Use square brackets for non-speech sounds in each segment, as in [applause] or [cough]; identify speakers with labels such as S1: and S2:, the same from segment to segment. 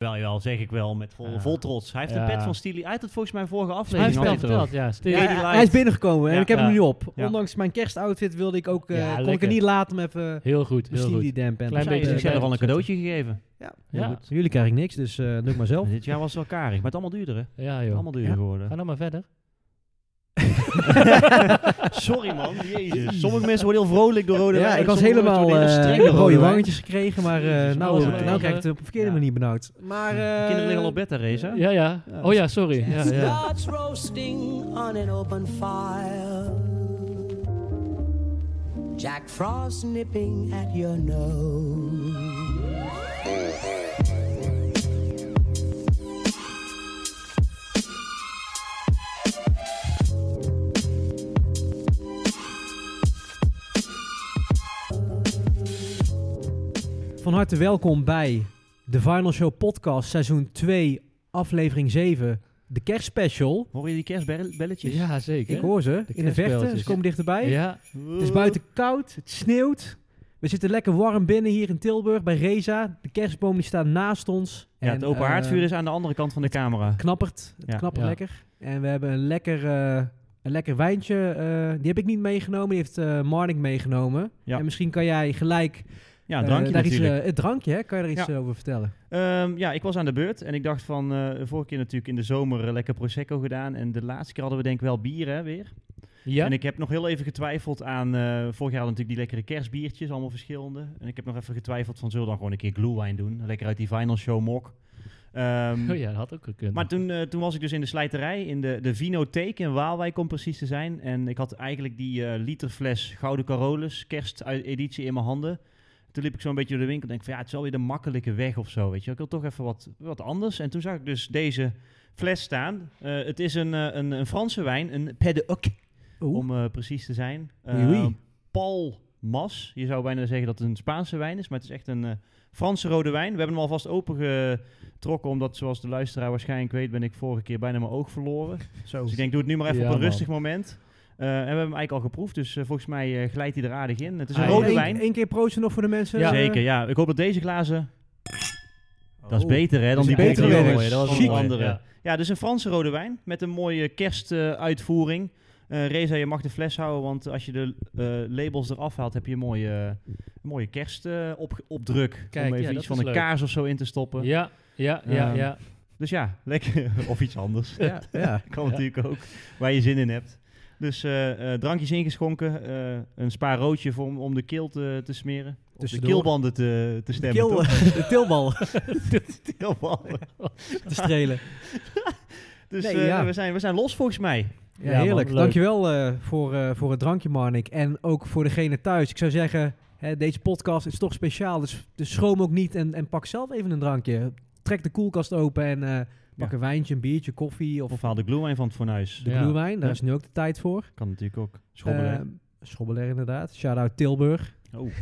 S1: Wel, jawel, zeg ik wel, met vol,
S2: Ja.
S1: vol trots. Hij heeft
S2: Ja.
S1: een pet van Steely. Hij had het volgens mij vorige
S2: Hij
S1: aflevering
S2: heeft
S1: al
S2: wel
S1: even.
S2: verteld, ja. Steve.
S1: Ja,
S2: Ja,
S1: die
S3: hij,
S1: light.
S3: hij is binnengekomen en
S1: Ja.
S3: ik heb hem
S2: Ja.
S3: nu op.
S1: Ja.
S3: Ondanks mijn kerstoutfit wilde ik ook, eh,
S2: Ja,
S3: kon ik
S2: lekker.
S3: het niet laten om even
S2: Heel goed,
S3: de
S2: heel
S3: Steely
S2: goed.
S3: Dan
S2: Klein
S3: pen te
S1: Hij heeft
S2: beetje-
S3: spelen.
S1: zichzelf al een cadeautje gegeven.
S3: Ja,
S2: Ja.
S3: heel goed. Jullie krijgen niks, dus eh doe ik maar zelf.
S1: Dit jaar was het wel karig, maar het allemaal duurder, hè?
S2: Ja, joh.
S1: Allemaal duurder
S3: Ja.
S2: Ga
S1: geworden.
S2: nou maar verder.
S1: [laughs] Sorry, man. Jezus. Sommige mensen worden heel vrolijk door rode
S3: Ja,
S1: wijn,
S3: ik was
S1: sommigen
S3: helemaal
S1: worden door hele
S3: eh,
S1: strenge
S3: ik heb rode
S1: wijn.
S3: wangetjes gekregen, maar eh,
S2: Jezus,
S3: nou,
S2: alles
S3: nou,
S2: wel,
S3: nou
S2: hè?
S3: krijg ik het op de verkeerde
S2: Ja.
S3: manier benauwd. Maar, eh,
S1: Kinderen liggen al op bed te racen.
S2: Ja, ja.
S3: Ja,
S2: Oh ja, sorry. Ja, ja.
S4: starts roasting on an open fire. Jack Frost nipping at your nose.
S3: Van harte welkom bij de Final Show Podcast, seizoen 2, aflevering 7, de kerstspecial.
S1: Hoor je die kerstbelletjes?
S2: Ja, zeker.
S3: Ik hoor ze
S2: De
S3: in de verte, ze
S2: kerstbelletjes.
S3: komen dichterbij.
S2: Ja,
S3: Het is buiten koud, het sneeuwt. We zitten lekker warm binnen hier in Tilburg bij Reza. De kerstboom die staat naast ons.
S1: Ja, het
S3: En,
S1: open
S3: eh,
S1: haardvuur is aan de andere kant van de camera.
S3: Knappert, het
S1: Ja.
S3: knappert
S2: Ja.
S3: lekker. En we hebben een lekker, eh, een lekker wijntje. eh, die heb ik niet meegenomen, die heeft eh Marnik meegenomen.
S1: Ja.
S3: En misschien kan jij gelijk
S1: Ja, een
S3: eh,
S1: drankje
S3: daar iets,
S1: natuurlijk.
S3: eh, het drankje, hè? kan je daar iets
S1: Ja.
S3: eh, over vertellen?
S1: Ehm, ja, ik was aan de beurt en ik dacht van, eh vorige keer natuurlijk in de zomer eh, lekker Prosecco gedaan. En de laatste keer hadden we denk ik wel bier, hè, weer.
S2: ja.
S1: En ik heb nog heel even getwijfeld aan, eh, vorig jaar hadden we natuurlijk die lekkere kerstbiertjes, allemaal verschillende. En ik heb nog even getwijfeld van, zullen we dan gewoon een keer glühwein doen? Lekker uit die Vinyl Show mok. Ehm,
S2: [laughs] Oh ja, dat had ook gekund.
S1: Maar toen, eh, toen was ik dus in de slijterij, in de, de Vinotheek in Waalwijk om precies te zijn. En ik had eigenlijk die eh literfles Gouden Carolus, kersteditie in mijn handen. Toen liep ik zo'n beetje door de winkel en denk ik van ja, het is wel weer de makkelijke weg of zo, weet je. wel. Ik wil toch even wat, wat anders. En toen zag ik dus deze fles staan. Eh, het is een, eh, een, een Franse wijn, een Pédoc,
S3: Oeh.
S1: om eh, precies te zijn.
S3: Oei, oei.
S1: Eh, Paul Mas. Je zou bijna zeggen dat het een Spaanse wijn is, maar het is echt een eh, Franse rode wijn. We hebben hem alvast opengetrokken, omdat zoals de luisteraar waarschijnlijk weet, ben ik vorige keer bijna mijn oog verloren.
S3: Zo.
S1: Dus ik denk, doe het nu maar even
S2: Ja,
S1: op een
S2: man.
S1: rustig moment. Eh, en we hebben hem eigenlijk al geproefd, dus eh, volgens mij eh, glijdt hij er aardig in. Het is een
S2: Ah,
S1: rode
S2: één-
S1: wijn.
S3: Eén keer proosten nog voor de mensen.
S2: Ja.
S3: eh,
S1: Zeker, ja. Ik hoop dat deze glazen... Dat is
S3: Oh.
S1: beter, hè, dan die
S3: een betere
S1: betere
S3: wijn.
S1: jongen.
S3: Dat was
S1: Chic.
S3: een mooie,
S1: andere.
S2: ja.
S1: Ja. dus een Franse rode wijn met een mooie kerstuitvoering. Eh Reza, je mag de fles houden, want als je de eh, labels eraf haalt, heb je een mooie, een mooie kerstopdruk.
S2: Kijk,
S1: om
S2: ja,
S1: even
S2: dat
S1: iets van
S2: is
S1: een
S2: leuk.
S1: kaars of zo in te stoppen.
S2: Ja, ja, ja,
S1: Ehm,
S2: ja.
S1: Dus ja, lekker. [laughs] of iets anders.
S3: Ja, ja.
S1: [laughs] kan
S2: Ja.
S1: natuurlijk ook, waar je zin in hebt. Dus eh, eh, drankjes ingeschonken, eh, een spa roodje voor, om- om de keel te, te smeren. Of de
S3: Tussendoor.
S1: keelbanden te, te stemmen.
S3: Kil,
S1: toch?
S3: [laughs] de tilbal
S1: De [laughs] keelbanden.
S3: te strelen.
S1: Dus
S3: Nee,
S1: eh,
S3: ja.
S1: we, zijn, we zijn los volgens mij.
S3: Ja,
S2: Ja, man,
S3: heerlijk.
S2: leuk.
S3: Dankjewel eh, voor, eh, voor het drankje, Marnik. En ook voor degene thuis. Ik zou zeggen, hè, deze podcast is toch speciaal. Dus, dus schroom ook niet en, en pak zelf even een drankje. Trek de koelkast open en eh, pak
S1: Ja.
S3: een wijntje, een biertje, koffie of
S1: Of haal de glühwein van het fornuis.
S3: de
S2: Ja.
S3: glühwein. Daar
S1: Ja.
S3: is nu ook de tijd voor.
S1: Kan natuurlijk ook. Schommelen.
S3: Eh, Schobbeler inderdaad. Shout-out Tilburg.
S1: oh, daar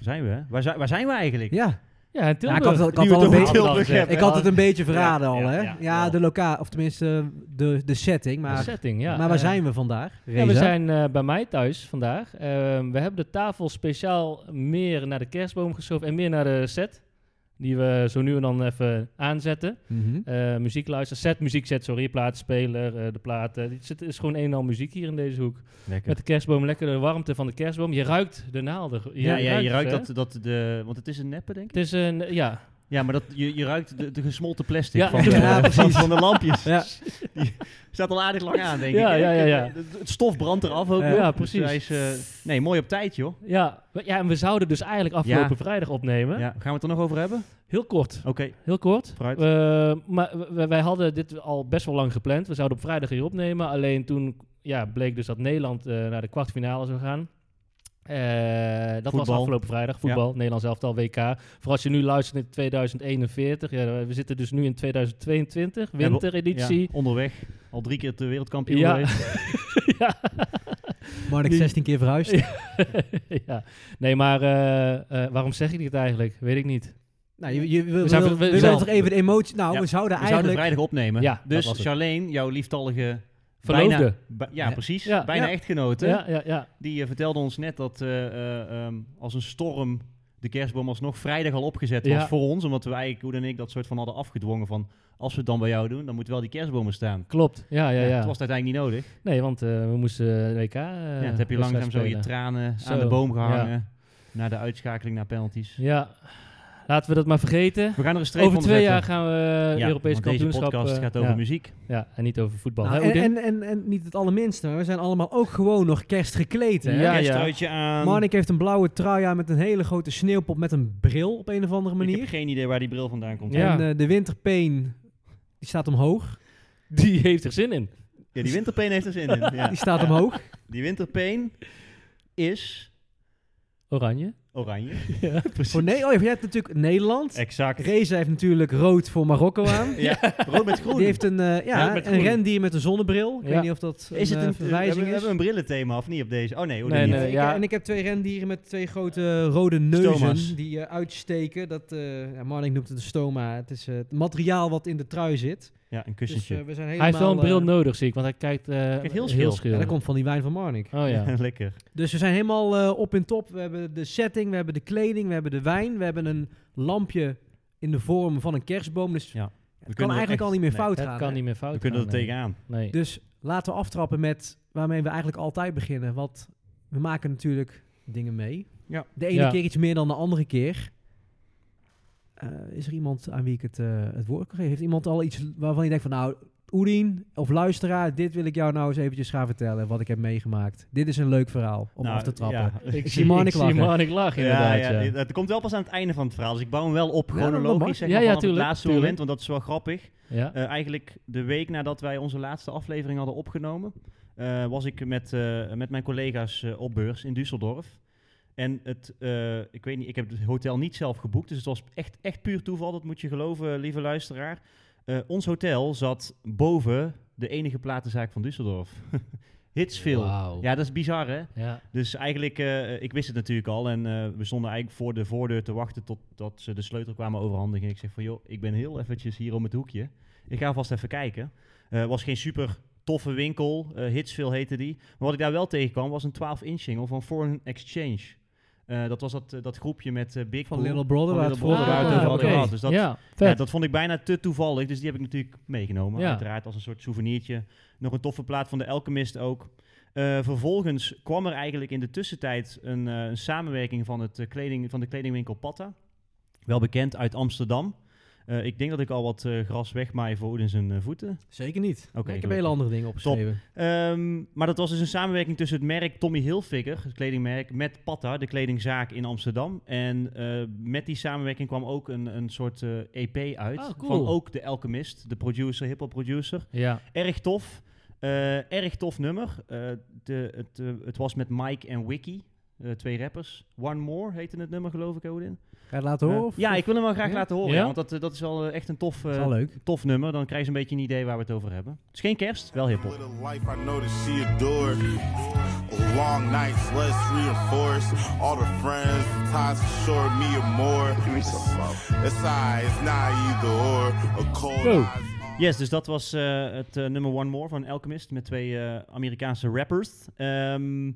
S1: zijn we? hè? Waar, zijn- waar zijn we eigenlijk?
S3: Ja,
S2: Ja, en
S3: Ja, ik
S2: Tilburg.
S3: had, het- ik had
S1: Die
S3: al
S1: we
S3: een
S1: toch
S3: beetje-
S1: Tilburg hebben.
S3: ik had het een beetje verraden
S1: Ja,
S3: al, hè?
S1: ja,
S3: Ja,
S1: ja, wel.
S3: de locaal, of tenminste de, de setting. Maar,
S2: setting, ja.
S3: maar waar
S2: Eh,
S3: zijn we vandaag?
S2: Ja, we
S3: Reza?
S2: zijn eh, bij mij thuis vandaag. Eh, we hebben de tafel speciaal meer naar de kerstboom geschoven en meer naar de set. Die we zo nu en dan even aanzetten.
S3: Mhm.
S2: Eh, muziek luisteren, set, muziek set, sorry, plaatspeler, eh, de platen. Het is- Het is gewoon een en al muziek hier in deze hoek.
S1: Lekker.
S2: Met de kerstboom, lekker de warmte van de kerstboom. Je ruikt de naalden. Je
S1: ja, ja, je ruikt
S2: ze, hè?
S1: dat, dat de... Want het is een neppe, denk ik.
S2: Het is een, ja,
S1: Ja, maar dat, je, je ruikt de, de gesmolten plastic
S2: [laughs] Ja.
S1: van, de,
S3: Ja,
S1: van, van de lampjes. [laughs]
S3: Ja.
S1: Staat al aardig lang aan, denk
S2: Ja,
S1: ik. hè?
S2: ja, ja, ja.
S1: Het, het stof brandt eraf ook
S3: Ja,
S1: nog.
S2: ja,
S1: Dus
S2: precies.
S1: hij is, eh, nee, mooi op tijd, joh.
S2: Ja, we- ja, en we zouden dus eigenlijk afgelopen
S1: Ja.
S2: vrijdag opnemen.
S1: Ja, gaan we het er nog over hebben?
S2: Heel kort,
S1: Oké,
S2: heel kort.
S1: vooruit.
S2: Eh, maar we- wij hadden dit al best wel lang gepland. We zouden op vrijdag hier opnemen. Alleen toen ja, bleek dus dat Nederland eh, naar de kwartfinale zou gaan. Eh, dat was
S1: Voetbal.
S2: afgelopen vrijdag, voetbal, Nederlands elftal, WK. Voor als je nu luistert in 2041, ja, we zitten dus nu in 2022,
S1: Ja, wel-
S2: wintereditie.
S1: Ja, onderweg. Al drie keer de wereldkampioen
S2: Ja.
S1: geweest.
S2: Ja.
S3: Marnik 16 keer verhuisd.
S2: [laughs] ja. Nee, maar eh, eh, waarom zeg ik dit eigenlijk? Weet ik niet.
S3: Nou, je, je, wil-
S2: We zijn-
S3: wil-
S2: we-
S3: we
S2: we
S3: willen
S2: zijn-
S3: toch even de emotie... Nou,
S1: Ja,
S3: we zouden
S1: We zouden
S3: eigenlijk...
S1: vrijdag opnemen.
S2: Ja, dat was
S1: dus
S2: het.
S1: Charlene, jouw lieftallige...
S2: Verloofde.
S1: Bijna, bij- ja,
S3: Ja.
S1: precies.
S2: Ja.
S1: bijna
S2: Ja.
S1: echtgenote.
S2: Ja, ja, ja.
S1: Die eh, vertelde ons net dat eh, eh, ehm, als een storm de kerstboom alsnog vrijdag al opgezet
S2: Ja.
S1: was voor ons. Omdat we eigenlijk, hoe dan ik, dat soort van hadden afgedwongen van... als we het dan bij jou doen, dan moeten wel die kerstbomen staan.
S2: Klopt, ja, ja, ja.
S1: Het was uiteindelijk niet nodig.
S2: Nee, want eh, we moesten eh, WK... eh,
S1: Ja, dat heb je
S2: wedstrijd
S1: langzaam zo je
S2: spelen.
S1: tranen
S2: Zo,
S1: aan de boom gehangen. Naar de uitschakeling naar penalties.
S2: Ja, laten we dat maar vergeten.
S1: We gaan er een streep
S2: Over
S1: onder
S2: twee jaar
S1: zetten.
S2: gaan we
S1: Ja,
S2: Europese
S1: want deze
S2: kampioenschap...
S1: podcast
S2: eh,
S1: gaat over
S2: ja.
S1: muziek.
S2: Ja, en niet over voetbal.
S3: Nou,
S2: hè,
S3: en,
S2: Oedin?
S3: en, en, en niet het allerminste, we zijn allemaal ook gewoon nog kerstgekleed. Hè?
S2: Ja, ja.
S1: Kerstruitje aan.
S3: Marnik heeft een blauwe trui aan met een hele grote sneeuwpop met een bril op een of andere
S1: Ik heb
S3: manier.
S1: geen idee waar die bril vandaan komt.
S2: Ja.
S3: En eh, de winterpeen, die staat omhoog.
S2: [laughs] Die heeft er zin in.
S1: Ja, die winterpeen heeft er zin
S2: [laughs]
S1: in. Ja.
S3: Die staat
S1: [laughs]
S3: omhoog.
S1: Die winterpeen is
S2: Oranje.
S1: oranje.
S2: Ja,
S1: precies.
S3: Oh nee, oh, jij hebt natuurlijk Nederland.
S1: Exact.
S3: Reza heeft natuurlijk rood voor Marokko aan.
S1: [laughs] ja, rood met groen.
S3: Die heeft een, eh, ja,
S1: Ja, met
S3: een
S1: groen.
S3: rendier met een zonnebril. Ik
S2: Ja.
S3: weet niet of dat
S1: is het een
S3: eh, verwijzing
S1: we hebben, we
S3: is.
S1: hebben een brillenthema of niet op deze? Oh nee, hoe
S2: Nee,
S1: dan
S2: nee.
S1: niet?
S3: Ik-
S2: ja.
S3: En ik heb twee rendieren met twee grote rode neuzen
S1: Stoma's.
S3: die eh, uitsteken. Dat, eh ja, Marnik noemt het een stoma. Het is eh, het materiaal wat in de trui zit.
S1: Ja, een
S3: Dus
S1: kussentje.
S3: eh, we zijn helemaal...
S2: Hij heeft wel een bril
S3: eh,
S2: nodig, zie ik, want hij kijkt, eh,
S1: heel
S2: heel,
S1: schil.
S2: schil.
S3: ja, dat komt van die wijn van Marnik.
S2: [laughs] Oh
S3: [laughs]
S2: ja.
S1: [laughs] Lekker.
S3: Dus we zijn helemaal eh, op en top. We hebben de setting, we hebben de kleding, we hebben de wijn. We hebben een lampje in de vorm van een kerstboom. Dus
S1: Ja.
S3: het kan
S1: kunnen
S3: eigenlijk
S1: echt-
S3: al niet meer
S1: nee,
S3: fout
S2: Dat
S3: gaan. eh,
S2: kan
S3: hè?
S2: niet meer fout
S1: We kunnen er
S2: gaan, nee.
S1: tegenaan.
S2: Nee.
S3: Dus laten we aftrappen met waarmee we eigenlijk altijd beginnen. Want we maken natuurlijk dingen mee.
S1: Ja.
S3: De ene
S2: Ja.
S3: keer iets meer dan de andere keer. Eh, is er iemand aan wie ik het, eh, het woord kan geven? Heeft iemand al iets waarvan je denkt van nou, Oedien of luisteraar, dit wil ik jou nou eens eventjes gaan vertellen wat ik heb meegemaakt. Dit is een leuk verhaal om
S1: Nou,
S3: af te trappen.
S1: ja.
S3: [laughs]
S2: Ik [laughs]
S3: zie Marnik
S2: ik zie
S3: lachen.
S2: Marnik lachen,
S1: Ja,
S2: inderdaad.
S1: ja,
S2: ja.
S1: dit- dat komt wel pas aan het einde van het verhaal. Dus ik bouw hem wel op
S3: Ja, dat mag.
S1: chronologisch, zeg maar,
S2: Ja, ja,
S1: vanaf het
S2: tuurlijk,
S1: laatste
S2: tuurlijk.
S1: moment. Want dat is wel grappig.
S2: Ja.
S1: Eh, eigenlijk de week nadat wij onze laatste aflevering hadden opgenomen, eh, was ik met, eh, met mijn collega's eh, op beurs in Düsseldorf. En het, eh, ik weet niet, ik heb het hotel niet zelf geboekt, dus het was echt, echt puur toeval, dat moet je geloven, lieve luisteraar. Eh, ons hotel zat boven de enige platenzaak van Düsseldorf. [laughs] Hitsville.
S2: Wauw.
S1: Ja, dat is bizar, hè?
S2: Ja.
S1: Dus eigenlijk, eh, ik wist het natuurlijk al. En eh, we stonden eigenlijk voor de voordeur te wachten totdat ze de sleutel kwamen overhandigen. En ik zeg van, joh, ik ben heel eventjes hier om het hoekje. Ik ga vast even kijken. Eh was geen super toffe winkel. eh Hitsville heette die. Maar wat ik daar wel tegenkwam, was een 12-inch single van Foreign Exchange. Eh, dat was dat, eh, dat groepje met eh, Big
S3: Van
S1: Pool.
S3: Little Brother,
S1: Van
S3: waar het
S1: Little
S3: vorige
S1: Brother, waar
S3: keer
S1: we
S2: Ah,
S1: het over hadden
S2: oké.
S1: gehad. Dus dat,
S2: ja,
S1: ja,
S2: vet.
S1: dat vond ik bijna te toevallig. Dus die heb ik natuurlijk meegenomen.
S2: Ja.
S1: Uiteraard als een soort souvenirtje. Nog een toffe plaat van de Alchemist ook. Eh, vervolgens kwam er eigenlijk in de tussentijd een, eh, een samenwerking van, het, eh, kleding, van de kledingwinkel Patta. Wel bekend uit Amsterdam. Eh, ik denk dat ik al wat eh, gras wegmaai voor Oedin zijn eh, voeten.
S3: Zeker niet.
S1: Oké,
S3: ik heb
S1: gelukkig.
S3: hele andere dingen opgeschreven.
S1: Ehm, maar dat was dus een samenwerking tussen het merk Tommy Hilfiger, het kledingmerk, met Patta, de kledingzaak in Amsterdam. En eh, met die samenwerking kwam ook een, een soort eh, EP uit.
S3: Oh,
S2: Ah, cool.
S1: Van ook de Alchemist, de producer, hip-hop producer.
S2: Ja.
S1: Erg tof. Eh, erg tof nummer. Eh, de, het, eh, het was met Mike en Wiki, eh, twee rappers. One More heette het nummer, geloof ik, Odin.
S3: Ga je het laten horen?
S1: Eh,
S3: of-
S1: ja, ik wil hem wel graag
S3: Ja?
S1: laten horen,
S2: Ja?
S1: ja, want dat, eh, dat is wel eh, echt een tof,
S3: Dat
S1: eh,
S3: is wel leuk.
S1: tof nummer. Dan krijg je een beetje een idee waar we het over hebben. Het is geen kerst, wel hip-hop.
S5: With a life I know that she adored. Long nights, let's reinforce. All the friends, ties for sure, me or more. It's I, it's not either or. A cold
S2: Go.
S5: eyes.
S1: Yes, dus dat was eh, het eh, nummer One More van Alchemist met twee eh, Amerikaanse rappers. Ehm,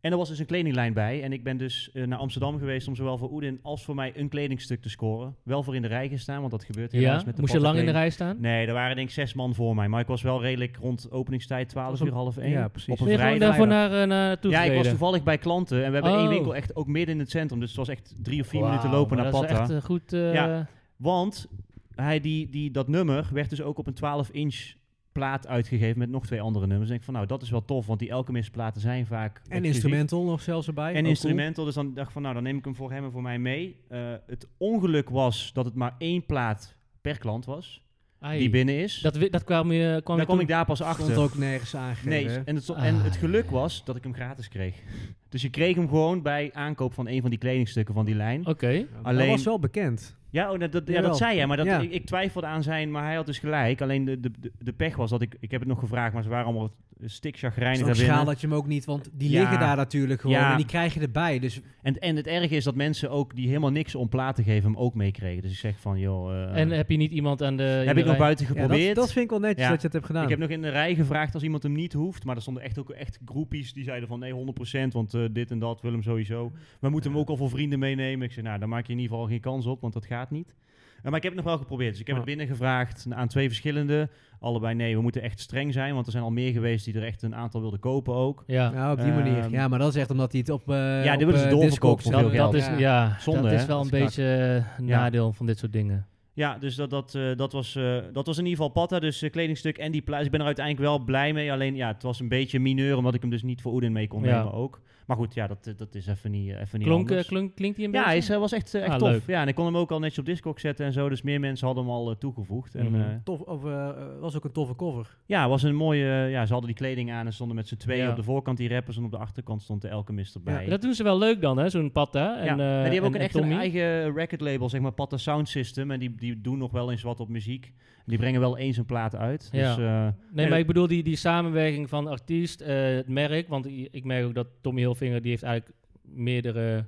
S1: en er was dus een kledinglijn bij. En ik ben dus eh, naar Amsterdam geweest om zowel voor Oedin als voor mij een kledingstuk te scoren. Wel voor in de rij gestaan, want dat gebeurt helaas
S2: ja.
S1: met de
S2: Moest je lang in de
S1: patta
S2: rij staan?
S1: kleding. Nee, er waren denk ik zes man voor mij. Maar ik was wel redelijk rond openingstijd 12 uur, half 1.
S3: ja, precies.
S1: Op een
S2: Ben je gewoon
S1: vrijdag.
S2: daarvoor naar, eh, naartoe
S1: Ja, ik was
S2: gereden?
S1: toevallig bij klanten. En we hebben één
S2: Oh.
S1: winkel echt ook midden in het centrum. Dus het was echt drie of vier
S2: Wauw,
S1: minuten lopen
S2: maar
S1: naar
S2: dat
S1: Patta.
S2: is echt eh, goed... eh,
S1: Ja. Want hij die, die, dat nummer werd dus ook op een 12-inch plaat uitgegeven met nog twee andere nummers. Dan denk ik van, nou, dat is wel tof, want die Alchemist platen zijn vaak...
S3: En
S1: exclusief.
S3: instrumental nog zelfs erbij. Ook
S1: En
S3: cool.
S1: instrumental, dus dan dacht ik van, nou, dan neem ik hem voor hem en voor mij mee. Eh, het ongeluk was dat het maar één plaat per klant was,
S2: ai.
S1: die binnen is.
S2: Dat, wi- dat kwam je... Kwam
S1: daar
S2: je
S1: kwam ik
S2: toen-
S1: daar pas
S3: Stond
S1: achter.
S3: ook nergens aangegeven.
S1: Nee,
S3: hè?
S1: en het, sto-
S2: Ah,
S1: en het
S2: ja,
S1: geluk
S2: ja.
S1: was dat ik hem gratis kreeg. [laughs] Dus je kreeg hem gewoon bij aankoop van een van die kledingstukken van die lijn.
S2: Oké.
S1: Alleen-
S3: Dat was wel bekend.
S1: Ja, oh, dat, dat- ja,
S3: Jawel.
S1: dat zei hij, maar dat,
S3: Ja.
S1: ik, ik twijfelde aan zijn, maar hij had dus gelijk. Alleen de, de, de- de pech was dat ik, ik heb het nog gevraagd, maar ze waren allemaal stik
S3: Het
S1: chagrijnig
S3: is
S1: daar
S3: ook schaal
S1: binnen.
S3: dat je hem ook niet, want die
S1: Ja.
S3: liggen daar natuurlijk gewoon
S1: Ja.
S3: en die krijg je erbij. Dus
S1: En, en het erge is dat mensen ook die helemaal niks om plaat te geven hem ook meekregen. Dus ik zeg van, joh... eh,
S2: En heb je niet iemand aan de... in
S1: heb
S2: de
S1: ik nog
S2: rij-
S1: buiten
S3: ja, dat,
S1: geprobeerd.
S3: dat vind ik wel netjes
S1: Ja.
S3: dat je het hebt gedaan.
S1: Ik heb nog in de rij gevraagd als iemand hem niet hoeft. Maar er stonden echt ook echt groepies die zeiden van nee, 100%. Want eh, dit en dat wil hem sowieso. We moeten hem ook al voor vrienden meenemen. Ik zei, nou, daar maak je in ieder geval geen kans op, want dat gaat niet. Eh, maar ik heb het nog wel geprobeerd. Dus ik heb
S3: Ja.
S1: het binnengevraagd aan twee verschillende. Allebei nee, we moeten echt streng zijn. Want er zijn al meer geweest die er echt een aantal wilden kopen ook.
S2: Ja,
S3: Ja, op die manier.
S1: Ehm,
S3: ja, maar dat is echt omdat hij het op eh
S1: Ja,
S3: op,
S1: dit willen ze
S3: eh,
S1: doorverkopen
S3: Discogs
S1: voor
S3: zet.
S1: veel
S2: dat, dat
S1: geld.
S2: is,
S3: Ja.
S2: ja,
S1: Zonde,
S2: dat
S1: hè?
S2: is wel
S1: Dat
S2: een
S1: is
S2: beetje eh,
S1: Ja.
S2: nadeel van dit soort dingen.
S1: Ja, dus dat, dat, eh, dat, was, eh, dat was in ieder geval Patta. Dus eh, kledingstuk en die pluis. Ik ben er uiteindelijk wel blij mee. Alleen ja, het was een beetje mineur, omdat ik hem dus niet voor Oedin mee kon
S2: Ja.
S1: nemen ook. Maar goed, ja, dat, eh, dat is even niet, eh, even niet
S2: Klonk, eh,
S1: anders.
S2: klonk- klinkt die een
S1: Ja,
S2: beetje?
S1: hij is, eh, was echt, eh, echt
S2: Ah,
S1: tof.
S2: leuk.
S1: Ja, en ik kon hem ook al netjes op Discord zetten en zo. Dus meer mensen hadden hem al eh, toegevoegd. En,
S2: Mhm.
S1: eh,
S3: Tof, of, eh, eh, was ook een toffe cover.
S1: ja, was een mooie... eh, ja, ze hadden die kleding aan en stonden met z'n tweeën
S2: Ja.
S1: op de voorkant die rappers. En op de achterkant stond de Elkemist erbij.
S2: Dat doen ze wel leuk dan, hè? Zo'n patta.
S1: Ja,
S2: En,
S1: maar
S2: eh,
S1: die hebben ook een
S2: en- en
S1: echt een
S2: Tommy.
S1: eigen record label, zeg maar Patta Sound System. En die, die doen nog wel eens wat op muziek. Die brengen wel eens een plaat uit.
S2: Ja.
S1: Dus, eh,
S2: Nee, maar ik bedoel die, die samenwerking van artiest, eh, het merk. Want i- ik merk ook dat Tommy Hilfinger, die heeft eigenlijk meerdere...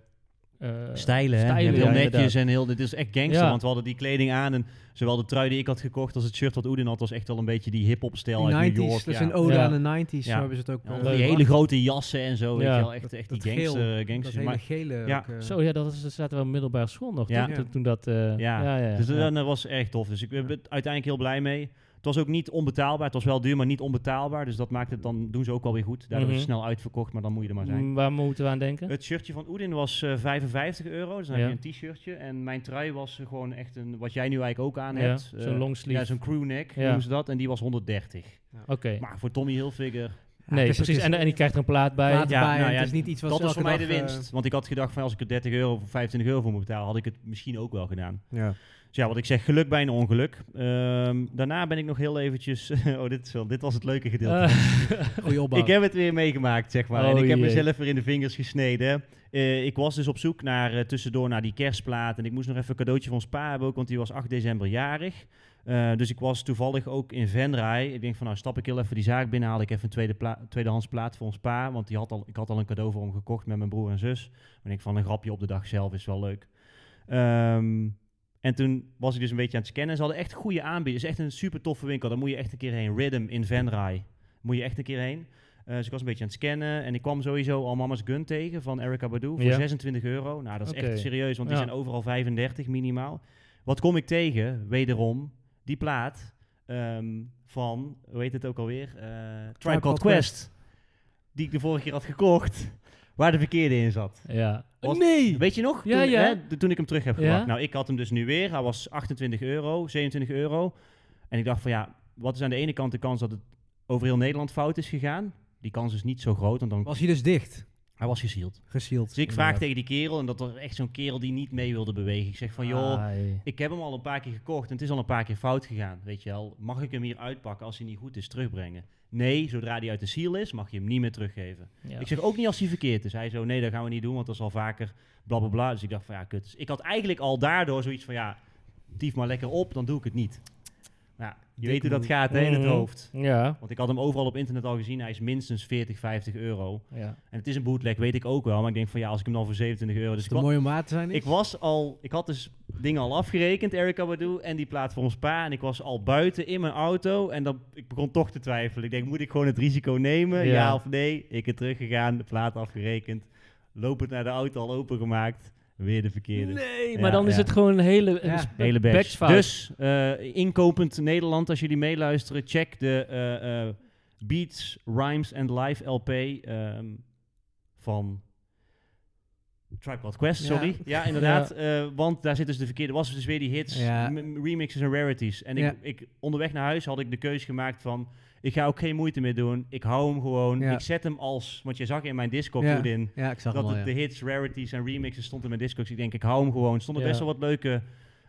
S2: eh,
S1: stijlen, hè? Je
S2: stijlen,
S1: hebt heel
S2: ja,
S1: netjes
S2: inderdaad.
S1: en heel... Dit is echt gangster,
S2: Ja.
S1: want we hadden die kleding aan. En zowel de trui die ik had gekocht als het shirt dat Oedin had... was echt wel een beetje die hip-hop stijl uit
S3: Die 90s,
S1: New York.
S3: dat is
S1: ja.
S3: een ode
S2: Ja.
S3: aan de 90s.
S1: Ja.
S3: Zo hebben ze het ook.
S1: Ja,
S3: eh,
S1: die
S2: leuk,
S1: hele
S2: hoor.
S1: grote jassen en zo, weet
S2: Ja.
S1: je wel. Echt, echt die
S3: geel,
S1: gangster,
S3: dat
S1: gangsters.
S3: hele
S1: Maar-
S3: gele.
S1: ja.
S3: ook, eh,
S2: Zo, ja, dat was, dat zaten we op middelbare school nog,
S1: Ja.
S2: toch? Toen, toen dat... eh,
S1: ja.
S2: ja, ja,
S1: dus
S2: ja.
S1: dat was echt tof. Dus ik ben ben uiteindelijk heel blij mee. Het was ook niet onbetaalbaar. Het was wel duur, maar niet onbetaalbaar. Dus dat maakt het dan, doen ze ook wel weer goed. Daardoor is
S2: Mhm.
S1: het snel uitverkocht, maar dan moet je er maar zijn. Eh.
S2: Mm, Waar moeten we aan denken?
S1: Het shirtje van Oedin was eh, 55 euro. Dus dan
S2: Ja.
S1: heb je een t-shirtje. En mijn trui was eh, gewoon echt een, wat jij nu eigenlijk ook aan
S2: Ja,
S1: hebt.
S2: zo'n
S1: Eh,
S2: longsleeve.
S1: Ja, zo'n crewneck
S2: Ja.
S1: noemen ze dat. En die was 130.
S2: Oké.
S1: Maar voor Tommy Hilfiger,
S3: ja,
S2: nee,
S3: het is- het
S2: precies.
S3: is
S2: En, en die krijgt er een plaat bij.
S3: plaat
S1: ja,
S3: bij en
S1: nou ja,
S3: Het is niet iets wat
S1: dat
S3: ze
S1: was voor
S3: elke
S1: mij de
S3: dag, eh,
S1: winst. Want ik had gedacht van als ik er 30 euro of 25 euro voor moet betalen, had ik het misschien ook wel gedaan.
S3: ja.
S1: Dus ja, wat ik zeg, geluk bij een ongeluk. Ehm, daarna ben ik nog heel eventjes... [laughs] oh, dit, is wel, dit was het leuke gedeelte.
S3: [laughs]
S2: Eh,
S3: Goeie opbouw.
S1: Ik heb het weer meegemaakt, zeg maar. en
S2: Ah, Oh
S1: ik heb
S2: jee.
S1: mezelf weer in de vingers gesneden. Eh, ik was dus op zoek naar eh, tussendoor naar die kerstplaat. En ik moest nog even een cadeautje van Spa hebben ook, want die was 8 december jarig. Eh, dus ik was toevallig ook in Venray. Ik denk van, nou stap ik heel even die zaak binnen, haal ik even een tweede pla- tweedehands plaat voor ons pa. Want die had al, ik had al een cadeau voor hem gekocht met mijn broer en zus. Maar ik denk van, een grapje op de dag zelf is wel leuk. Ehm, en toen was ik dus een beetje aan het scannen. Ze hadden echt goede aanbieders. Echt een super toffe winkel. Daar moet je echt een keer heen. Rhythm in Venray. Moet je echt een keer heen. Eh, dus ik was een beetje aan het scannen. En ik kwam sowieso al Mama's Gun tegen van Erica Badu voor
S2: Ja.
S1: 26 euro. Nou, dat is
S2: Oké.
S1: echt serieus, want die
S2: Ja.
S1: zijn overal 35 minimaal. Wat kom ik tegen? Wederom die plaat ehm, van, hoe heet het ook alweer? Eh Tribe Called
S3: Called
S1: Quest. Die ik de vorige keer had gekocht, waar de verkeerde in zat.
S2: [laughs] Ja.
S1: Was-
S2: nee!
S1: Weet je nog?
S2: Ja,
S1: toen,
S2: ja.
S1: Hè, de- toen ik hem terug heb
S2: Ja.
S1: gebracht. Nou, ik had hem dus nu weer. Hij was 28 euro, 27 euro. En ik dacht van ja, wat is aan de ene kant de kans dat het over heel Nederland fout is gegaan? Die kans is niet zo groot, want dan...
S3: Was hij dus dicht?
S1: Hij was gezield.
S3: Gesield.
S1: Dus ik vraag
S3: inderdaad.
S1: tegen die kerel, en dat was echt zo'n kerel die niet mee wilde bewegen. Ik zeg
S2: Ah.
S1: van, joh, ik heb hem al een paar keer gekocht en het is al een paar keer fout gegaan. Weet je wel, mag ik hem hier uitpakken als hij niet goed is, terugbrengen? Nee, zodra hij uit de ziel is, mag je hem niet meer teruggeven. Ik zeg ook niet als hij verkeerd is. Hij zo, nee, dat gaan we niet doen, want dat is al vaker bla bla bla. Dus ik dacht van, ja, kut. Dus ik had eigenlijk al daardoor zoiets van, ja, tief maar lekker op, dan doe ik het niet. Nou, je weet hoe dat
S3: move.
S1: gaat, hè, in het
S2: Mhm.
S1: hoofd.
S2: Ja.
S1: Want ik had hem overal op internet al gezien. Hij is minstens 40, 50 euro.
S2: ja.
S1: En het is een bootleg, weet ik ook wel. Maar ik denk van ja, als ik hem dan voor 27 euro... Dus
S3: Is
S1: ik,
S3: het
S1: wa-
S3: mooi om waar te zijn?
S1: ik was al... Ik had dus dingen al afgerekend, Erica Badu. En die plaat voor ons pa. En ik was al buiten in mijn auto. En dan, ik begon toch te twijfelen. Ik denk, moet ik gewoon het risico nemen? Ja,
S2: Ja.
S1: of nee? Ik ben teruggegaan, de plaat afgerekend. Lopend naar de auto al opengemaakt. Weer de verkeerde.
S2: Nee,
S1: Ja,
S2: maar dan is
S1: ja.
S2: het gewoon een hele,
S3: Ja.
S2: een sp-
S1: Hele batch.
S2: batchfout.
S1: Dus, eh, inkopend Nederland, als jullie meeluisteren, check de eh, eh, Beats, Rhymes and Live LP ehm, van Tribe Called Quest,
S3: Ja.
S1: sorry. Ja, inderdaad. eh, want daar zit dus de verkeerde, was dus weer die hits,
S3: Ja.
S1: m- remixes en rarities. En ik,
S3: Ja.
S1: ik, onderweg naar huis had ik de keus gemaakt van, ik ga ook geen moeite meer doen. Ik hou hem gewoon.
S3: Ja.
S1: Ik zet hem als, want je zag in mijn Discord
S3: Ja.
S1: goed in
S3: Ja, ik zag
S1: dat
S3: het
S1: het
S3: al,
S1: de
S3: ja.
S1: hits, rarities en remixes stond in mijn Discogs. Ik denk, ik hou hem gewoon. Er Stonden
S2: Ja.
S1: best wel wat leuke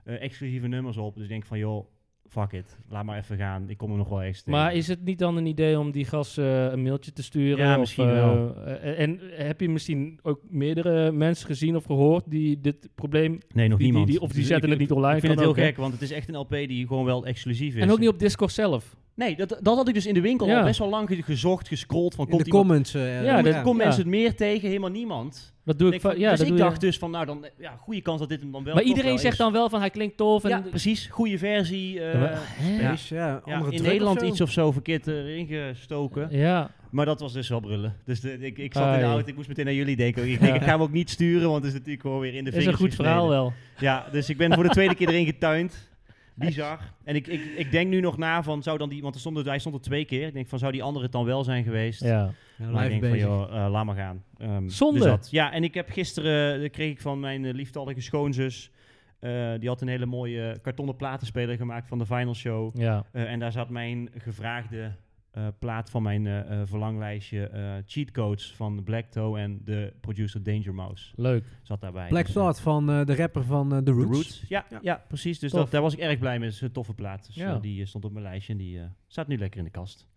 S1: eh, exclusieve nummers op. Dus ik denk van, joh, fuck it. Laat maar even gaan. Ik kom er nog wel eens tegen.
S2: Maar is het niet dan een idee om die gas eh, een mailtje te sturen?
S1: Ja,
S2: Of,
S1: misschien
S2: eh,
S1: wel.
S2: eh, en heb je misschien ook meerdere mensen gezien of gehoord die dit probleem...
S1: nee, nog
S2: die-
S1: niemand.
S2: die- of die
S1: Dus
S2: zetten
S1: ik-
S2: het niet online,
S1: Ik vind
S2: kan
S1: het heel
S2: ook, hè?
S1: gek, want het is echt een LP die gewoon wel exclusief is.
S2: En ook niet op Discord zelf.
S1: Nee, dat, dat had ik dus in de winkel
S2: Ja.
S1: al best wel lang ge- gezocht, gescrolld. Van,
S3: In
S1: komt
S3: de
S1: iemand,
S3: comments. eh,
S2: Ja, dat-
S1: komt mensen
S2: ja.
S1: het meer tegen? Helemaal niemand.
S2: Dat doe ik,
S1: Ik
S2: va-
S1: vond-
S2: ja,
S1: dus
S2: dat
S1: ik
S2: doe je-
S1: dacht dus van, nou dan, eh, ja, goede kans dat dit hem dan wel
S2: Maar
S1: toch
S2: iedereen
S1: wel
S2: zegt
S1: is.
S2: dan wel van hij klinkt tof. En
S1: Ja, precies. Goede versie. eh,
S2: maar- Hè?
S1: ja.
S3: Precies, ja.
S1: ja,
S3: andere
S1: in
S3: druk
S1: Nederland
S3: of zo.
S1: iets of zo verkeerd eh, ingestoken.
S2: ja.
S1: Maar dat was dus wel brullen. Dus de- ik, ik zat in de
S2: Ai.
S1: auto, ik moest meteen naar jullie denken. Ik, denk, ik ga hem ook niet sturen, want het is natuurlijk gewoon weer in de
S2: is
S1: vingers
S2: een goed
S1: gesneden.
S2: verhaal wel.
S1: Ja, dus ik ben voor de tweede keer erin getuind. Bizar. En ik, ik, ik denk nu nog na van, zou dan die... Want er stond, er- hij stond er twee keer. Ik denk van, zou die andere het dan wel zijn geweest?
S2: Ja.
S3: Ja,
S1: Maar ik
S3: Nou, live
S1: denk van,
S3: bezig.
S1: joh, eh, laat maar gaan. Ehm,
S2: Zonde.
S1: dus dat. Ja, en ik heb gisteren... eh, kreeg ik van mijn eh, lieftallige schoonzus... eh, die had een hele mooie kartonnen platenspeler gemaakt van de Final Show.
S2: ja.
S1: Eh, en daar zat mijn gevraagde eh, plaat van mijn eh, eh, verlanglijstje... eh cheat codes van Black Toe en de producer Danger Mouse
S2: Leuk.
S1: zat daarbij.
S3: Black
S1: Dus, eh,
S3: Thought van eh, de rapper van eh, The
S1: The
S3: Roots.
S1: Roots. Ja,
S3: Ja.
S1: ja. precies. Dus
S2: Tof.
S1: dat, daar was ik erg blij mee. Het is een toffe plaat. Dus,
S2: Ja.
S1: eh, die eh, stond op mijn lijstje en die eh, staat nu lekker in de kast.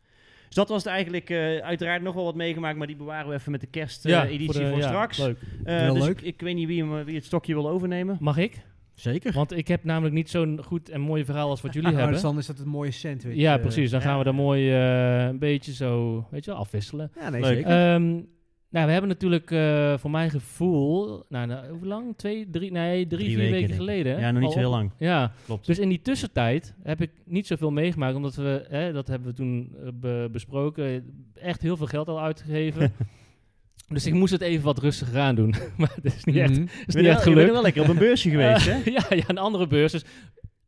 S1: Dus dat was het eigenlijk. eh, uiteraard nog wel wat meegemaakt, maar die bewaren we even met de
S2: ja,
S1: kersteditie
S2: voor
S1: eh, voor,
S2: de- ja,
S1: straks.
S2: Leuk.
S1: Eh,
S3: Wel
S1: dus
S3: leuk.
S1: Ik, ik weet niet wie, hem, eh, wie het stokje wil overnemen.
S2: Mag ik?
S3: Zeker.
S2: Want ik heb namelijk niet zo'n goed en mooi verhaal als
S1: [laughs]
S2: wat
S1: Oh,
S2: jullie
S3: Maar
S2: hebben.
S3: dan is dat een mooie sandwich.
S2: Ja,
S3: eh.
S2: precies. Dan
S1: ja.
S2: gaan we daar mooi eh, een beetje zo, weet je wel, afwisselen.
S3: Ja, nee,
S1: Leuk.
S3: zeker.
S2: [laughs] Ehm, nou, we hebben natuurlijk eh, voor mijn gevoel, nou, nou, hoe lang? Twee, drie, nee, drie,
S1: Drie
S2: vier
S1: weken,
S2: weken,
S1: denk ik.
S2: geleden. hè?
S1: Ja, nog niet zo
S2: Al
S1: heel
S2: op-
S1: lang.
S2: Ja,
S1: Klopt.
S2: dus in die tussentijd heb ik niet zoveel meegemaakt, omdat we, hè, dat hebben we toen eh, be- besproken, echt heel veel geld al
S1: [laughs]
S2: uitgegeven. dus ik moest het even wat rustiger aan doen. [laughs] maar het is niet echt,
S3: Mhm.
S2: het is
S1: je
S2: niet
S1: bent
S2: echt
S1: wel- Mm. je bent
S2: gelukt.
S1: wel lekker op een beursje
S2: [laughs]
S1: geweest, hè?
S2: Eh, ja, ja, een andere beurs. Dus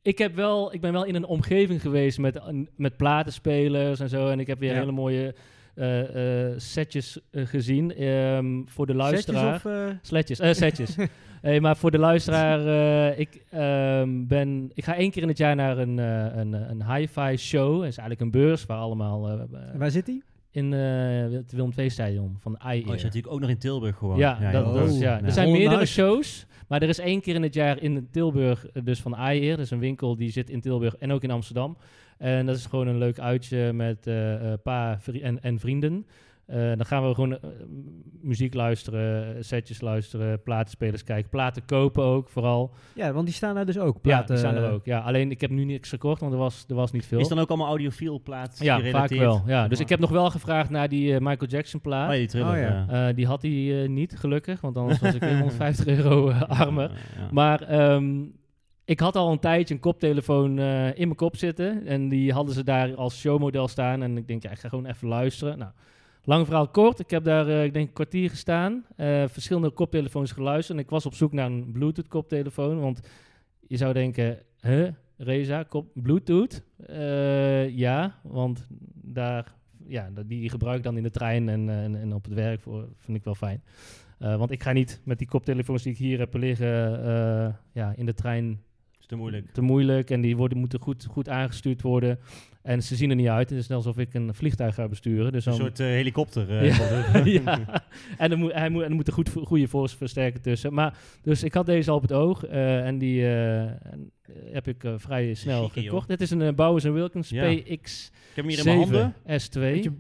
S2: ik, heb wel, ik ben wel in een omgeving geweest met, een- met platenspelers en zo. En ik heb weer
S3: Ja.
S2: hele mooie eh, eh, setjes eh, gezien ehm, voor de luisteraar.
S3: Setjes of... eh,
S2: Sletjes, eh,
S3: [laughs]
S2: setjes. hey, maar voor de luisteraar, eh, ik, ehm, ben, ik ga één keer in het jaar naar een, eh, een, eh, een hi-fi show. Dat is eigenlijk een beurs waar allemaal... eh, eh,
S3: waar zit hij?
S2: in eh, het Willem II-stadion van E. IE.
S1: Oh, je zit natuurlijk ook nog in Tilburg gewoon.
S2: Ja, dat,
S3: ja.
S2: dat is-
S3: Oh.
S2: ja. dus
S1: Ja.
S2: er zijn
S3: Holland
S2: meerdere
S3: Huis.
S2: shows. Maar er is één keer in het jaar in Tilburg, eh, dus van Aier. Dat is een winkel die zit in Tilburg en ook in Amsterdam. En dat is gewoon een leuk uitje met eh, eh, pa vri- en, en vrienden. Eh, dan gaan we gewoon eh, muziek luisteren, eh, setjes luisteren, platenspelers kijken, platen kopen ook vooral.
S3: Ja, want die staan daar dus ook.
S2: ja,
S3: platen,
S2: die staan er
S3: eh,
S2: ook. Ja, alleen ik heb nu niks gekocht, want er was, er was niet veel.
S1: Is dan ook allemaal audiofiel plaat
S2: ja, vaak
S1: gerelateerd?
S2: wel. Ja.
S1: Zeg
S2: Dus
S1: maar.
S2: ik heb nog wel gevraagd naar die eh, Michael Jackson plaat.
S1: Oh, die thriller,
S3: Oh, ja.
S1: ja.
S2: Eh, die had hij eh, niet, gelukkig, want anders was ik weer 150 euro eh, [laughs] armer.
S1: Ja.
S2: Maar ehm, ik had al een tijdje een koptelefoon eh, in mijn kop zitten. En die hadden ze daar als showmodel staan. En ik denk, ja, ik ga gewoon even luisteren. Nou, lang verhaal kort. Ik heb daar, eh, ik denk, een kwartier gestaan. eh, verschillende koptelefoons geluisterd. En ik was op zoek naar een Bluetooth koptelefoon. Want je zou denken, huh, Reza, kop, Bluetooth? Eh, ja, want daar, ja, dat- die gebruik ik dan in de trein en, eh, en, en op het werk. Voor, vind ik wel fijn. Eh, want ik ga niet met die koptelefoons die ik hier heb liggen eh, ja, in de trein
S1: Is te
S2: [laughs]
S1: moeilijk.
S2: te moeilijk. En die worden, moeten goed, goed aangestuurd worden. En ze zien er niet uit. Het is net alsof ik een vliegtuig ga besturen. Dus
S1: Een
S2: dan-
S1: soort eh, helikopter. eh,
S2: Ja. [laughs] ja. En er moet, hij moet, en er moet een goed, goede voorversterker tussen. Maar, dus ik had deze al op het oog. eh, en die eh, en, eh, heb ik eh, vrij snel
S1: chique, joh.
S2: gekocht. Dit is een eh, Bowers Wilkins
S1: Ja.
S2: PX7
S1: [laughs] Ik heb hem hier in mijn handen.
S2: S2.
S3: Beetje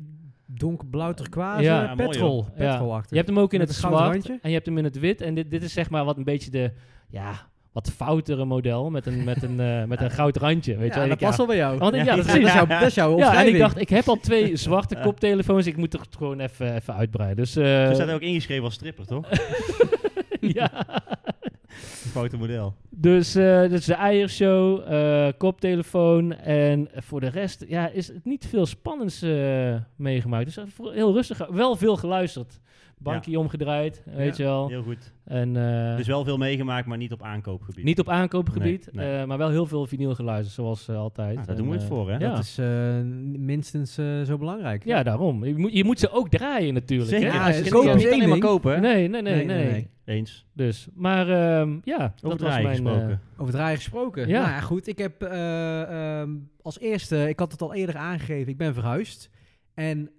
S3: donkerblauw turquoise.
S2: Ja,
S3: eh,
S1: mooi,
S3: petrol.
S2: joh. Ja.
S3: petrol achter.
S2: Je hebt hem ook in
S3: Met
S2: het
S3: een gouden
S2: zwart
S3: randje.
S2: en je hebt hem in het wit. En dit, dit is zeg maar wat een beetje de, ja, wat foutere model met een, met een, eh, met een goud randje. Weet je
S3: ja,
S2: wel.
S3: dat
S2: Ik, ja,
S3: past wel bij jou.
S1: [laughs]
S2: Want ik- ja, dat
S3: Dat is
S2: is-
S3: jouw, dat is jouw
S2: ja, en ik
S3: omschrijving.
S2: dacht, ik heb al twee zwarte koptelefoons. Ik moet er gewoon even, even uitbreiden. Dus, eh,
S1: Ze staat ook ingeschreven als stripper,
S2: [laughs]
S1: toch?
S2: ja.
S1: Een foute model.
S2: Dus eh dat is de eiershow, eh, koptelefoon. En voor de rest ja, is het niet veel spannends eh, meegemaakt. Dus voor- heel rustig. Wel veel geluisterd. Bankje omgedraaid, weet je wel.
S1: Heel goed.
S2: En, eh,
S1: Dus wel veel meegemaakt, maar niet op aankoopgebied.
S2: niet op aankoopgebied,
S1: Nee, nee.
S2: eh, maar wel heel veel vinyl geluisterd, zoals eh, altijd.
S1: Ah, daar
S2: En,
S1: doen we het
S2: eh,
S1: voor, hè?
S2: Ja,
S3: Dat is eh, minstens eh, zo belangrijk.
S2: ja daarom. Je moet, je moet ze ook draaien natuurlijk.
S1: Zeker.
S2: Hè?
S3: Ja,
S2: Als
S3: ze
S2: je-
S3: kopen
S2: ja.
S1: niet
S3: één
S1: alleen maar
S3: ding.
S1: kopen, hè?
S2: Nee, nee, nee, nee,
S1: Eens.
S2: Dus, maar ehm, ja,
S1: Over
S2: dat was mijn...
S1: draaien
S2: eh,
S1: gesproken.
S3: Over draaien gesproken.
S2: Ja.
S3: Nou ja, goed. Ik heb eh, ehm, als eerste, ik had het al eerder aangegeven, ik ben verhuisd. En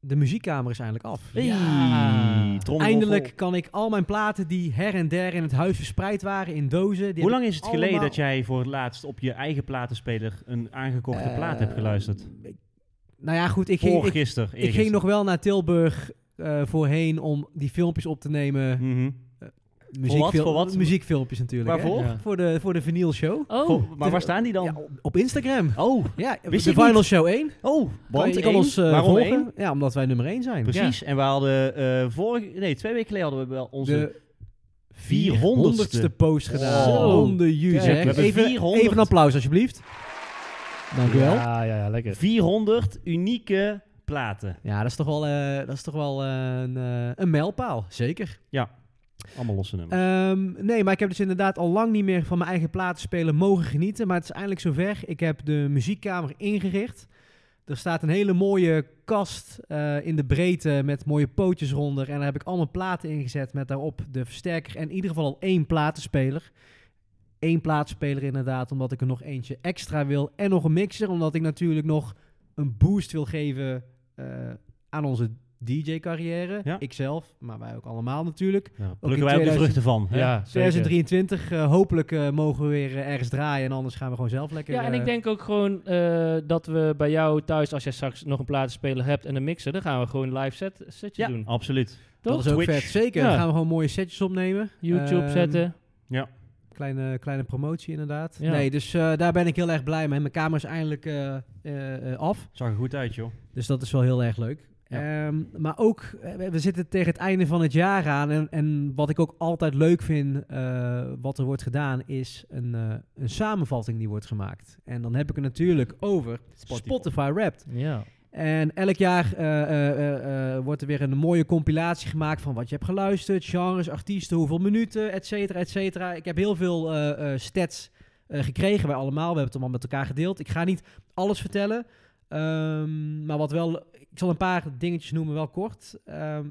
S3: de muziekkamer is eindelijk af.
S2: Hey. Ah.
S1: Hey, trommel
S3: Eindelijk
S1: vol.
S3: kan ik al mijn platen die her en der in het huis verspreid waren in dozen. die
S1: Hoe
S3: heb
S1: lang is het
S3: allemaal-
S1: geleden dat jij voor het laatst op je eigen platenspeler een aangekochte
S3: Eh,
S1: plaat hebt geluisterd?
S3: ik- nou ja, goed. Ik ging, ik,
S1: Voorgisteren.
S3: ik ging nog wel naar Tilburg eh, voorheen om die filmpjes op te nemen.
S1: Mm
S3: eh,
S1: wat? Voor wat?
S3: Muziekfilmpjes natuurlijk. hè?
S1: Waarvoor?
S2: Ja.
S3: Voor de, voor de vinyl show.
S2: Oh,
S1: Voor- maar waar staan die dan?
S3: Ja, op- op Instagram.
S1: Oh,
S3: Ja, de
S1: Wist ik
S3: Vinyl
S1: niet.
S3: Show 1.
S1: oh,
S3: Want
S1: want
S3: je kan
S1: één.
S3: ons eh,
S1: Waarom
S3: volgen.
S1: één?
S3: Ja, omdat wij nummer 1 zijn.
S1: Precies. En we hadden eh vorige, nee, twee weken geleden hadden we wel onze
S3: De
S1: 400ste.
S3: 400ste post gedaan.
S1: Zo.
S3: On the you,
S2: Kijk, we
S3: zeg.
S1: hebben
S3: Even,
S1: 400.
S3: even een applaus, alsjeblieft. Dank u wel. Ja,
S2: Ja, ja, ja, lekker.
S1: 400 unieke platen.
S3: dat is toch wel, eh, dat is toch wel eh, een, eh, een mijlpaal. Zeker.
S1: Allemaal losse nummers.
S3: Ehm, nee, maar ik heb dus inderdaad al lang niet meer van mijn eigen platenspeler mogen genieten. Maar het is eindelijk zover. Ik heb de muziekkamer ingericht. Er staat een hele mooie kast eh, in de breedte met mooie pootjes eronder. En daar heb ik allemaal platen ingezet met daarop de versterker. En in ieder geval al één platenspeler. Eén platenspeler inderdaad, omdat ik er nog eentje extra wil. En nog een mixer, omdat ik natuurlijk nog een boost wil geven eh, aan onze DJ-carrière.
S1: Ja.
S3: Ikzelf, maar wij ook allemaal natuurlijk.
S1: Daar
S3: in
S1: plukken wij ook de
S3: 2000
S1: vruchten van. hè?
S2: Ja, zeker.
S3: 2023, eh, hopelijk eh, mogen we weer eh, ergens draaien. En anders gaan we gewoon zelf lekker.
S2: Ja, en
S3: eh,
S2: ik denk ook gewoon eh, dat we bij jou thuis, als jij straks nog een platenspeler hebt en een mixer, dan gaan we gewoon live set, setje
S1: Ja,
S2: doen.
S1: absoluut.
S3: dat
S2: toch?
S3: is ook
S1: Twitch.
S3: vet. Zeker.
S2: Ja.
S3: Dan gaan we gewoon mooie setjes opnemen.
S2: YouTube
S3: Ehm,
S2: zetten.
S3: Kleine, kleine promotie, inderdaad.
S2: Ja.
S3: Nee, dus eh, daar ben ik heel erg blij mee. Mijn camera is eindelijk eh, eh, eh, af.
S1: Zag er goed uit, joh.
S3: Dus dat is wel heel erg leuk. Ehm, maar ook, eh, we- we zitten tegen het einde van het jaar aan. En, en wat ik ook altijd leuk vind, eh, wat er wordt gedaan, is een, eh, een samenvatting die wordt gemaakt. En dan heb ik het natuurlijk over
S1: Spotify.
S3: Spotify Wrapped.
S2: Ja.
S3: En elk jaar eh, eh, eh, eh, wordt er weer een mooie compilatie gemaakt van wat je hebt geluisterd, genres, artiesten, hoeveel minuten, et cetera, et cetera. Ik heb heel veel eh, eh, stats eh, gekregen, wij allemaal. We hebben het allemaal met elkaar gedeeld. Ik ga niet alles vertellen, ehm, maar wat wel, ik zal een paar dingetjes noemen, wel kort. Ehm,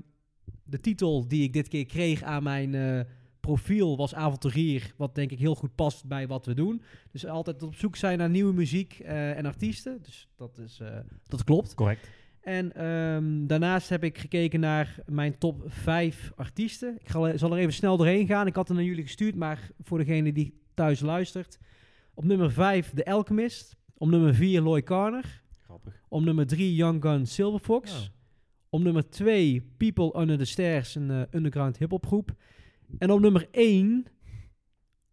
S3: de titel die ik dit keer kreeg aan mijn eh, profiel was avonturier, wat denk ik heel goed past bij wat we doen. Dus altijd op zoek zijn naar nieuwe muziek eh, en artiesten. Dus dat, is, eh, dat klopt.
S1: Correct.
S3: En ehm, daarnaast heb ik gekeken naar mijn top 5 artiesten. Ik ga, zal er even snel doorheen gaan. Ik had het naar jullie gestuurd, maar voor degene die thuis luistert. Op nummer 5 The Alchemist. Op nummer 4 Loy Carner.
S1: Grappig.
S3: Op nummer 3 Young Gun Silverfox.
S1: Oh.
S3: Op nummer 2 People Under the Stairs, een eh, underground hip-hop groep. En op nummer 1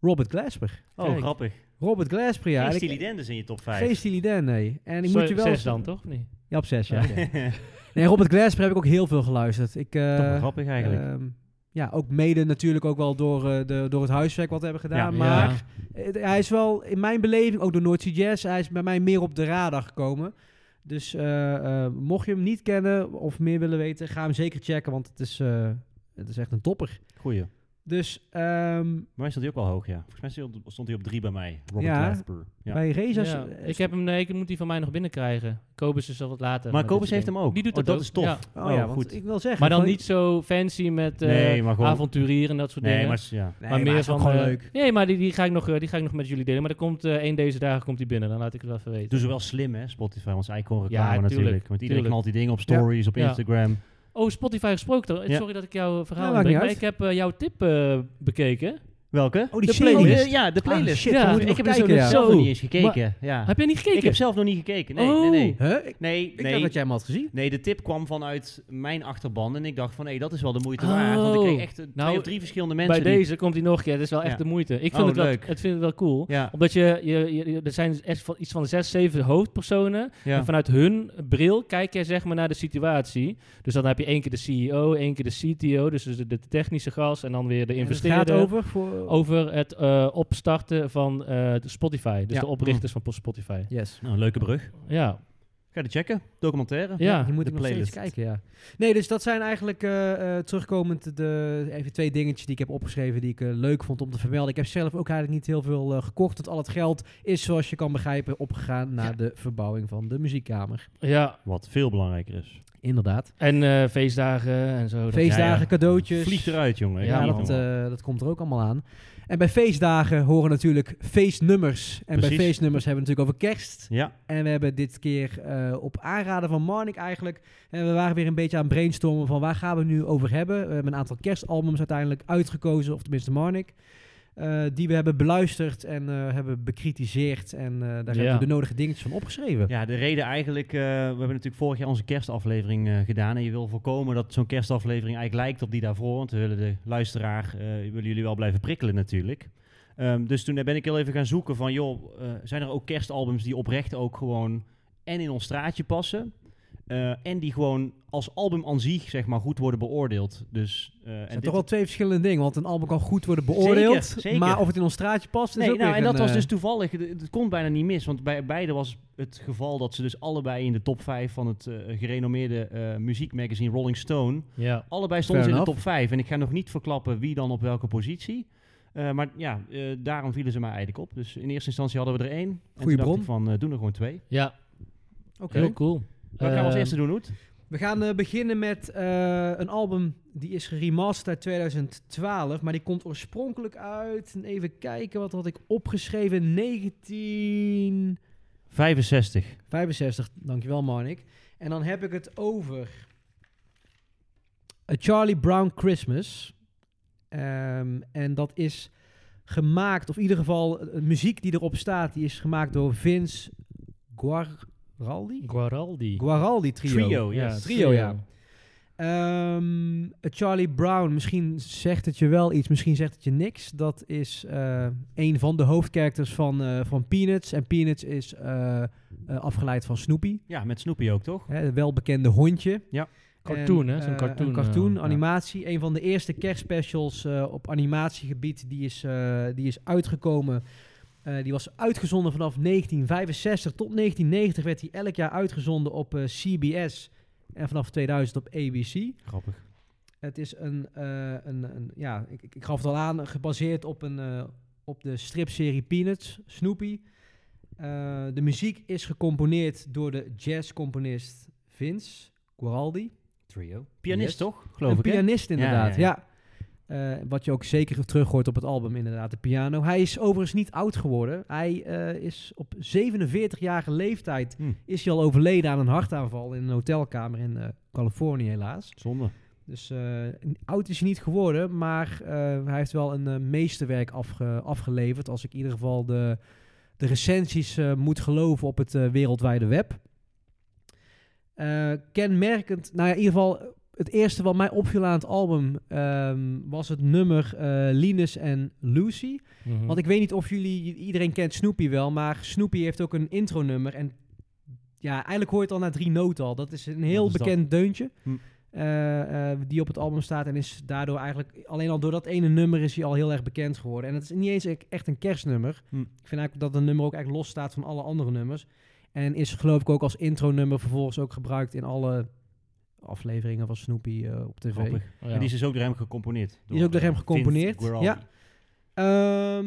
S3: Robert Glasper.
S1: Oh,
S3: Kijk,
S1: grappig.
S3: Robert Glasper, ja.
S1: Geen
S3: En ik-
S1: Steely Dan dus in je top 5.
S3: Geen Steely Dan, nee. En ik
S2: Zo-
S3: moet je wel...
S2: zes dan, toch? Nee.
S3: Ja, op 6, ja. Nee, Robert Glasper heb ik ook heel veel geluisterd. Ik,
S1: [laughs]
S3: eh,
S1: Toch wel grappig eigenlijk.
S3: ehm, ja, ook mede natuurlijk ook wel door, eh, de, door het huiswerk wat we hebben gedaan.
S1: Ja.
S3: maar eh, hij is wel, in mijn beleving, ook door Noordzee Jazz, hij is bij mij meer op de radar gekomen. Dus eh, eh, mocht je hem niet kennen of meer willen weten, ga hem zeker checken, want het is, eh, het is echt een topper.
S1: Goeie.
S3: Dus ehm,
S1: Bij mij stond hij ook wel hoog, ja. Volgens mij stond hij op- stond hij op drie bij mij. Robert
S3: Ja.
S1: Glasper. Ja.
S3: bij Rezas...
S2: Ja,
S3: eh,
S2: ik heb hem, nee, ik moet die van mij nog binnenkrijgen. Kobus is al wat later.
S1: Maar
S2: met
S1: Kobus
S2: dit
S1: heeft
S2: ding.
S1: hem ook.
S2: Die doet
S1: Oh, dat
S2: ook.
S1: is tof.
S2: Ja.
S3: Oh, ja,
S1: goed.
S3: want ik wil zeggen...
S2: Maar dan
S3: van-
S2: niet zo fancy met eh
S1: Nee, maar gewoon-
S2: avonturier en dat soort
S1: nee,
S2: dingen.
S1: maar s- ja.
S3: Nee, maar, is ook gewoon
S2: eh,
S3: leuk.
S2: Nee, maar die, die, ga ik nog, eh, die ga ik nog met jullie delen. Maar er komt eh één deze dagen komt die binnen. Dan laat ik het wel even weten.
S1: Doen ze wel slim, hè, Spotify. Want zij kon reclame
S2: Ja, tuurlijk,
S1: natuurlijk. Want iedereen
S2: tuurlijk.
S1: knalt die dingen op stories, op
S2: Ja.
S1: Instagram.
S2: Oh, Spotify gesproken. toch?
S1: Ja.
S2: Sorry dat ik jouw verhaal
S3: Nou, maakt niet
S2: ontbreek, maar ik heb eh, jouw tip eh, bekeken.
S1: Welke?
S3: Oh, die
S2: de playlist.
S1: Oh, de- ja, de playlist.
S3: Ah, shit,
S2: Ja.
S3: we
S2: Ik
S3: moeten
S1: ik
S3: nog
S1: heb er zo
S3: kijken, ja.
S2: zo-
S1: zelf nog niet eens
S2: Maar-
S1: gekeken. ja.
S2: Heb jij niet gekeken?
S1: Ik heb zelf nog niet gekeken. Nee, nee,
S2: Oh.
S1: nee.
S3: Huh? Ik,
S1: Nee,
S3: ik dacht
S1: nee.
S3: dat jij hem had gezien.
S1: Nee, de tip kwam vanuit mijn achterban. En ik dacht van, hé, dat is wel de moeite waard. Want ik
S2: Oh.
S1: kreeg echt eh, twee
S2: Nou,
S1: of drie verschillende mensen
S2: Bij
S1: die-
S2: deze komt hij nog een keer. Het is wel echt
S1: Ja.
S2: de moeite. Ik vind,
S1: Oh,
S2: het wel,
S1: leuk.
S2: het vind het wel cool.
S1: Ja,
S2: Omdat je, je, je- je- er zijn echt van, iets van zes, zeven hoofdpersonen.
S1: ja.
S2: En vanuit hun bril kijk je zeg maar naar de situatie. Dus dan heb je één keer de CEO, één keer de CTO, dus de, de technische gas en dan weer de
S3: En het
S2: investeerder.
S3: gaat over voor...
S2: over het eh, opstarten van eh, de Spotify, dus
S1: Ja.
S2: de oprichters
S3: Hm.
S2: van Spotify.
S3: Yes.
S1: Nou, leuke brug.
S2: Ja,
S1: Ga je checken. Documentaire.
S2: ja.
S3: je moet
S1: de
S3: ik nog steeds
S1: playlist.
S3: kijken, ja. Nee, dus dat zijn eigenlijk eh, eh, terugkomend de, even twee dingetjes die ik heb opgeschreven die ik eh, leuk vond om te vermelden. Ik heb zelf ook eigenlijk niet heel veel eh, gekocht, want al het geld is, zoals je kan begrijpen, opgegaan naar de verbouwing van de muziekkamer.
S2: ja.
S1: Wat veel belangrijker is.
S3: Inderdaad.
S2: En eh, feestdagen en zo. dat-
S3: Feestdagen,
S1: ja, ja.
S3: cadeautjes.
S1: Vlieg eruit, jongen.
S2: Ja,
S3: Ja,
S1: Niet
S3: dat,
S1: normaal.
S3: eh, dat komt er ook allemaal aan. En bij feestdagen horen natuurlijk feestnummers. En bij
S1: Precies.
S3: feestnummers hebben we het natuurlijk over kerst.
S1: ja.
S3: En we hebben dit keer eh, op aanraden van Marnik eigenlijk. En we waren weer een beetje aan het brainstormen van waar gaan we nu over hebben. We hebben een aantal kerstalbums uiteindelijk uitgekozen, of tenminste Marnik. eh, die we hebben beluisterd en eh, hebben bekritiseerd. En eh, daar hebben
S2: Ja.
S3: we de nodige dingetjes van opgeschreven.
S1: Ja, de reden eigenlijk, eh, we hebben natuurlijk vorig jaar onze kerstaflevering eh, gedaan. En je wil voorkomen dat zo'n kerstaflevering eigenlijk lijkt op die daarvoor. Want we willen de luisteraar, eh, willen jullie wel blijven prikkelen natuurlijk. Ehm, dus toen ben ik heel even gaan zoeken van, joh, eh, zijn er ook kerstalbums die oprecht ook gewoon en in ons straatje passen? eh, en die gewoon als album aan zich, zeg maar, goed worden beoordeeld. Dus, eh, en
S3: Het zijn
S1: dit-
S3: toch wel twee verschillende dingen, want een album kan goed worden beoordeeld,
S1: Zeker, zeker.
S3: maar of het in ons straatje past, is
S1: Nee,
S3: ook
S1: nou,
S3: weer
S1: en dat
S3: een,
S1: was
S3: eh,
S1: dus toevallig. Het- Het kon bijna niet mis. Want bij beide was het geval dat ze dus allebei in de top 5 van het eh, gerenommeerde eh, muziekmagazine Rolling Stone.
S2: Ja.
S1: Allebei stonden ze in de
S3: enough.
S1: top 5. En ik ga nog niet verklappen wie dan op welke positie. Eh, maar ja, eh, daarom vielen ze mij eigenlijk op. Dus in eerste instantie hadden we er één. En toen
S3: Goeie
S1: dacht
S3: bron.
S1: ik van, eh, doen er gewoon twee.
S2: ja,
S3: Oké.
S2: heel cool.
S1: Wat gaan we
S3: Eh,
S1: als
S2: Ehm,
S1: eerste doen, Hoed?
S3: We gaan eh, beginnen met eh, een album die is geremasterd uit 2012, maar die komt oorspronkelijk uit. en Even kijken, wat had ik opgeschreven? 1965,
S1: 65.
S3: dankjewel Marnik. En dan heb ik het over A Charlie Brown Christmas. Ehm, en dat is gemaakt, of in ieder geval eh, de muziek die erop staat, die is gemaakt door Vince Guaraldi?
S2: Guaraldi.
S3: Guaraldi trio.
S1: Trio,
S2: Ja,
S1: yes.
S3: trio, ja. Ehm, Charlie Brown, misschien zegt het je wel iets, misschien zegt het je niks. Dat is eh, een van de hoofdcharacters van, eh, van Peanuts. En Peanuts is eh, eh, afgeleid van Snoopy,
S1: Ja, met Snoopy ook, toch?
S3: hè, het welbekende hondje.
S2: Cartoon,
S3: En,
S2: hè? Zo'n
S3: eh,
S2: cartoon.
S3: Een cartoon,
S2: eh,
S3: animatie. Een van de eerste kerstspecials eh, op animatiegebied die is, eh, die is uitgekomen. Eh, die was uitgezonden vanaf 1965 tot 1990 werd hij elk jaar uitgezonden op eh, CBS en vanaf 2000 op ABC.
S1: Grappig.
S3: Het is een, eh, een, een ja, ik, ik, ik gaf het al aan, gebaseerd op, een, eh, op de stripserie Peanuts, Snoopy. Eh, de muziek is gecomponeerd door de jazzcomponist Vince Guaraldi.
S1: Trio. Pianist,
S3: Yes.
S1: toch? Geloof
S3: een
S1: ik, hè?
S3: pianist inderdaad,
S1: ja,
S3: ja.
S1: ja.
S3: Eh, wat je ook zeker terug hoort op het album, inderdaad, de piano. Hij is overigens niet oud geworden. Hij eh, is op 47-jarige leeftijd
S1: Hm.
S3: is hij al overleden aan een hartaanval in een hotelkamer in eh, Californië, helaas.
S1: Zonde.
S3: Dus eh, n- oud is hij niet geworden, maar eh, hij heeft wel een eh, meesterwerk afge- afgeleverd. Als ik in ieder geval de, de recensies eh, moet geloven op het eh, wereldwijde web. Eh, kenmerkend, nou ja, in ieder geval eh, het eerste wat mij opviel aan het album ehm, was het nummer eh, Linus en Lucy.
S2: mhm.
S3: Want ik weet niet of jullie, iedereen kent Snoopy wel, maar Snoopy heeft ook een intronummer. En ja, eigenlijk hoor je het al na drie noten al. Dat is een heel
S1: Wat is dat?
S3: bekend deuntje.
S1: Hm.
S3: eh, eh, die op het album staat en is daardoor eigenlijk alleen al door dat ene nummer is hij al heel erg bekend geworden. En het is niet eens e- echt een kerstnummer.
S1: Hm.
S3: Ik vind eigenlijk dat een nummer ook eigenlijk los staat van alle andere nummers. En is geloof ik ook als intronummer vervolgens ook gebruikt in alle afleveringen van Snoopy eh, op tv.
S1: Grappig.
S2: Oh, ja.
S1: En die is dus ook door hem gecomponeerd.
S3: Die is ook door hem
S1: eh,
S3: gecomponeerd,
S1: Vince Guaraldi.
S3: ja. Ehm,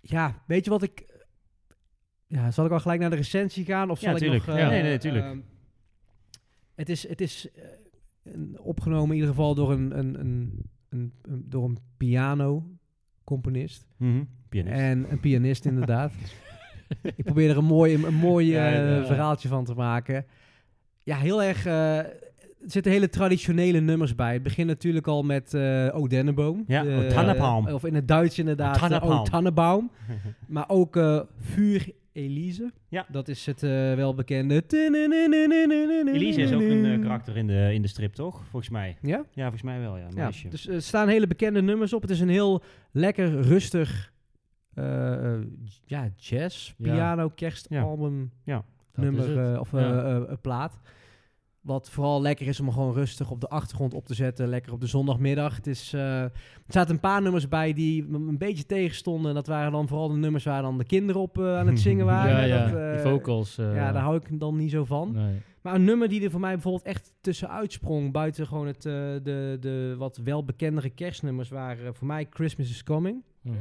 S3: ja, weet je wat ik... Ja, zal ik al gelijk naar de recensie gaan? Of
S1: Ja,
S3: zal ik
S1: tuurlijk.
S3: nog... eh,
S2: Ja,
S1: nee, nee, tuurlijk.
S3: ehm, het is, het is eh, een- opgenomen in ieder geval door een, een, een, een, een- door een piano-componist.
S1: Mhm, Pianist.
S3: En een pianist, inderdaad. [laughs] ik probeer er een mooi, een, mooi
S2: Ja,
S3: eh,
S2: ja.
S3: verhaaltje van te maken. Ja, heel erg... eh, er zitten hele traditionele nummers bij. Het begint natuurlijk al met eh O Dennenboom.
S1: Ja,
S3: De-
S1: O Tannenbaum.
S3: Of in het Duits inderdaad, eh,
S1: O
S3: O
S1: Tannenbaum.
S3: Tannenbaum.
S1: [laughs]
S3: Maar ook eh, Vuur Elise.
S1: Ja.
S3: Dat is het eh, welbekende...
S1: Elise is ook een eh, karakter in de, in de strip, toch? Volgens mij.
S3: Ja?
S1: Ja, volgens mij wel, ja. Een
S3: Ja,
S1: meisje.
S3: dus er staan hele bekende nummers op. Het is een heel lekker, rustig, eh, j- ja, jazz,
S2: Ja.
S3: piano, kerstalbum,
S2: Dat
S3: nummer,
S2: is het.
S3: eh, of
S2: Ja.
S3: eh, eh, eh, plaat. Wat vooral lekker is om gewoon rustig op de achtergrond op te zetten. Lekker op de zondagmiddag. Het is, eh, er zaten een paar nummers bij die me een beetje tegenstonden. En dat waren dan vooral de nummers waar dan de kinderen op eh, aan het
S2: [laughs]
S3: zingen waren.
S2: ja, ja.
S3: Dat, eh,
S2: die vocals. eh,
S3: ja, daar hou ik dan niet zo van.
S2: nee.
S3: Maar een nummer die er voor mij bijvoorbeeld echt tussenuit sprong, buiten gewoon het, eh, de, de wat welbekendere kerstnummers, waren eh, voor mij Christmas is Coming.
S2: Mhm.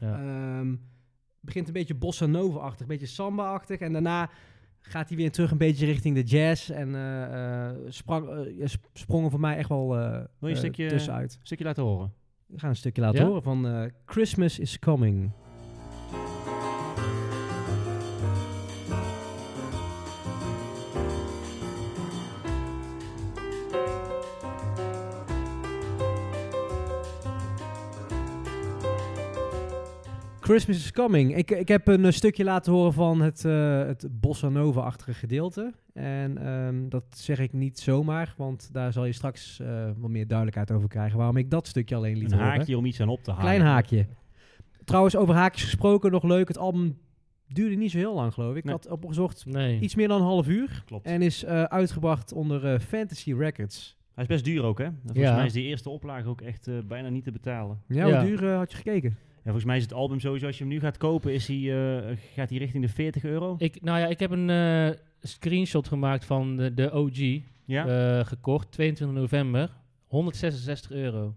S2: Ja.
S3: Ehm, begint een beetje bossa nova-achtig, een beetje samba-achtig. En daarna gaat hij weer terug een beetje richting de jazz. En eh, eh, sprang, eh, ja, sp- sprongen voor mij echt wel eh,
S1: je een
S3: eh,
S1: stukje-
S3: tussenuit.
S1: Stukje laten horen.
S3: We gaan een stukje laten
S2: Ja?
S3: horen van eh, Christmas is Coming. Christmas is coming. Ik, ik heb een eh, stukje laten horen van het, eh, het Bossa Nova-achtige gedeelte. En ehm, dat zeg ik niet zomaar, want daar zal je straks eh, wat meer duidelijkheid over krijgen. Waarom ik dat stukje alleen liet
S1: Een
S3: horen.
S1: haakje om iets aan op te halen.
S3: Klein haakje. Trouwens, over haakjes gesproken, nog leuk. Het album duurde niet zo heel lang, geloof ik. Ik
S1: Nee.
S3: had opgezocht
S2: Nee.
S3: iets meer dan een half uur.
S1: Klopt.
S3: En is eh, uitgebracht onder eh, Fantasy Records.
S1: Hij is best duur ook, hè? En Volgens
S2: Ja.
S1: mij is die eerste oplage ook echt eh, bijna niet te betalen.
S3: Ja, hoe
S2: Ja.
S3: duur eh, had je gekeken?
S1: Ja, volgens mij is het album sowieso, als je hem nu gaat kopen, is hij, eh, gaat hij richting de 40 euro.
S2: Ik, nou ja, ik heb een eh, screenshot gemaakt van de, de OG
S1: Ja, oké.
S2: eh, gekocht, 22 november. 166 euro.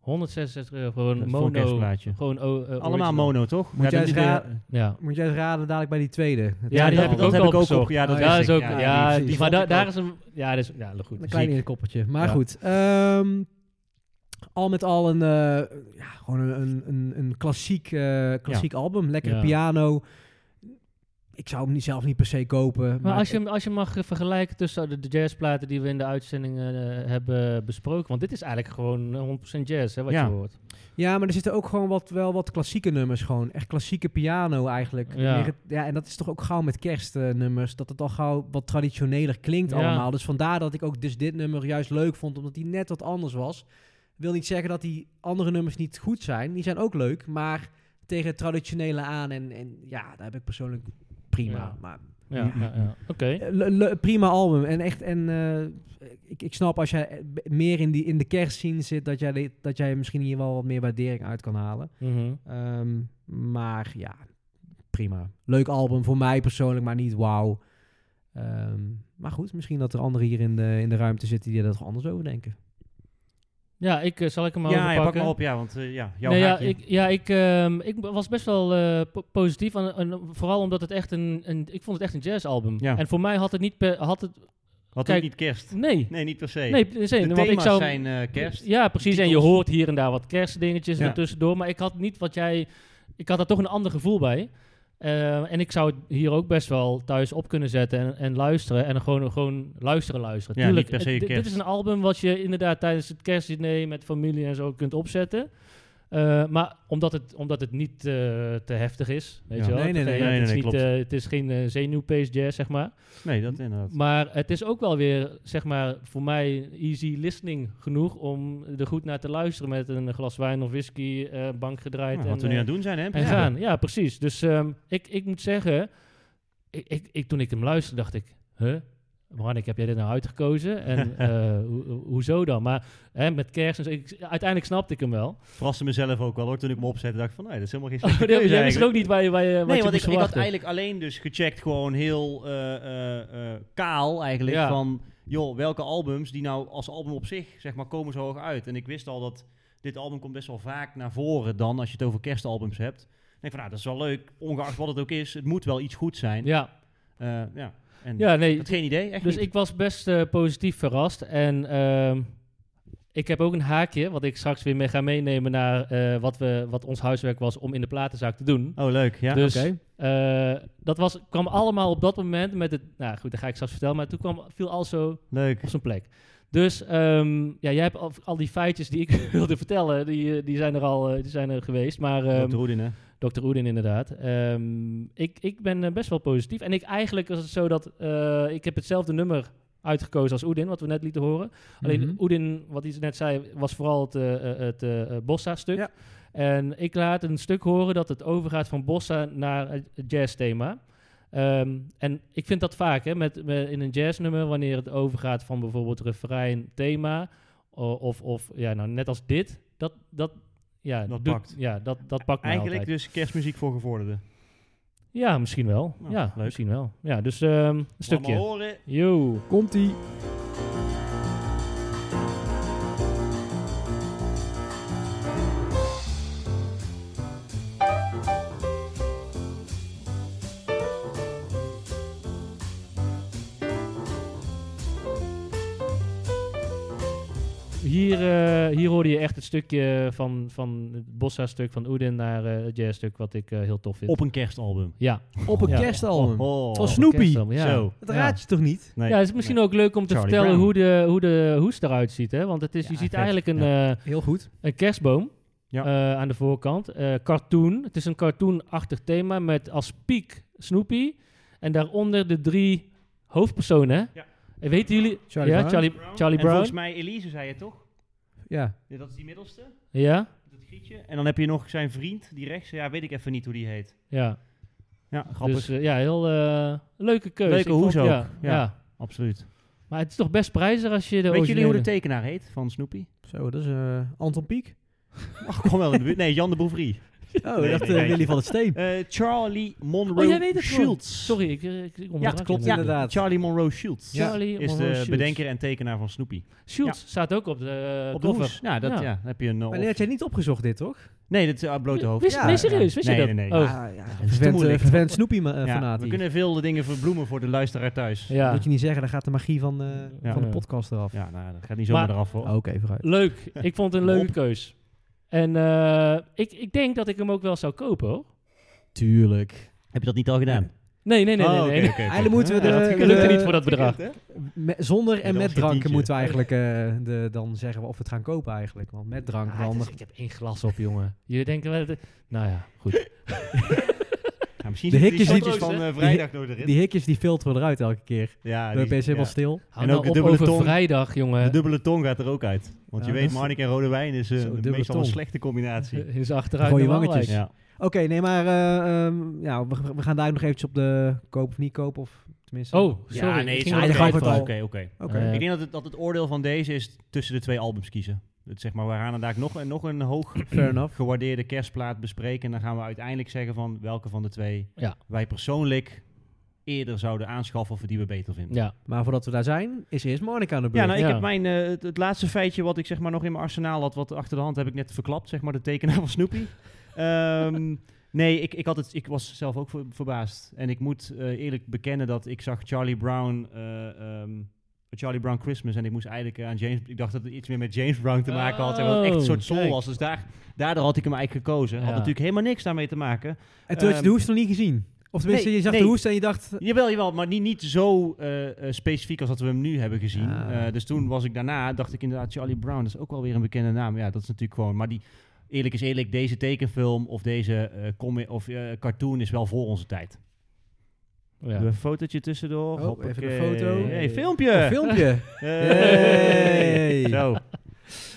S2: 166 euro voor
S1: Dat
S2: een
S1: is voor een
S2: mono.
S1: kerstplaatje.
S2: Gewoon o- eh,
S1: Allemaal
S2: original.
S1: mono, toch?
S3: Moet jij
S1: dat-
S3: eens
S1: die-
S3: raden?
S2: Ja.
S3: Moet jij eens raden dadelijk bij die tweede. Het
S2: Ja, die
S3: tweede
S2: heb ik
S3: album.
S2: ook
S1: heb
S2: al
S1: ik ook
S2: opgezocht.
S1: op- ja, dat
S2: ja,
S1: wist
S2: is
S1: ik.
S2: ook.
S1: Ja,
S2: Ja,
S1: die-
S3: die
S2: die-
S3: vond
S2: maar da-
S1: ik
S2: daar
S1: ook.
S2: is een. Ja, dat is. Ja, goed.
S3: Een klein
S2: Ziek.
S3: inkoppertje. Maar
S2: Ja.
S3: goed. ehm, al met al een, eh, ja, gewoon een, een, een, een klassiek, eh, klassiek album. Lekkere
S2: Ja.
S3: piano. Ik zou hem niet, zelf niet per se kopen. Maar,
S2: Maar als je,
S3: ik-
S2: hem- als je mag eh, vergelijken tussen de, de jazzplaten die we in de uitzending eh, hebben besproken. Want dit is eigenlijk gewoon eh, 100% jazz, hè, wat
S1: Ja.
S2: je hoort.
S3: ja, maar er zitten ook gewoon wat, wel wat klassieke nummers. Gewoon echt klassieke piano eigenlijk.
S2: Ja.
S3: Meer het- ja en dat is toch ook gauw met kerstnummers. dat het al gauw wat traditioneler klinkt
S2: Ja.
S3: allemaal. Dus vandaar dat ik ook dus dit nummer juist leuk vond. Omdat die net wat anders was. Wil niet zeggen dat die andere nummers niet goed zijn. Die zijn ook leuk. Maar tegen het traditionele aan. En, en ja, daar heb ik persoonlijk prima.
S2: Ja.
S3: Maar
S2: Ja, ja, ja. Oké.
S3: Eh, le- le- prima album. En echt, en eh, ik, ik snap als jij eh, b- meer in, die, in de kerstscene zit, dat jij, dit- dat jij misschien hier wel wat meer waardering uit kan halen.
S2: Mhm.
S3: Ehm, maar ja, prima. Leuk album voor mij persoonlijk, maar niet wauw. Ehm, maar goed, misschien dat er anderen hier in de, in de ruimte zitten die er toch anders over denken.
S2: Ja, ik, eh, zal ik hem maar
S1: Ja, ja, pak
S2: overpakken?
S1: maar op, ja, want eh, ja, jouw
S2: Nee, ja,
S1: haakje.
S2: ik, ja ik, ehm, ik was best wel eh, po- positief. aan- aan- vooral omdat het echt een, een... Ik vond het echt een jazzalbum.
S1: Ja.
S2: En voor mij had het niet... per- had het,
S1: Had
S2: kijk-
S1: ook niet kerst.
S2: nee.
S1: Nee, niet per se.
S2: Nee, per se,
S1: de
S2: want
S1: thema's
S2: ik zou,
S1: zijn eh, kerst.
S2: Ja, precies. En je
S1: titels.
S2: hoort hier en daar wat kerstdingetjes
S1: Ja.
S2: ertussendoor. Maar ik had niet wat jij... Ik had daar toch een ander gevoel bij. Eh, en ik zou het hier ook best wel thuis op kunnen zetten en, en luisteren. En gewoon, gewoon luisteren, luisteren.
S1: Ja, niet
S2: Tuurlijk,
S1: per se
S2: eh, dit- Dit
S1: kerst.
S2: is een album wat je inderdaad tijdens het kerstdiner met familie en zo kunt opzetten. Eh, maar omdat het, omdat het niet eh, te heftig is, weet
S1: Ja.
S2: je wel.
S3: Nee, nee, nee,
S2: Het- eh,
S1: nee,
S2: het, is
S1: nee,
S2: niet,
S1: klopt.
S2: eh, het is geen eh, zenuwpace jazz, zeg maar.
S1: Nee, dat inderdaad.
S2: Maar het is ook wel weer, zeg maar, voor mij easy listening genoeg om er goed naar te luisteren met een glas wijn of whisky, eh, bank gedraaid
S1: Nou,
S2: en,
S1: wat we nu
S2: eh,
S1: aan het doen zijn, hè? in
S2: en
S1: principe.
S2: gaan. Ja, precies. Dus ehm, ik, ik moet zeggen, ik, ik, ik, toen ik hem luisterde dacht ik, huh? Marnik, heb jij dit nou
S1: [laughs]
S2: uitgekozen? En eh, ho- ho- hoezo dan? Maar hè, met kerst, en zo, ik, uiteindelijk snapte ik hem wel.
S1: Verraste mezelf ook wel, hoor. Toen ik me opzette, dacht ik van, nee, dat is helemaal geen
S2: [laughs] Oh,
S1: [laughs] slechte
S2: dat
S1: keuze
S2: is
S1: eigenlijk.
S2: ook niet waar je, waar je, wat
S1: nee,
S2: je
S1: want ik,
S2: moest
S1: ik had
S2: verwachten.
S1: eigenlijk alleen dus gecheckt, gewoon heel eh, eh, eh, kaal eigenlijk,
S2: Ja.
S1: van joh, welke albums die nou als album op zich, zeg maar, komen zo hoog uit. En ik wist al dat dit album komt best wel vaak naar voren dan, als je het over kerstalbums hebt. Dan denk ik van, nou, dat is wel leuk, ongeacht wat het ook is, het moet wel iets goed zijn. Ja.
S2: Ja,
S1: ja. En
S2: ja, nee,
S1: ik had geen idee, echt
S2: Dus
S1: niet.
S2: ik was best eh, positief verrast. En ehm, ik heb ook een haakje, wat ik straks weer mee ga meenemen naar eh, wat, we, wat ons huiswerk was om in de platenzaak te doen.
S1: Oh, leuk, ja.
S2: dus
S3: oké.
S2: eh, dat was, kwam allemaal op dat moment met het. Nou goed, dat ga ik straks vertellen. Maar toen kwam, viel alles zo
S1: Leuk.
S2: op zijn plek. Dus ehm, ja, jij hebt al, al die feitjes die ik [laughs] wilde vertellen, die, eh, die zijn er al eh, die zijn er geweest. Maar ehm,
S1: Dr. Hoedin, hè?
S2: Dr. Oedin inderdaad. Ehm, ik, ik ben eh, best wel positief. En ik eigenlijk was het zo dat... eh, ik heb hetzelfde nummer uitgekozen als Oedin, wat we net lieten horen. Alleen
S3: Mhm.
S2: Oedin, wat hij net zei, was vooral het, eh, eh, het eh, eh, Bossa-stuk.
S3: Ja.
S2: En ik laat een stuk horen dat het overgaat van Bossa naar het jazz-thema. Ehm, en ik vind dat vaak, hè, met, met- in een jazznummer, wanneer het overgaat van bijvoorbeeld refrein, thema... o- Of, of ja, nou, net als dit, dat... dat ja,
S1: Dat
S2: doet-
S1: pakt.
S2: Ja, dat, dat pakt mij
S1: Eigenlijk
S2: altijd.
S1: dus kerstmuziek voor gevorderden.
S2: Ja, misschien wel.
S1: Nou,
S2: ja,
S1: leuk.
S2: misschien wel. Ja, dus ehm, een
S1: Laat
S2: stukje.
S1: maar horen.
S2: Yo.
S3: Komt-ie.
S2: Hier, eh, hier hoorde je echt het stukje van, van het Bossa-stuk van Oedin naar eh, het jazz-stuk, wat ik eh, heel tof vind.
S1: Op een kerstalbum.
S2: Ja.
S3: Op een
S2: Ja.
S3: kerstalbum.
S1: Oh.
S3: Van Snoopy.
S2: Kerstalbum, Ja.
S1: Zo.
S3: Dat raad je toch niet?
S1: Nee.
S2: Ja, het is misschien ook leuk om te
S1: Charlie
S2: vertellen
S1: Brown.
S2: hoe de, hoe de hoes eruit ziet, hè? Want het is, je
S1: Ja,
S2: ziet
S1: vet.
S2: eigenlijk een, eh,
S3: Heel goed.
S2: een kerstboom.
S1: Ja.
S2: eh, aan de voorkant. Eh, cartoon. Het is een cartoonachtig thema met als piek Snoopy. En daaronder de drie hoofdpersonen. hè?
S1: Ja.
S2: En weten jullie?
S3: Charlie
S2: ja,
S3: Brown.
S2: Charlie, Charlie
S1: en
S2: Brown.
S1: volgens mij Elise zei het toch?
S3: Ja.
S1: Ja, dat is die middelste,
S2: Ja,
S1: dat grietje. En dan heb je nog zijn vriend, die rechts. Ja, weet ik even niet hoe die heet.
S2: ja.
S1: Ja, grappig.
S2: Dus eh, ja, heel eh, leuke keuze.
S1: Leuke
S2: Ik vond-
S1: hoes ook,
S2: Ja, ja.
S1: ja. Absoluut.
S2: maar het is toch best prijzig als je de
S1: Weet jullie hoe de
S2: originele-
S1: tekenaar heet van Snoopy?
S3: Zo, dat is eh, Anton
S1: [laughs]
S3: Pieck.
S1: Ach, kom wel in de buurt. Nee, Jan de Bouvrie.
S3: Oh,
S1: Nee,
S3: dat
S1: nee, nee.
S3: Willy van het
S1: [laughs]
S3: Steen.
S1: Eh, Charlie Monroe
S2: Oh, jij weet het gewoon.
S1: Schultz.
S2: Sorry, ik, eh, ik, ik
S1: Ja,
S2: onderbrak
S1: het
S2: je
S1: klopt
S2: net.
S3: inderdaad.
S1: Charlie Monroe Schultz
S3: Ja.
S2: Charlie
S1: is
S2: Monroe
S1: de
S2: Schultz.
S1: bedenker en tekenaar van Snoopy.
S2: Schultz staat ook op de eh,
S1: Op de
S2: cover.
S1: hoes. Ja, dat, ja. dan heb je een... eh,
S3: Maar die had jij niet opgezocht dit, toch?
S1: Nee, dat is uh, blote hoofd.
S2: Wist,
S3: Ja,
S2: nee,
S3: ja.
S2: serieus, wist
S1: Nee,
S2: je dat?
S1: nee, nee.
S2: Oh,
S3: Ah, ja.
S1: is te
S3: Verwend, eh,
S1: moeilijk.
S3: verwend Snoopy ma- eh,
S1: Ja,
S3: fanaat
S1: we
S3: hier.
S1: kunnen veel dingen verbloemen voor de luisteraar thuis. Ja,
S2: ja.
S3: Moet je niet zeggen, dan gaat de magie van, eh,
S1: Ja.
S3: van de
S2: Ja.
S3: podcast eraf.
S1: nou, dat gaat niet zomaar
S2: Maar-
S1: eraf hoor.
S3: Oh, Oké, vooruit.
S2: Leuk. Ik vond het een
S1: Kom
S2: leuke keus. En eh, ik, ik denk dat ik hem ook wel zou kopen, hoor.
S3: Tuurlijk.
S1: Heb je dat niet al gedaan?
S2: Nee, nee, nee,
S1: Oh,
S2: nee.
S1: oké,
S2: nee.
S1: oké, oké.
S3: Eigenlijk moeten we
S1: Ja,
S3: de-
S1: dat
S2: Het lukte
S3: de-
S2: niet voor dat bedrag.
S3: Me- zonder
S1: dat
S3: en
S1: was geen
S3: met
S1: tientje.
S3: dranken moeten we eigenlijk eh, de, dan zeggen we of we het gaan kopen eigenlijk. Want met drank
S2: Ah,
S3: dan...
S2: het is- ik heb één glas op, jongen. Jullie denken wel... dat- Nou ja, goed.
S1: Ja, misschien
S3: De
S1: zitten die
S3: hikjes die-
S1: foto's van eh,
S2: die-
S1: vrijdag door erin.
S3: Die hikjes die filteren we eruit elke keer.
S1: ja,
S3: de PC
S1: ja.
S3: wel stil.
S2: Hou
S1: En
S2: nou
S1: ook de
S2: op
S1: dubbele
S2: over
S1: tong.
S2: vrijdag,
S1: De
S2: jongen.
S1: dubbele tong gaat er ook uit. Want
S3: Ja,
S1: je
S3: dat
S1: weet,
S3: is-
S1: Marnik en rode wijn is eh,
S3: Zo, dubbele
S1: meestal
S3: tong.
S1: een slechte combinatie.
S2: In zijn achteruit.
S3: Rode
S2: en
S3: wangetjes.
S2: Waalwijk.
S1: Ja.
S3: Oké, nee, maar eh, ehm, ja, we, we gaan daar nog eventjes op de koop of niet koop. Of tenminste...
S2: Oh, sorry.
S1: ja, nee,
S2: ik ging
S1: het is
S2: wel
S3: hij
S1: oké,
S3: gaat
S2: twijfelen.
S3: het al.
S1: Oké, oké.
S3: Oké.
S2: Eh,
S1: Ik denk dat het, dat het oordeel van deze is tussen de twee albums kiezen. Dat zeg maar, we gaan vandaag nog, nog een hoog
S3: [clears throat] Fair enough.
S1: gewaardeerde kerstplaat bespreken. En dan gaan we uiteindelijk zeggen van welke van de twee
S2: Ja.
S1: wij persoonlijk eerder zouden aanschaffen of die we beter vinden.
S2: Ja,
S3: Maar voordat we daar zijn, is eerst Monica aan de beurt.
S1: Ja, nou, ik
S2: Ja.
S1: heb mijn, eh, het, het laatste feitje wat ik zeg maar nog in mijn arsenaal had, wat achter de hand heb ik net verklapt, zeg maar, de tekenaar van
S2: [laughs]
S1: Snoopy. Ehm, nee, ik, ik, had het, ik was zelf ook ver- verbaasd. En ik moet eh, eerlijk bekennen dat ik zag Charlie Brown, eh, ehm, Charlie Brown Christmas, en ik moest eigenlijk eh, aan James, ik dacht dat het iets meer met James Brown te maken had, en wat echt een soort
S2: Oh,
S1: soul
S2: kijk.
S1: was. Dus daar, daardoor had ik hem eigenlijk gekozen. Had
S2: Ja.
S1: natuurlijk helemaal niks daarmee te maken.
S3: en toen had je de
S1: ehm,
S3: hoest nog niet gezien. Of tenminste,
S1: nee,
S3: je zag
S1: nee.
S3: de hoest en je dacht...
S1: Jawel, jawel, maar niet, niet zo eh, eh, specifiek als dat we hem nu hebben gezien.
S3: Ah.
S1: Eh, dus toen was ik daarna, dacht ik inderdaad, Charlie Brown, dat is ook wel weer een bekende naam. Ja, dat is natuurlijk gewoon, maar die, eerlijk is eerlijk, deze tekenfilm of deze eh, comi- of, eh, cartoon is wel voor onze tijd.
S2: ja.
S1: Doe een fotootje tussendoor.
S3: Oh,
S1: Hoppakee.
S3: even een foto.
S1: Hey, filmpje.
S3: Een
S1: [laughs]
S3: filmpje.
S1: Hey.
S3: Hey.
S1: Zo.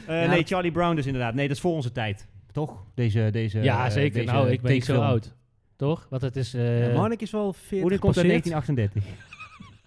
S1: Eh,
S3: Ja,
S1: nee,
S3: dat-
S1: Charlie Brown dus inderdaad. Nee, dat is voor onze tijd. Toch? Deze, deze,
S2: Ja,
S1: eh,
S2: zeker.
S1: deze
S2: nou, ik ben niet zo
S1: tekenfilm.
S2: oud. Toch? Want het is... eh,
S3: Ja, Monica is wel 40
S1: Hoe dit komt uit
S3: gepasseerd.
S1: 1938?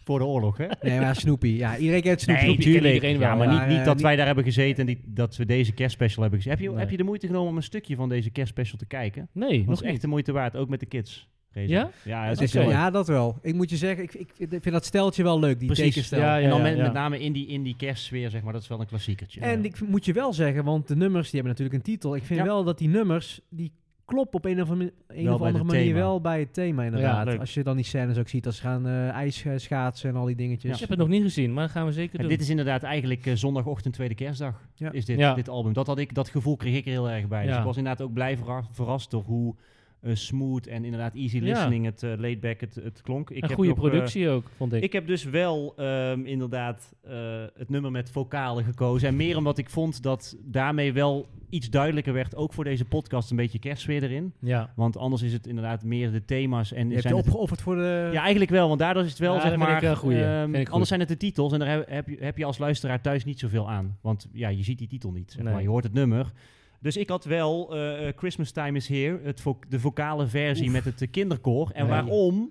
S1: voor de oorlog, hè?
S3: Nee, maar Snoopy. Ja, iedereen kent Snoopy.
S1: Nee,
S2: Snoopy
S1: tuurlijk.
S2: kent iedereen
S1: ja, maar
S2: wel,
S3: ja.
S1: niet,
S3: Maar,
S1: niet
S3: eh,
S1: dat
S3: niet-
S1: wij daar hebben gezeten en die, dat we deze kerstspecial hebben gezien. Heb je,
S2: Nee.
S1: heb je de moeite genomen om een stukje van deze kerstspecial te kijken?
S2: nee,
S1: Dat
S2: nog
S1: is echt
S2: echt.
S1: de moeite waard, ook met de kids. Reza.
S2: Ja?
S1: Ja, dat
S3: Het
S1: is
S3: is
S1: heel leuk.
S3: ja, dat wel. Ik moet je zeggen, ik, ik vind dat steltje wel leuk, die
S1: Precies.
S3: tekenstel.
S2: Ja, ja,
S1: en dan
S2: ja,
S1: met,
S2: ja.
S1: met name in die, in die kerstsfeer, zeg maar, dat is wel een klassiekertje.
S3: En ik v- moet je wel zeggen, want de nummers die hebben natuurlijk een titel. Ik vind
S1: Ja.
S3: wel dat die nummers, die kloppen op een of, ami- een
S1: Wel
S3: of
S1: bij
S3: andere
S1: het
S3: manier
S1: thema.
S3: wel bij het thema inderdaad.
S2: leuk.
S3: Als je dan die scènes ook ziet, als ze gaan eh, ijs eh, schaatsen en al die dingetjes.
S2: Ik heb het nog niet gezien, maar dat gaan we zeker
S1: En
S2: doen.
S1: dit is inderdaad eigenlijk eh, zondagochtend, tweede kerstdag,
S3: Ja.
S1: is dit,
S2: Ja.
S1: dit album. Dat, had ik, dat gevoel kreeg ik er heel erg bij. Dus
S2: Ja.
S1: ik was inderdaad ook blij verra- verrast door hoe eh, smooth en inderdaad easy
S2: Ja.
S1: listening het eh, laid back het, het klonk. Ik
S2: een
S1: heb
S2: goede
S1: nog, eh,
S2: productie ook, vond ik.
S1: Ik heb dus wel ehm, inderdaad eh, het nummer met vocalen gekozen. En meer omdat ik vond dat daarmee wel iets duidelijker werd, ook voor deze podcast, een beetje kerstsfeer erin.
S2: ja.
S1: Want anders is het inderdaad meer de thema's. En
S3: Je hebt je
S1: zijn het-
S3: opgeofferd voor de...
S1: ja, eigenlijk wel, want daardoor is het wel,
S2: Ja,
S1: zeg
S2: dat vind
S1: maar...
S2: ik wel een goeie.
S1: ehm,
S2: Vind ik goed.
S1: anders zijn het de titels en daar heb- heb je, heb je als luisteraar thuis niet zoveel aan. Want ja, je ziet die titel niet, zeg
S2: Nee.
S1: maar. Je hoort het nummer. Dus ik had wel eh, eh, Christmas Time is Here, het vo- de vocale versie met het eh, kinderkoor. En
S2: Nee.
S1: waarom?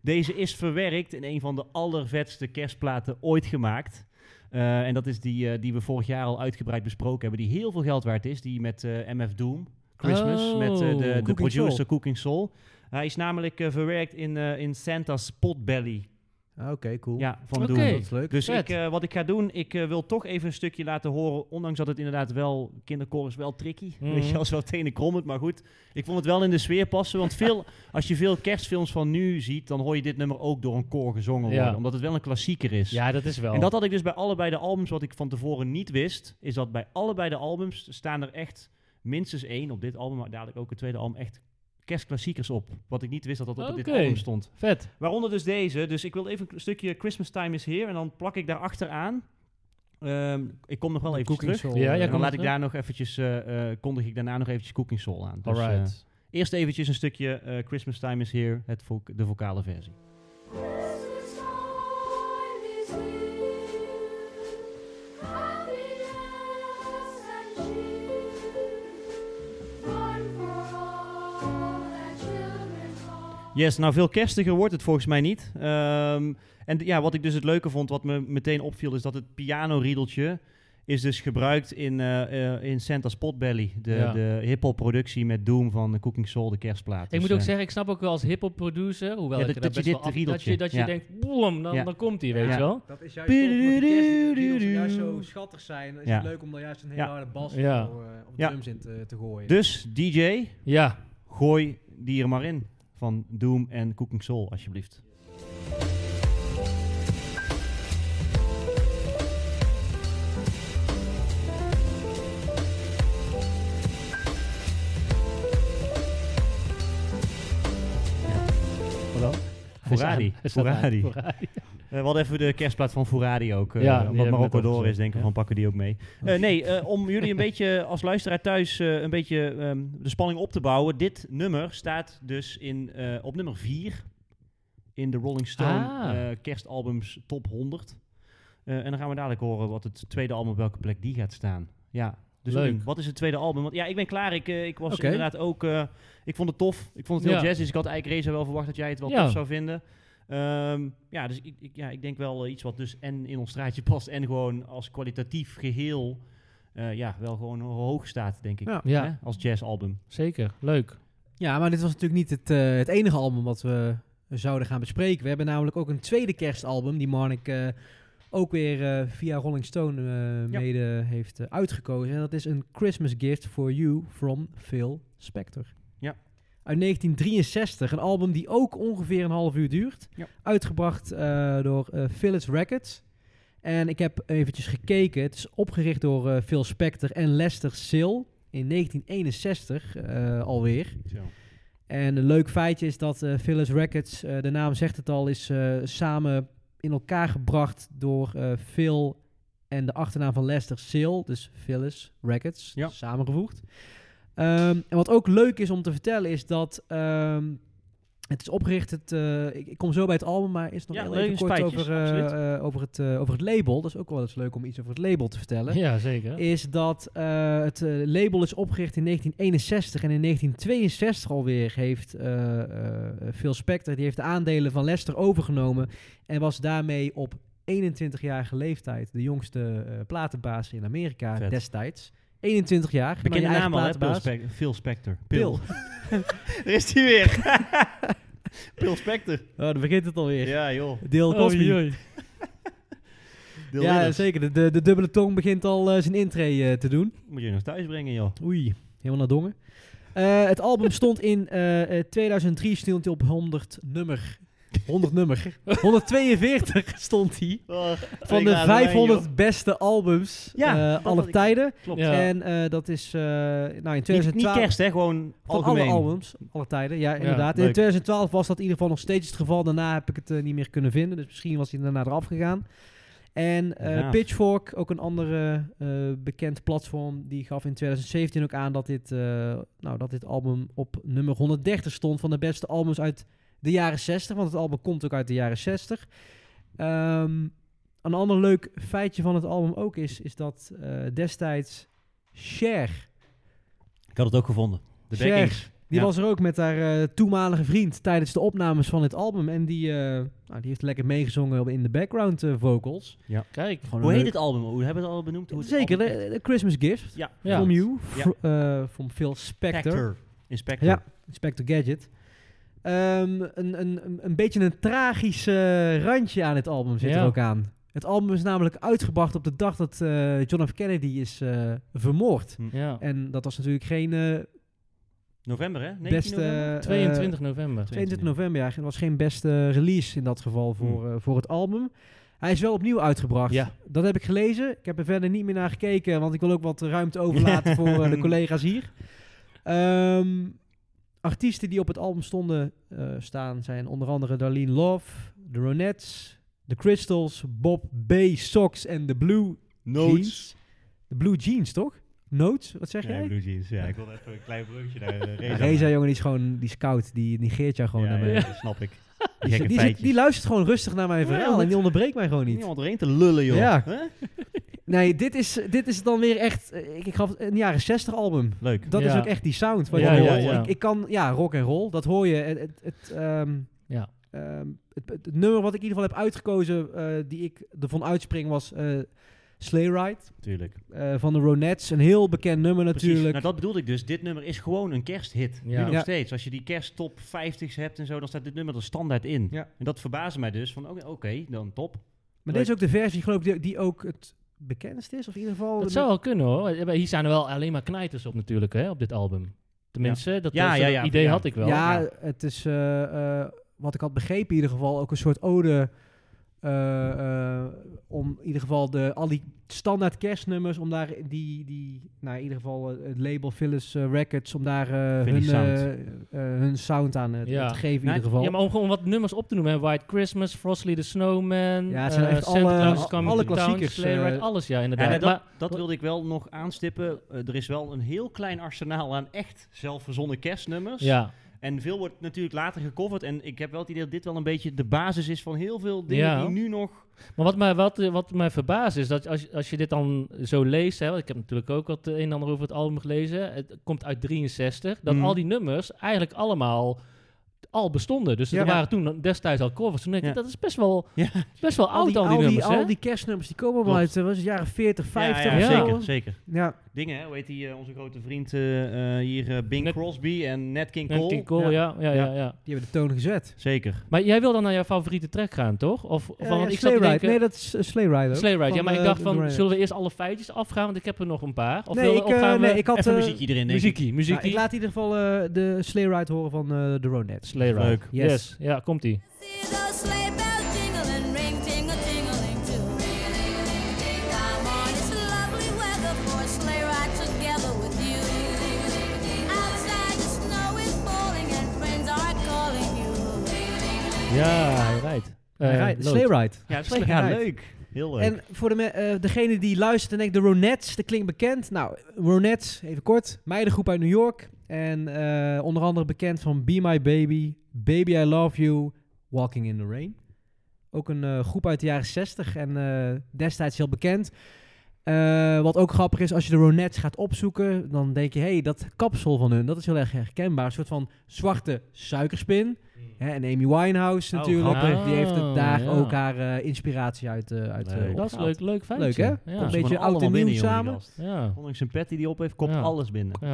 S1: Deze is verwerkt in een van de allervetste kerstplaten ooit gemaakt. Eh, en dat is die, eh, die we vorig jaar al uitgebreid besproken hebben, die heel veel geld waard is. Die met eh, MF Doom, Christmas,
S2: Oh.
S1: met eh, de, de
S3: Cooking
S1: producer
S3: Soul.
S1: Cooking Soul. Hij is namelijk eh, verwerkt in, eh, in Santa's Potbelly.
S3: Ah, Oké, cool.
S1: Ja, van
S2: Oké.
S1: Doom.
S3: Dat is leuk.
S1: Dus
S2: Vet.
S1: ik, eh, wat ik ga doen, ik eh, wil toch even een stukje laten horen. Ondanks dat het inderdaad wel, kinderkoor is wel tricky.
S3: Mm.
S2: Mhm.
S1: Weet je, wel, is wel tenen krommend, maar goed. Ik vond het wel in de sfeer passen. Want veel, [laughs] als je veel kerstfilms van nu ziet, dan hoor je dit nummer ook door een koor gezongen
S2: Ja.
S1: worden. Omdat het wel een klassieker is.
S2: ja, dat is wel.
S1: En dat had ik dus bij allebei de albums, wat ik van tevoren niet wist, is dat bij allebei de albums staan er echt minstens één op dit album, maar dadelijk ook het tweede album, echt kerstklassiekers op. Wat ik niet wist dat dat op dit
S2: Oké.
S1: album stond.
S2: Vet.
S1: Waaronder dus deze. Dus ik wil even een stukje Christmas Time is Here en dan plak ik daar achteraan Ehm, ik kom nog wel even
S3: Cooking
S1: terug.
S3: Soul.
S2: Ja, ja,
S3: eh,
S1: En dan
S2: kom-
S1: laat ik
S2: terug.
S1: daar nog eventjes, eh, eh, kondig ik daarna nog eventjes Cooking Soul aan. Dus, eh,
S2: Alright.
S1: eerst eventjes een stukje eh, Christmas Time is Here, het vo- de vocale versie. Yes, nou veel kerstiger wordt het volgens mij niet. Ehm, en d- ja, wat ik dus het leuke vond, wat me meteen opviel, is dat het pianoriedeltje is dus gebruikt in, eh, eh, in Santa's Potbelly. De,
S2: Ja.
S1: de hip-hop productie met Doom van de Cooking Soul, de kerstplaat.
S2: Ik
S1: Dus,
S2: moet ook
S1: eh,
S2: zeggen, ik snap ook wel als hip-hop producer, hoewel
S1: Ja, dat-
S2: ik er
S1: dat je
S2: best
S1: dit
S2: wel af- dat
S1: riedeltje,
S2: je, dat je
S1: ja.
S2: denkt, boem, dan,
S1: Ja.
S2: dan komt hij, weet
S1: Ja.
S2: je wel.
S3: Dat is juist
S1: Bidu-
S3: tof, omdat die kerstliedjes
S1: du-
S3: juist
S1: du-
S3: zo schattig zijn. Is
S1: Ja.
S3: het leuk om daar juist een hele
S1: Ja.
S3: harde bas
S2: Ja.
S3: of zo, eh, op de
S1: Ja.
S3: drums in te, te gooien.
S1: Dus DJ,
S2: Ja,
S1: gooi die er maar in van Doom en Cooking Soul, alsjeblieft.
S2: wat dan?
S1: Voorradi.
S2: Hij staat aan.
S1: Voorradi.
S2: Voorradi.
S1: Eh, we hadden even de kerstplaat van Fouradi ook. eh,
S2: Ja, die hebben
S1: omdat
S2: we
S1: Marokko
S2: net al
S1: door is,
S2: gezegd,
S1: denken
S2: ja.
S1: van pakken die ook mee. Eh, nee, eh, om jullie een [laughs] beetje als luisteraar thuis eh, een beetje ehm, de spanning op te bouwen. Dit nummer staat dus in, eh, op nummer 4 in de Rolling Stone
S2: Ah.
S1: eh, kerstalbums top 100. Eh, en dan gaan we dadelijk horen wat het tweede album op welke plek die gaat staan. Ja, dus
S2: Leuk.
S1: Oedien, wat is het tweede album? Want ja, ik ben klaar. Ik, eh, ik was
S3: Oké.
S1: inderdaad ook... eh, ik vond het tof. Ik vond het heel
S2: Ja.
S1: jazz. Dus ik had eigenlijk Reza wel verwacht dat jij het wel
S2: Ja.
S1: tof zou vinden. Ehm, ja, dus ik, ik- ja, ik denk wel eh, iets wat dus en in ons straatje [laughs] past en gewoon als kwalitatief geheel eh, ja, wel gewoon ho- hoog staat, denk ik.
S3: Ja.
S2: Ja.
S1: Hè? Als jazzalbum.
S2: Zeker, leuk.
S3: Ja, maar dit was natuurlijk niet het, eh, het enige album wat we zouden gaan bespreken. We hebben namelijk ook een tweede kerstalbum die Marnik eh, ook weer eh, via Rolling Stone eh,
S1: Ja.
S3: mede heeft eh, uitgekozen. En dat is een Christmas Gift for You from Phil Spector.
S1: Ja.
S3: Uit 1963, een album die ook ongeveer een half uur duurt.
S1: Ja.
S3: Uitgebracht eh, door eh Phyllis Records. En ik heb eventjes gekeken. Het is opgericht door eh, Phil Spector en Lester Sill in 1961 eh, alweer. En een leuk feitje is dat eh Phyllis Records, eh, de naam zegt het al, is eh, samen in elkaar gebracht door eh, Phil en de achternaam van Lester Sale, dus Phyllis Records,
S1: Ja.
S3: samengevoegd. Ehm, en wat ook leuk is om te vertellen is dat ehm, het is opgericht, het, eh, ik, ik kom zo bij het album, maar is nog
S1: Ja,
S3: heel
S1: leuke
S3: even kort
S1: feitjes,
S3: over, eh,
S1: absoluut.
S3: eh, over, het, eh, over het label. Dat is ook wel eens leuk om iets over het label te vertellen
S2: Ja, zeker.
S3: is dat eh, het eh, label is opgericht in 1961 en in 1962 alweer heeft eh, eh, Phil Spector die heeft de aandelen van Lester overgenomen en was daarmee op 21-jarige leeftijd de jongste eh, platenbaas in Amerika
S1: Vet.
S3: destijds. 21 jaar.
S1: Bekende
S3: maar je eigen
S1: naam al, hè? Phil,
S3: platenbaas.
S1: Spec- Phil Spector.
S3: Pil.
S1: [laughs] er is hij weer. [laughs] Phil Spector.
S3: Oh, dan begint het alweer.
S1: Ja, joh.
S3: Deel Cosby.
S2: Oei, oei.
S1: Deel
S3: ja,
S1: Ridders.
S3: zeker. De, de, de dubbele tong begint al eh, zijn intree eh, te doen.
S1: Moet je nog thuis brengen, joh.
S3: Oei, helemaal naar dongen. Eh, het album stond in eh, eh, 2003 stond hij op 100 nummer. 100 nummer. 142 stond hij. Van de 500 beste albums
S1: Ja,
S3: eh,
S1: dat had
S3: alle
S1: ik-
S3: tijden.
S1: Klopt.
S2: Ja.
S3: En eh, dat is eh, nou, in
S1: Niet,
S3: 2012...
S1: niet kerst, hè? Gewoon
S3: Van
S1: algemeen.
S3: alle albums, alle tijden. Ja, inderdaad.
S1: leuk.
S3: in 2012 was dat in ieder geval nog steeds het geval. Daarna heb ik het eh, niet meer kunnen vinden. Dus misschien was hij daarna eraf gegaan. En eh,
S1: Gaaf.
S3: Pitchfork, ook een andere eh, bekend platform, die gaf in 2017 ook aan dat dit, eh, nou, dat dit album op nummer 130 stond van de beste albums uit de jaren 60. Want het album komt ook uit de jaren 60. Ehm, een ander leuk feitje van het album ook is, is dat eh, destijds Cher
S1: Ik had het ook gevonden. De
S3: Cher.
S1: backings.
S3: die
S1: Ja.
S3: was er ook met haar eh, toenmalige vriend tijdens de opnames van het album. En die, eh, nou, die heeft lekker meegezongen op- in de background eh, vocals.
S2: Kijk.
S1: Hoe
S3: Gewoon een
S1: heet
S3: leuk-
S1: het album? Hoe hebben we het al benoemd? Hoe het
S3: Zeker,
S1: album-
S3: de, de Christmas Gift.
S1: Ja.
S2: Ja.
S3: From You.
S1: Ja.
S3: fr- eh, van Phil Spector.
S1: Spector. Inspector.
S3: Ja, Spector Gadget. Ehm, een, een, een- een beetje een tragisch eh, randje aan het album zit
S2: Ja.
S3: er ook aan. Het album is namelijk uitgebracht op de dag dat eh, John F. Kennedy is eh, vermoord.
S2: Ja.
S3: En dat was natuurlijk geen eh,
S1: November, hè? 19
S3: beste...
S1: november?
S3: eh,
S2: 22 november.
S3: 22 november, ja. Het was geen beste release in dat geval voor, eh, voor het album. Hij is wel opnieuw uitgebracht.
S2: Ja.
S3: Dat heb ik gelezen. Ik heb er verder niet meer naar gekeken, want ik wil ook wat ruimte overlaten voor eh, de collega's hier. Ehm, artiesten die op het album stonden eh, staan zijn onder andere Darlene Love, The Ronettes, The Crystals, Bob B. Sox en The Blue Notes. De blue jeans, toch? Notes, wat zeg jij?
S1: Ja, blue jeans. Ja, ik wilde even een klein bruggetje naar de
S3: Ja,
S1: Reza.
S3: Reza, jongen, die is gewoon, die scout, die negeert jou gewoon.
S1: Ja,
S3: daarmee.
S1: ja, dat snap ik. Die
S3: [laughs] Die,
S1: gekke
S3: zit- die, zit-
S1: feitjes.
S3: die luistert gewoon rustig naar mijn
S1: Ja,
S3: verhaal
S1: goed.
S3: en die onderbreekt mij gewoon niet.
S1: Niemand erin te lullen, joh.
S3: Ja.
S1: Hè?
S3: Nee, dit is, dit is dan weer echt, eh, ik, ik gaf het een jaren 60 album.
S1: Leuk.
S3: Dat is
S2: Ja.
S3: ook echt die sound. Wat
S2: Ja,
S3: je
S1: ja,
S3: hoort.
S2: ja.
S3: Ik, ik kan, ja, rock en roll, dat hoor je. Het, het, het, ehm,
S2: Ja.
S3: ehm, het, het- het nummer wat ik in ieder geval heb uitgekozen, eh, die ik ervan uitspring, was eh Sleigh Ride
S1: Tuurlijk.
S3: eh, van de Ronettes. Een heel bekend nummer
S1: Precies.
S3: natuurlijk.
S1: Nou, dat bedoelde ik dus. Dit nummer is gewoon een kersthit.
S2: Ja.
S1: Nu nog
S3: Ja.
S1: steeds. Als je die kersttop 50's hebt en zo, dan staat dit nummer er standaard in.
S3: Ja.
S1: En dat verbaasde mij dus. Van oké, oké, dan top.
S3: maar dit is ook de versie, geloof ik, die, die ook het bekendst is. Of in ieder geval...
S2: Dat
S3: de-
S2: zou wel kunnen hoor. Eh, maar Hier zijn er wel alleen maar knijters op natuurlijk, hè, op dit album. Tenminste, dat
S1: Ja,
S2: dat
S1: ja, ja,
S2: idee
S1: ja.
S2: had ik wel.
S3: ja, het is eh, eh, wat ik had begrepen in ieder geval ook een soort ode eh, eh, om in ieder geval de, al die standaard kerstnummers om daar die, die nou in ieder geval eh, het label Phyllis eh, Records om daar eh,
S1: Vind
S3: hun,
S1: die
S3: eh,
S1: sound.
S3: eh, hun sound aan eh,
S2: Ja.
S3: te geven in
S1: Nou,
S3: ieder geval.
S2: Ja,
S3: Ja,
S2: maar om gewoon wat nummers op te noemen. hè. White Christmas, Frosty the Snowman.
S3: Ja, het zijn
S2: eh,
S3: echt
S2: Santa
S3: alle-
S2: Claus is
S3: al-
S2: Coming
S3: alle
S2: to Town,
S3: klassiekers,
S2: Sleigh Ride,
S3: eh.
S2: alles, ja,
S1: En
S2: inderdaad.
S1: eh, dat,
S2: maar,
S1: dat wilde ik wel nog aanstippen. Eh, er is wel een heel klein arsenaal aan echt zelfverzonnen kerstnummers.
S2: ja,
S1: En veel wordt natuurlijk later gecoverd. En ik heb wel het idee dat dit wel een beetje de basis is van heel veel dingen
S2: Ja.
S1: die nu nog...
S2: maar wat mij, wat, eh, wat mij verbaast is dat als, je- als je dit dan zo leest... Hè, want ik heb natuurlijk ook wat eh, een en ander over het album gelezen. Het komt uit 63. Dat
S3: Mm.
S1: Mhm.
S2: al die nummers eigenlijk allemaal al bestonden. Dus
S1: Ja.
S2: er waren toen destijds al covers. Toen denk ik,
S1: Ja.
S2: dat is best wel,
S1: Ja.
S2: best wel
S3: al,
S2: oud
S3: die,
S2: al die, nummers, hè?
S3: al die kerstnummers die komen wel
S2: Klopt.
S3: uit eh, was het jaren 40, 50
S1: Ja,
S3: of
S1: ja,
S3: zo.
S1: zeker, zeker.
S3: Ja.
S1: Dingen, hè? hoe heet die, eh, onze grote vriend eh, eh, hier, eh, Bing
S2: Nat-
S1: Crosby en Nat King
S2: Nat
S1: Cole.
S2: King Cole, ja. Ja, ja,
S1: Ja.
S2: ja,
S3: Die hebben de toon gezet.
S1: Zeker.
S2: Maar jij wil dan naar jouw favoriete track gaan, toch? Of, of
S3: Eh,
S2: want
S3: ja,
S2: ik zat
S3: Sleigh
S2: te
S3: Ride.
S2: denken...
S3: Nee, dat is eh, Sleigh Ride. ook.
S2: Sleigh Ride, ja,
S3: Van,
S2: maar ik
S3: eh,
S2: dachtj
S3: de
S2: van,
S3: Ronettes.
S2: zullen we eerst alle feitjes afgaan? Want ik heb er nog een paar. Of,
S3: Nee,
S2: wil,
S3: ik,
S2: of
S3: eh,
S2: gaan we...
S3: nee, ik had...
S1: Even
S3: eh,
S1: muziekje erin, denk ik.
S2: muziekie, muziekie.
S3: Nou, ik laat in ieder geval eh, de Sleigh Ride horen van eh, de Ronettes.
S2: Sleigh Ride.
S1: Leuk.
S2: Yes.
S3: Yes.
S2: Ja, komt-ie.
S6: See the sleigh bells jingle and ring, ting a tingling too. Come on, it's lovely weather for a sleigh ride together with you. Outside the snow is falling and friends are calling you.
S2: Ja, hij rijdt. Eh,
S3: Hij rijdt-
S2: lood.
S3: Sleigh Ride.
S1: Ja,
S3: Slecht
S1: ja,
S3: gedaan.
S1: leuk. Heel leuk.
S3: En voor de me- eh, degene die luistert en denkt, de Ronettes, dat klinkt bekend. Nou, Ronettes, even kort, meidengroep uit New York. En eh, onder andere bekend van Be My Baby, Baby I Love You, Walking in the Rain. Ook een eh, groep uit de jaren 60 en eh, destijds heel bekend. Eh, wat ook grappig is, als je de Ronettes gaat opzoeken, dan denk je, hé, hey, dat kapsel van hun, dat is heel erg herkenbaar. Een soort van zwarte suikerspin. Hè, en Amy Winehouse
S1: Oh,
S3: natuurlijk,
S2: grappig.
S3: die heeft het daar
S2: Ja.
S3: ook haar eh, inspiratie uit, eh uit eh,
S1: Leuk.
S2: Dat is
S3: opgehaald.
S2: leuk, leuk
S3: Leuk,
S2: feitje.
S3: hè?
S2: Ja.
S3: Een
S1: Ze
S3: beetje
S1: komen
S3: oud en
S1: allemaal
S3: nieuw
S1: binnen, jongen,
S3: samen.
S1: die gast.
S2: Ja,
S1: Ondanks een pet die die op heeft, komt
S2: Ja.
S1: alles binnen.
S2: ja.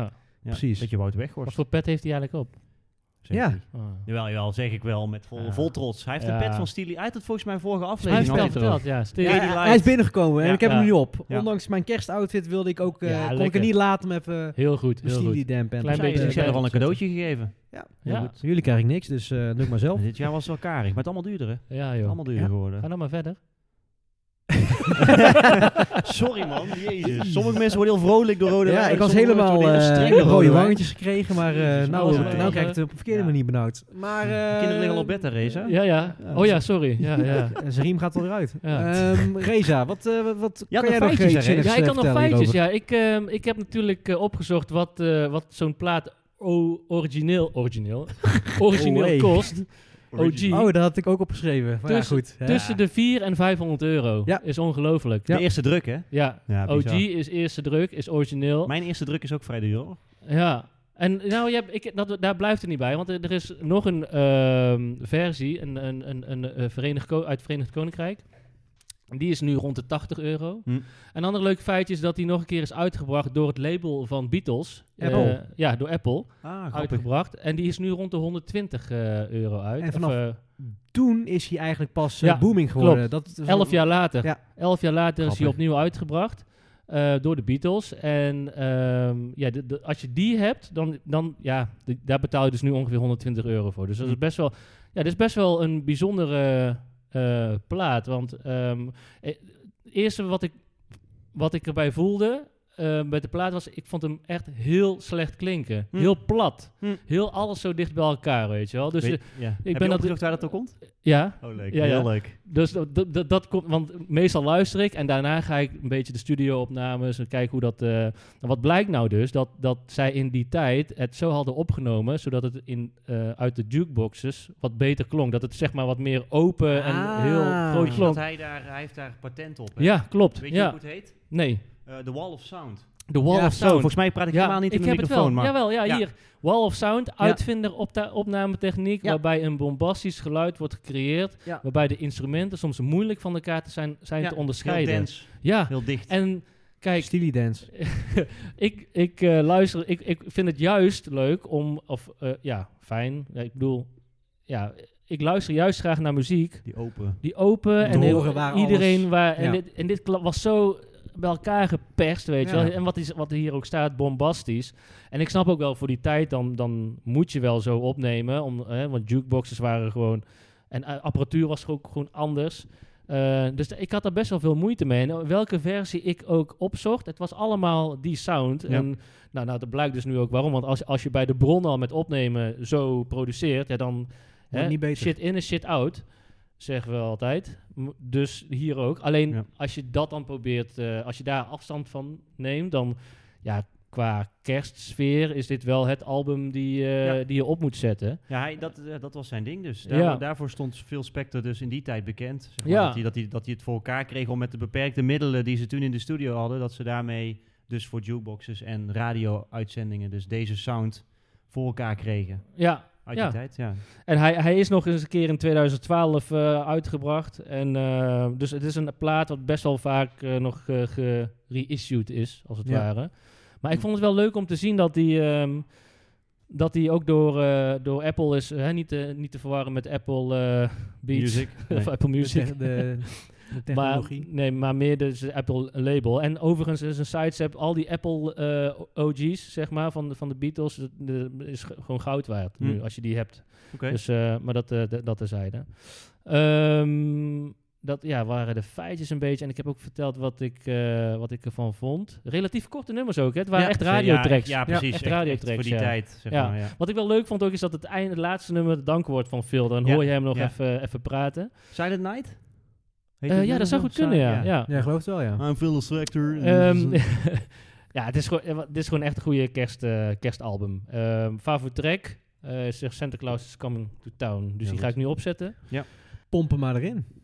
S1: Ja,
S3: Precies.
S1: Dat je Wout
S2: Wat
S1: Weghorst.
S2: voor pet heeft hij eigenlijk op?
S1: zegt
S3: Ja.
S1: hij.
S2: Oh.
S1: Jawel, jawel, zeg ik wel, met vol,
S2: Ja.
S1: vol trots. Hij heeft
S2: Ja.
S1: een pet van Steely. Hij had het volgens mij vorige
S2: Hij heeft
S1: aflevering
S2: het
S1: al
S2: al
S1: even
S2: verteld, ja. Stil.
S3: Ja,
S1: Lady
S3: hij-
S1: Light.
S3: hij is binnengekomen en
S1: Ja.
S3: ik heb
S2: Ja.
S3: hem nu op.
S1: Ja.
S3: Ondanks mijn kerstoutfit wilde ik ook, eh,
S2: Ja,
S3: kon ik
S2: lekker.
S3: het niet laten om even eh,
S2: Heel goed, heel
S3: misschien die
S2: goed.
S3: dampen. Dus, eh,
S2: Klein
S1: Zij
S2: beetje
S1: is- ik heb er al een
S2: erbij
S1: cadeautje gegeven.
S3: Ja.
S1: Heel
S2: Ja.
S1: goed.
S3: Jullie krijgen niks, dus eh doe ik maar zelf.
S1: Maar Dit jaar was het wel karig, maar het allemaal duurder, hè?
S2: Ja, joh.
S1: Allemaal duurder
S3: Ja.
S2: Ga
S1: geworden.
S2: nou maar verder.
S1: Sorry, man. Jezus. Sommige mensen worden heel vrolijk door rode
S3: ja,
S1: wijn,
S3: ik was
S1: sommige mensen
S3: helemaal
S1: worden heel streng
S3: eh
S1: door
S3: rode
S1: wijn.
S3: wangetjes gekregen, maar eh,
S1: Jezus,
S3: nou,
S2: alles
S3: eh,
S2: wel,
S3: nou
S2: hè?
S3: krijg ik het op de verkeerde
S1: Ja.
S3: manier benauwd. Maar, eh,
S1: Kinderen liggen al op bed, hè, Reza?
S2: Ja, ja.
S3: Ja,
S2: Oh ja, sorry. Ja, ja.
S3: En zijn riem gaat eruit.
S2: Ja.
S3: Ehm, Reza, wat, eh, wat, wat
S1: had
S3: kan jij
S1: nog
S3: nog
S1: feitjes,
S3: iets
S1: hè,
S3: zinnigs,
S2: Ja, ik
S3: eh,
S2: kan nog
S3: vertellen
S2: feitjes.
S3: hierover?
S2: Ja, ik, ehm, ik heb natuurlijk eh, opgezocht wat, eh, wat zo'n plaat o- origineel, origineel, origineel
S3: Oh, hey.
S2: kost. OG.
S3: Oh, dat had ik ook opgeschreven. Maar
S2: Tussen-
S3: ja, goed. Ja.
S2: Tussen de 400 en 500 euro.
S3: Ja.
S2: Is ongelooflijk.
S1: De
S2: Ja.
S1: eerste druk, hè?
S2: OG is eerste druk, is origineel.
S1: Mijn eerste druk is ook vrij duur, hoor.
S2: Ja. En nou, je hebt, ik, dat, daar blijft het niet bij, want er er is nog een ehm, versie een, een, een, een, eh, Verenigd Ko- uit het Verenigd Koninkrijk. En Die is nu rond de 80 euro.
S1: Hm.
S2: Een ander leuk feitje is dat die nog een keer is uitgebracht door het label van Beatles.
S3: Apple.
S2: Eh, ja, door Apple.
S1: Ah, grappig.
S2: uitgebracht. En die is nu rond de 120 eh, euro uit.
S3: En
S2: Of,
S3: vanaf
S2: eh,
S3: Toen is hij eigenlijk pas eh,
S2: Ja,
S3: booming geworden. Dat, was-
S2: elf jaar later.
S3: Ja.
S2: Elf jaar later is hij
S1: Grappig.
S2: opnieuw uitgebracht. eh, door de Beatles. En ehm, ja, de- de- als je die hebt, dan, dan ja, de- daar betaal je dus nu ongeveer 120 euro voor. Dus dat is
S1: Hm.
S2: best wel, ja, dat is best wel een bijzondere eh, e, plaat. Want ehm, eh, het eerste wat ik, wat ik erbij voelde, eh, eh, met de plaat was, ik vond hem echt heel slecht klinken.
S1: Hm.
S2: Heel plat.
S1: Hm.
S2: Heel alles zo dicht bij elkaar, weet je wel. Dus
S1: Weet-
S2: eh,
S1: ja. Heb
S2: ben
S1: je
S2: dat-
S1: opgezocht waar dat door komt?
S2: ja,
S1: Oh, leuk.
S2: Ja,
S1: Heel
S2: ja.
S1: leuk.
S2: dus dat, dat, dat, dat komt, want meestal luister ik en daarna ga ik een beetje de studio-opnames en kijken hoe dat. eh, en wat blijkt nou dus? Dat, dat zij in die tijd het zo hadden opgenomen, zodat het in, eh, uit de jukeboxes wat beter klonk. Dat het zeg maar wat meer open en
S3: Ah.
S2: heel groot
S3: Ja,
S2: klonk.
S1: hij, daar, hij heeft daar patent op.
S2: Ja, klopt.
S1: Weet je
S2: ja.
S1: hoe het heet?
S2: Nee.
S1: Eh, The Wall of Sound.
S2: The Wall
S3: Ja,
S2: of
S1: Zo,
S2: Sound.
S1: volgens mij praat ik helemaal niet
S2: ik
S1: in de
S2: heb
S1: microfoon.
S2: het wel.
S1: Maar
S2: Jawel, ja,
S1: Ja.
S2: hier. Wall of Sound,
S1: Ja.
S2: uitvinder op opnametechniek,
S1: Ja.
S2: waarbij een bombastisch geluid wordt gecreëerd,
S1: Ja.
S2: waarbij de instrumenten soms moeilijk van elkaar te zijn, zijn
S1: Ja,
S2: te
S1: Heel
S2: onderscheiden.
S1: dense,
S2: Ja,
S1: heel dicht.
S2: en kijk,
S3: Steely Dance.
S2: ik, ik eh, luister, ik, ik vind het juist leuk om, of eh, ja, fijn, ja, ik bedoel, ja, ik luister juist graag naar muziek
S1: die open.
S2: die open en
S3: Te
S2: heel-
S3: horen waar
S2: iedereen
S3: alles-
S2: waar. En,
S3: ja.
S2: dit, en dit kla- was zo bij elkaar geperst, weet je
S1: Ja.
S2: wel. En wat, is, wat hier ook staat, bombastisch. En ik snap ook wel, voor die tijd dan, dan moet je wel zo opnemen. Om, hè, want jukeboxes waren gewoon... En eh, apparatuur was ook gewoon anders. Eh, dus ik had daar best wel veel moeite mee. En welke versie ik ook opzocht, het was allemaal die sound.
S1: Ja.
S2: En nou, nou, dat blijkt dus nu ook waarom. Want als, als je bij de bron al met opnemen zo produceert, ja, dan
S3: Wordt niet beter.
S2: shit in en shit out, zeggen we altijd. M- Dus hier ook. Alleen
S1: Ja.
S2: als je dat dan probeert, eh, als je daar afstand van neemt, dan ja, qua kerstsfeer is dit wel het album die, eh,
S1: Ja.
S2: die je op moet zetten.
S1: Ja, hij, dat, eh, dat was zijn ding dus. Daar-
S2: Ja.
S1: Daarvoor stond Phil Spector dus in die tijd bekend. Zeg maar,
S2: Ja.
S1: dat, hij, dat, hij, dat hij het voor elkaar kreeg om met de beperkte middelen die ze toen in de studio hadden, dat ze daarmee dus voor jukeboxes en radio-uitzendingen dus deze sound voor elkaar kregen.
S2: Ja,
S1: Uit
S2: Ja.
S1: die tijd, ja.
S2: En hij, hij is nog eens een keer in 2012 eh, uitgebracht. En, eh, dus het is een plaat wat best wel vaak eh, nog eh, gereissued is, als het
S3: Ja.
S2: ware. Maar ik vond het wel leuk om te zien dat die, ehm, dat die ook door, eh, door Apple is... hè, niet, te, niet te verwarren met Apple eh Beats
S1: Music.
S2: [laughs] of eh, Apple Music.
S3: De,
S2: [laughs]
S3: de, de technologie.
S2: Maar, nee, maar meer dus de Apple label. En overigens is een sidestep, al die Apple eh, OG's, zeg maar, van, de- van de Beatles, dat- dat is ge- gewoon goud waard nu,
S3: Hm.
S1: Hmm.
S2: als je die hebt.
S1: Oké.
S2: Dus, eh, maar dat, eh dat terzijde. Ehm dat ja, waren de feitjes een beetje. En ik heb ook verteld wat ik, eh, wat ik ervan vond. Relatief korte nummers ook. Hè? Het waren
S1: Ja,
S2: echt
S1: zo,
S2: radiotracks.
S1: Ja, ja, precies.
S2: echt
S1: Echt- echt
S2: radiotracks,
S1: Voor die
S2: ja.
S1: tijd, zeg
S2: Ja.
S1: maar, ja.
S2: Wat ik wel leuk vond ook is dat het, einde, het laatste nummer het dankwoord van Phil. Dan
S1: Ja,
S2: hoor je hem nog
S1: ja.
S2: even, even praten.
S1: Silent Night?
S2: Eh, ja, dat zou goed kunnen, ja. ja.
S3: ja, geloof het wel, ja.
S1: I'm Phil Spector.
S2: Ehm, [laughs] ja, het is, gewoon, eh, wa- dit is gewoon echt een goede kerst, eh, kerstalbum. Ehm favoriet track eh, is Santa Claus is Coming to Town. Dus die
S1: goed.
S2: ga ik nu opzetten.
S3: Pompen maar erin.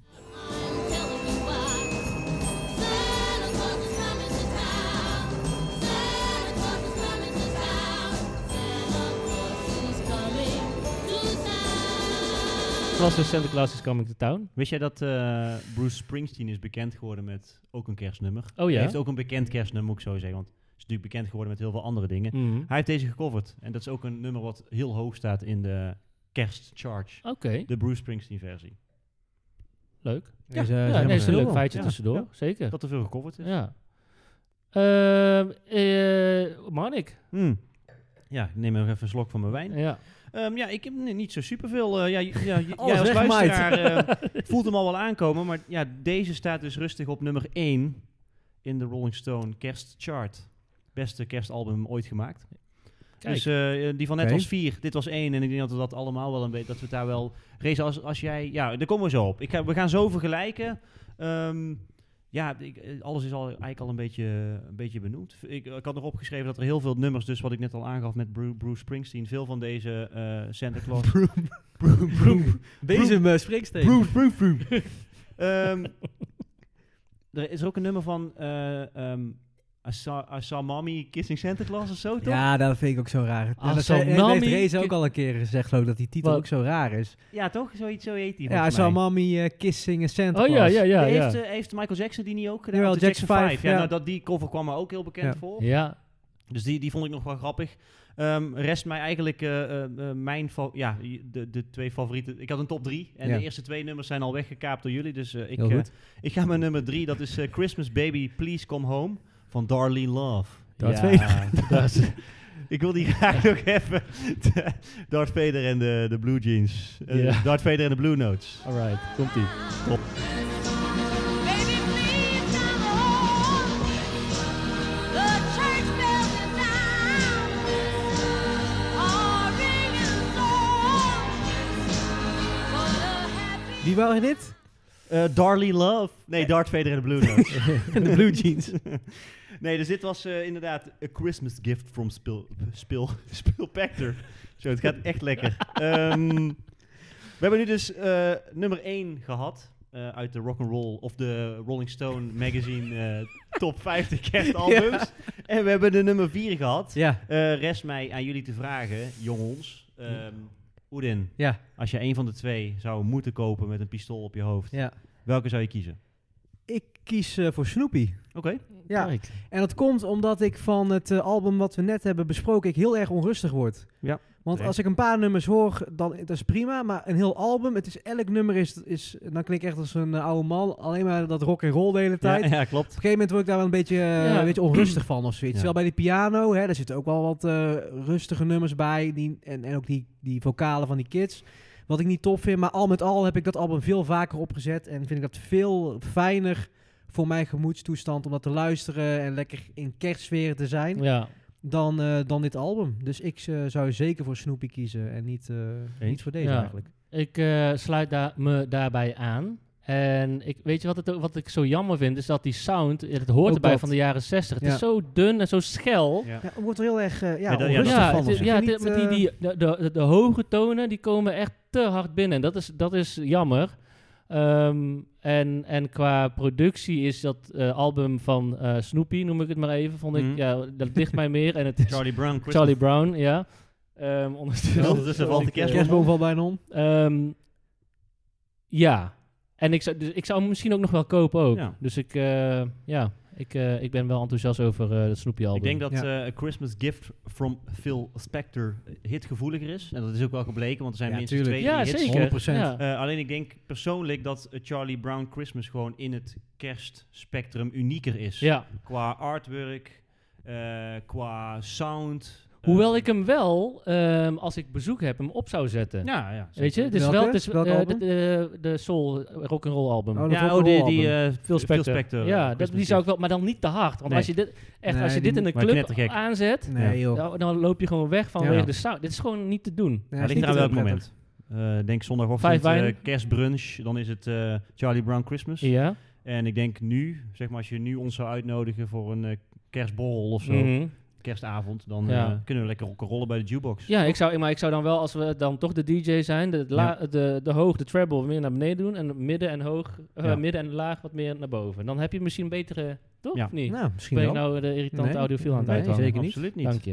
S2: Het was dus Santa Claus is Coming to Town.
S1: Wist jij dat eh, Bruce Springsteen is bekend geworden met ook een kerstnummer?
S2: Oh ja?
S1: Hij heeft ook een bekend kerstnummer, moet ik zo zeggen. Want hij is natuurlijk bekend geworden met heel veel andere dingen.
S2: Mhm.
S1: Hij heeft deze gecoverd. En dat is ook een nummer wat heel hoog staat in de kerstcharge.
S2: Oké,
S1: De Bruce Springsteen versie.
S2: leuk.
S3: Ja, dus, eh,
S2: Ja,
S3: zijn
S2: nee,
S3: we
S2: is een
S3: er
S2: leuk
S3: wel.
S2: feitje
S1: Ja,
S2: tussendoor,
S1: ja.
S2: zeker.
S1: Dat er veel gecoverd is.
S2: ja. Ehm eh, Marnik.
S1: Hmm. Ja, ik neem nog even een slok van mijn wijn.
S2: Ja.
S1: Ehm, ja, ik heb ni- niet zo superveel. eh ja, j- ja, j-
S3: Alles
S1: jij als
S3: weggemaakt.
S1: luisteraar
S2: [laughs]
S1: eh, voelt hem al wel aankomen. Maar ja, deze staat dus rustig op nummer 1 in de Rolling Stone kerstchart. Beste kerstalbum ooit gemaakt.
S2: Kijk.
S1: Dus eh, die van net
S3: Oké.
S1: was 4, dit was 1. En ik denk dat we dat allemaal wel een beetje, dat we daar wel... Reza, als, als jij... Ja, daar komen we zo op. Ik ga, we gaan zo vergelijken. Ehm, ja, ik, eh, alles is al, eigenlijk al een beetje, een beetje benoemd. V- Ik, ik had nog opgeschreven dat er heel veel nummers, dus wat ik net al aangaf met Bru- Bruce Springsteen, veel van deze eh, Santa Claus...
S3: Bezem uh, spreeksteen.
S1: Ehm, er is er ook een nummer van eh ehm I, saw, I Saw Mommy Kissing Santa Claus of zo, toch?
S3: Ja, dat vind ik ook zo raar.
S2: Ah,
S3: En dat zei- dat
S2: Salami-
S3: heeft Reza ook al een keer gezegd, geloof ik, dat die titel
S2: Wat?
S3: ook zo raar is.
S1: Ja, toch? Zoiets, zo heet die
S3: Ja, hij
S1: volgens
S3: zou
S1: mij.
S3: Mommy eh, Kissing a Santa
S2: Oh ja,
S3: Claus.
S2: ja, ja.
S1: Die
S2: Ja,
S1: Heeft, eh, heeft Michael Jackson die niet ook gedaan?
S3: Jawel,
S1: Of de Jackson,
S3: Jackson
S1: 5.
S3: vijf,
S1: Ja,
S3: ja.
S1: nou, dat, die cover kwam me ook heel bekend
S3: Ja.
S1: voor.
S2: ja.
S1: Dus die, die vond ik nog wel grappig. Ehm, rest mij eigenlijk eh, eh, eh, mijn... fa- Ja, de, de twee favorieten. Ik had een top drie. En
S3: Ja.
S1: de eerste twee nummers zijn al weggekaapt door jullie. Dus eh, ik,
S3: Heel
S1: eh,
S3: goed.
S1: ik ga met nummer drie. Dat is eh, Christmas Baby, Please Come Home van Darlene Love. [laughs]
S3: Darth
S2: ja,
S3: Vader.
S2: dat is-
S1: Ik wil die [laughs] graag nog even... de- Darth Vader en de, de Blue Jeans. Eh,
S2: Ja.
S1: Darth Vader en de Blue Notes.
S2: Alright, komt ie.
S6: Baby, please come home. The
S3: Wie waren dit?
S1: Eh, Darley Love. Nee, Darth Vader en de Blue Notes.
S3: [laughs] En de Blue Jeans.
S1: [laughs] nee, dus dit was eh, inderdaad A Christmas Gift from Spil... Spil... [laughs] Spilpector. Zo, het gaat echt
S3: [laughs]
S1: lekker. Ehm, we hebben nu dus eh, nummer 1 gehad. eh, uit de rock and roll of de Rolling Stone magazine eh, top
S3: [laughs]
S1: 50 kerstalbums. En we hebben de nummer 4 gehad.
S3: Ja,
S1: Eh, rest mij aan jullie te vragen, jongens. Ehm Oedin,
S3: ja,
S1: als je een van de twee zou moeten kopen met een pistool op je hoofd,
S3: ja.
S1: welke zou je kiezen?
S3: Ik kies eh, voor Snoopy.
S1: Oké.
S3: Ja.
S2: Kijk.
S3: En dat komt omdat ik van het eh, album wat we net hebben besproken, ik heel erg onrustig word.
S1: Ja.
S3: Want als ik een paar nummers hoor, dan dat is prima. Maar een heel album, het is elk nummer is, is dan klink ik echt als een eh, oude man. Alleen maar dat rock en roll de hele tijd.
S1: Ja, ja, klopt.
S3: Op een gegeven moment word ik daar wel een beetje, eh,
S2: Ja.
S3: een beetje onrustig van of zoiets.
S1: Ja.
S3: Terwijl bij die piano, hè, daar zitten ook wel wat eh, rustige nummers bij. Die, en, en ook die, die vocalen van die kids. Wat ik niet top vind. Maar al met al heb ik dat album veel vaker opgezet. En vind ik dat veel fijner voor mijn gemoedstoestand. Om dat te luisteren en lekker in kerstsfeer te zijn.
S2: Ja.
S3: Dan, eh, dan dit album. Dus ik eh, zou zeker voor Snoopy kiezen. En niet, eh, niet voor deze
S2: Ja.
S3: eigenlijk.
S2: Ik eh, sluit daar, me daarbij aan. En ik, weet je wat, het, ook- wat ik zo jammer vind? Is dat die sound, eh, dat
S1: Oh
S2: hoort
S3: Ook
S2: erbij
S3: dat.
S2: van de jaren 60. Het
S3: Ja.
S2: is zo dun en zo schel.
S1: Ja.
S3: Ja, ik word er heel erg eh, ja,
S1: Ja, dat- ja,
S3: onrustig
S1: dat-
S3: van.
S2: het
S3: of
S2: is-
S3: zo.
S2: ja,
S3: Ik vind
S2: het- maar
S3: niet, eh,
S2: die, die, de, de, de, de hoge tonen die komen echt te hard binnen. En dat is, dat is jammer. Ehm, en, en qua productie is dat eh, album van eh, Snoopy, noem ik het maar even, vond ik,
S1: Mhm.
S2: ja, dat ligt mij meer. En het is Charlie,
S1: [laughs] Charlie Brown. Christmas.
S2: Brown, ja. Ehm ondertussen
S1: Oh, ondertussen valt de
S2: ik, eh,
S3: eh, kerstboom valt bijna om.
S2: Ehm, ja. En ik zou, dus ik zou hem misschien ook nog wel kopen ook.
S1: Ja.
S2: Dus ik, eh, ja, ik, eh, ik ben wel enthousiast over eh het Snoopy album.
S1: Ik denk dat
S3: Ja.
S1: eh, A Christmas Gift from Phil Spector hitgevoeliger is. En dat is ook wel gebleken, want er zijn
S3: Ja,
S1: minstens
S3: tuurlijk.
S1: twee
S2: ja,
S1: die hits.
S2: zeker.
S3: 100%.
S2: Ja.
S1: Eh, alleen ik denk persoonlijk dat eh, Charlie Brown Christmas gewoon in het kerstspectrum unieker is.
S2: ja.
S1: Qua artwork, eh, qua sound.
S2: Hoewel
S1: eh,
S2: ik hem wel, ehm, als ik bezoek heb, hem op zou zetten.
S1: Ja, ja.
S2: Weet je, het is
S3: Welke?
S2: wel het is,
S3: Welk
S2: eh, de,
S3: album?
S2: de, de Soul rock'n'roll album.
S3: Oh, dat
S1: Ja,
S3: rock'n'roll
S1: oh, die, die
S3: album.
S1: eh, Phil
S2: Phil Spector.
S1: Spector.
S2: ja, dat, die zou ik
S1: ook.
S2: wel, maar dan niet te hard. Want
S1: Nee.
S2: als je dit, echt, als je
S3: Nee,
S2: dit in een
S1: maar
S2: club
S1: knettergek.
S2: aanzet,
S3: Nee, joh.
S2: dan, dan loop je gewoon weg vanwege
S1: Ja.
S2: de sound. Dit is gewoon niet te doen.
S3: Nee,
S1: Maar
S3: is
S1: ligt nou
S3: niet
S1: eraan welk
S3: heel prettig.
S1: moment. Eh, denk zondagochtend,
S2: Vijf wijn.
S1: eh, kerstbrunch, dan is het eh, Charlie Brown Christmas.
S2: Ja.
S1: En ik denk nu, zeg maar als je nu ons zou uitnodigen voor een eh, kerstborrel of zo,
S2: Mhm.
S1: kerstavond, dan
S2: Ja.
S1: eh, kunnen we lekker rollen bij de jukebox.
S2: Ja, ik zou, maar ik zou dan wel, als we dan toch de DJ zijn, de, la- de, de hoog, de treble meer naar beneden doen. En midden en hoog, eh,
S1: Ja.
S2: midden en laag wat meer naar boven. Dan heb je misschien een betere, toch?
S1: Ja.
S2: Of niet?
S3: Nou, misschien
S2: ben ik
S3: wel.
S2: nou de irritante
S3: Nee.
S2: audiofiel aan het
S3: Nee,
S2: uithangen? Oh,
S3: zeker niet.
S1: Absoluut niet.
S2: Dank je.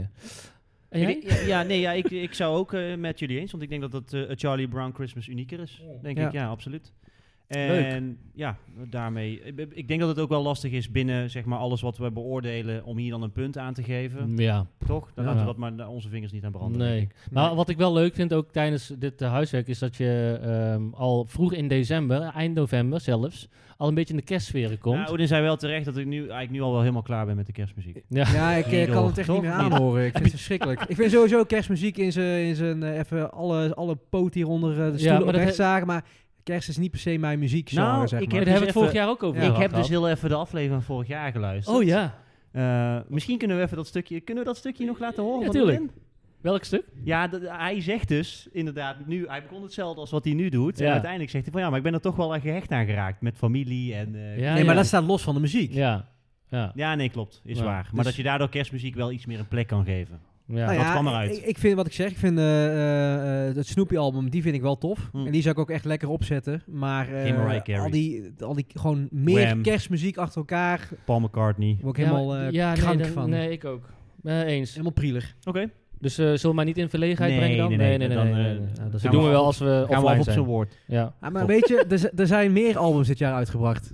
S2: En
S1: Ik
S2: jij?
S1: denk- ja, ja, nee, ja, ik, ik zou ook eh, met jullie eens, want ik denk dat het eh, Charlie Brown Christmas unieker is. Denk
S3: Ja.
S1: ik, ja, absoluut.
S2: Leuk.
S1: En ja, daarmee. Ik, ik denk dat het ook wel lastig is binnen zeg maar, alles wat we beoordelen om hier dan een punt aan te geven.
S2: Ja,
S1: Toch? Dan
S2: Mm. Ja.
S1: laten we dat maar eh, onze vingers niet aan branden. denk
S2: nee.
S1: ik.
S2: Maar wat ik wel leuk vind ook tijdens dit eh, huiswerk is dat je ehm, al vroeg in december, eind november zelfs, al een beetje in de kerstsferen komt.
S1: Nou, Odin zei wel terecht dat ik nu eigenlijk nu al wel helemaal klaar ben met de kerstmuziek.
S2: ja.
S3: [laughs] Ja, ik eh,
S1: Nee,
S3: kan
S1: joh.
S3: het echt
S1: Toch
S3: niet meer
S1: niet.
S3: aanhoren. Ik vind het verschrikkelijk. Ik vind sowieso kerstmuziek in zijn, in zijn eh, even alle, alle poot hieronder eh, de stoelen
S2: maar dat
S3: ja,
S2: he-
S3: zagen. Maar kerst is niet per se mijn muziek.
S1: Nou,
S3: zeg
S1: ik
S2: Daar
S3: maar.
S1: heb
S2: hebben we
S1: dus
S2: het vorig
S1: even-
S2: jaar ook over
S3: Ja.
S1: ik heb
S2: gehad.
S1: dus heel even de aflevering van vorig jaar geluisterd.
S2: Oh ja,
S1: Eh, misschien kunnen we even dat stukje, kunnen we dat stukje nog laten horen?
S2: Ja,
S1: van
S2: tuurlijk.
S1: Odin?
S2: welk stuk?
S1: Ja, dat- hij zegt dus inderdaad nu, hij begon hetzelfde als wat hij nu doet.
S2: Ja.
S1: En uiteindelijk zegt hij van ja, maar ik ben er toch wel aan gehecht aan geraakt met familie en... eh,
S2: Ja,
S3: nee, maar
S2: ja.
S3: dat staat los van de muziek.
S2: Ja, ja.
S1: ja, nee, klopt. Is
S2: Ja.
S1: waar. Maar
S3: Dus-
S1: dat je daardoor kerstmuziek wel iets meer een plek kan geven.
S2: ja.
S3: Nou
S1: dat kwam eruit.
S3: Ik, ik vind wat ik zeg, ik vind eh, eh, eh, het Snoopy-album, die vind ik wel tof.
S1: Hm.
S3: En die zou ik ook echt lekker opzetten. Maar eh,
S1: Geen Mariah Carey.
S3: al, die, al die gewoon meer
S1: Wham.
S3: kerstmuziek achter elkaar, daar
S1: Paul McCartney.
S3: word ik
S2: Ja,
S3: helemaal
S2: maar-
S3: eh,
S2: ja, nee,
S3: krank
S2: dan-
S3: van.
S2: Nee, ik ook. Eh, eens.
S3: Helemaal prieler.
S1: Oké.
S2: Dus eh zullen we maar niet in verlegenheid
S1: Nee,
S2: brengen dan?
S1: nee, nee, dan, eh,
S3: dan
S2: Nou, dat
S3: gaan
S2: doen
S1: we
S2: we wel
S1: af-
S2: als we
S1: Gaan we af
S2: eh, offline
S1: op zijn
S2: zijn.
S1: woord.
S2: Ja.
S3: Ah, maar weet je, er, z- er zijn meer albums dit jaar uitgebracht.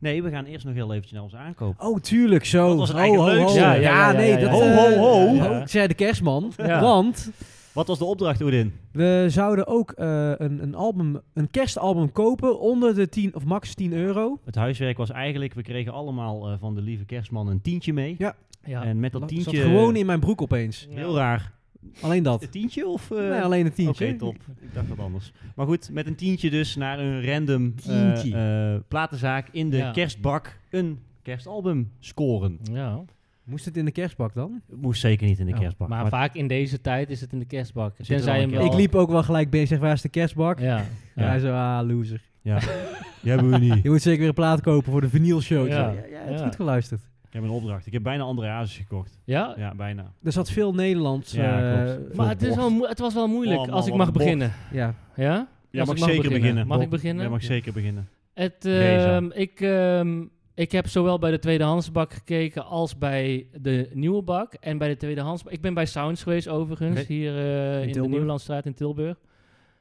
S1: Nee, we gaan eerst nog heel eventjes naar onze aankoop.
S3: Oh, tuurlijk, zo.
S1: Dat was het
S3: Ho,
S1: eigenlijk
S3: ho,
S1: leukste.
S3: ho.
S2: Ja,
S3: Ja,
S2: ja, ja, ja,
S3: nee,
S2: ja,
S3: dat...
S1: ja.
S3: eh,
S1: Ho, ho, ho.
S3: ja,
S2: Ja.
S3: Ik zei de kerstman.
S2: Ja.
S3: Want
S1: Wat was de opdracht, Odin?
S3: we zouden ook eh, een, een, album, een kerstalbum kopen onder de 10 of max 10 euro.
S1: Het huiswerk was eigenlijk, we kregen allemaal eh, van de lieve kerstman een tientje mee.
S2: Ja.
S1: En met dat
S3: Zat
S1: tientje...
S3: gewoon in mijn broek opeens.
S2: Ja.
S1: Heel raar.
S3: Alleen dat.
S1: Een tientje of... eh,
S3: Nee, Nou alleen
S1: Oké,
S3: een tientje.
S1: top. Ik dacht wat anders. Maar goed, met een tientje dus naar een random eh,
S3: Tientje.
S1: eh, platenzaak in de
S2: Ja.
S1: kerstbak een kerstalbum scoren.
S2: Ja.
S3: Moest het in de kerstbak dan?
S1: Moest zeker niet in de
S3: Ja,
S1: kerstbak.
S2: Oh, Maar,
S1: Maar
S2: vaak in deze tijd is het in de kerstbak.
S1: Zit er wel
S2: Tenzij hem
S1: een
S2: wel...
S3: Ik liep ook wel gelijk bezig, waar is de kerstbak?
S2: Ja.
S3: Ja.
S2: ja.
S3: Hij zo, ah, loser.
S1: Ja, die hebben we
S3: [laughs]
S1: niet.
S3: Je moet zeker weer een plaat kopen voor de vinylshow.
S2: Ja.
S3: Ja, ja, het is
S2: Ja.
S3: goed geluisterd.
S1: Ik heb een opdracht. Ik heb bijna andere Hazes gekocht.
S2: Eh, Ja?
S1: Ja, bijna.
S3: Er zat veel Nederlands.
S1: Ja,
S3: eh,
S1: klopt.
S2: Maar het, is wel, mo- het was wel moeilijk,
S1: Oh man,
S2: als ik
S1: wat
S2: mag
S1: een bocht.
S2: beginnen.
S3: ja.
S2: Ja?
S1: Ja,
S2: Als
S1: mag
S2: ik
S1: zeker beginnen.
S2: Mag ik
S1: Bob.
S2: beginnen?
S1: Jij mag zeker beginnen.
S2: Het,
S1: Nee, zo.
S2: ehm, ik, ehm, ik heb zowel bij de tweedehandsbak gekeken als bij de nieuwe bak. En bij de tweedehandsbak. Ik ben bij Sounds geweest overigens,
S1: Oké.
S2: hier eh, in, de
S3: Tilburg?
S2: Nieuwlandstraat in Tilburg.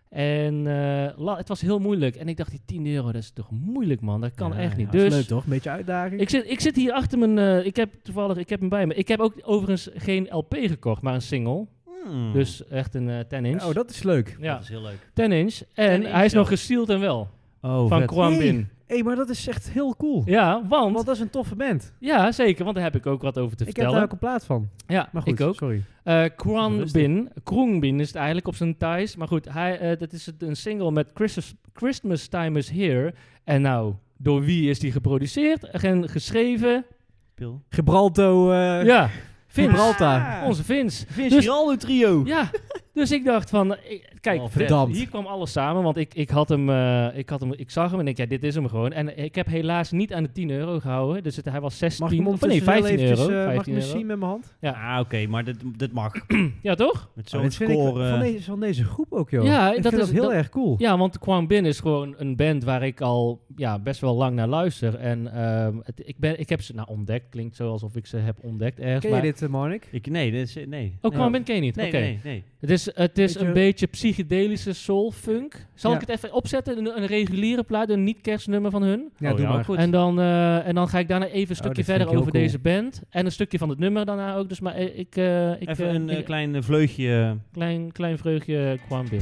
S2: En eh, la- het was heel moeilijk. En ik dacht, die 10 euro, dat is toch moeilijk man? Dat kan
S1: Ja,
S2: echt niet.
S1: ja,
S3: Dat is
S2: dus
S3: leuk toch? Een beetje uitdaging.
S2: ik zit, ik zit hier achter mijn... eh, ik heb toevallig, ik heb hem bij me. Ik heb ook overigens geen LP gekocht, maar een single.
S1: Hmm.
S2: Dus echt een eh 10 inch.
S3: oh, dat is leuk.
S2: ja,
S1: is heel leuk.
S2: 10 inch. En
S1: 10
S2: hij is
S1: inch,
S2: nog
S1: ja.
S2: gesteeld en wel.
S1: Oh,
S2: van
S1: vet.
S2: Kwan
S3: Hey.
S2: Bin.
S3: Hé, maar dat is echt heel cool.
S2: Ja, want
S3: Want dat is een toffe band.
S2: Ja, zeker, want daar heb ik ook wat over te
S3: Ik heb
S2: vertellen.
S3: daar ook een plaat van.
S2: ja,
S3: Maar goed,
S2: ik ook.
S3: sorry.
S2: Eh Kwan
S1: Rustig.
S2: Bin, Kroon Bin is het eigenlijk op zijn Thais. Maar goed, hij, eh, dat is het- een single met Christus- Christmas Time is Here. En nou, door wie is die geproduceerd en geschreven?
S1: Pil.
S3: Gibralto. eh
S2: ja, Vince.
S3: Gibraltar.
S2: Onze Vince.
S1: Vince
S2: Dus-
S1: Giraldo trio.
S2: Ja, dus ik dacht van, ik- kijk,
S1: Oh,
S2: dit-
S3: verdampt.
S2: hier kwam alles samen. Want ik, ik, had hem, eh, ik had hem, ik zag hem en ik ja, dit is hem gewoon. En eh, ik heb helaas niet aan de 10 euro gehouden. Dus het, hij was 16,
S3: Mag ik hem oh,
S2: of nee,
S3: ondertussen
S2: 15
S3: wel eventjes,
S2: euro.
S3: eh, mag
S2: 15
S3: ik hem
S2: euro.
S3: zien met mijn hand?
S1: Ah, oké, maar dit, dit mag.
S2: Ja, toch?
S1: Met
S3: Oh,
S1: zo'n
S3: dit vind ik
S1: score.
S3: van,
S1: eh,
S3: deze, van deze groep ook, joh.
S2: Ja,
S3: ik
S2: dat
S3: vind
S2: is-
S3: dat heel
S2: dat-
S3: erg cool.
S2: Ja, want Kwang Bin is gewoon een band waar ik al ja, best wel lang naar luister. En ehm, het, ik, ben, ik heb ze nou ontdekt. Klinkt zo alsof ik ze heb ontdekt ergens.
S3: Ken je
S2: maar...
S3: dit, eh, Marnik?
S1: ik, nee, dit is, nee.
S2: Oh, Kwang
S1: nee.
S2: Bin ken je niet?
S1: Nee,
S2: Oké.
S1: nee, nee.
S2: Het is, het is
S3: Beetje-
S2: een beetje psychedelische soul-funk. Zal
S3: Ja.
S2: ik het even opzetten? Een, een reguliere plaat, een niet-kerstnummer van hun.
S3: Ja,
S1: Oh,
S3: doe
S1: ja,
S3: maar.
S1: goed.
S2: En dan, eh, en dan ga ik daarna even een
S3: Oh,
S2: stukje
S3: dit vind
S2: verder
S3: ik heel
S2: over
S3: cool.
S2: deze band. En een stukje van het nummer daarna ook. Dus maar eh, ik... eh, ik
S1: Even
S2: eh,
S1: een eh,
S2: ik-
S1: klein eh, vleugje. eh,
S2: klein, klein eh, vreugje Kwang Bin.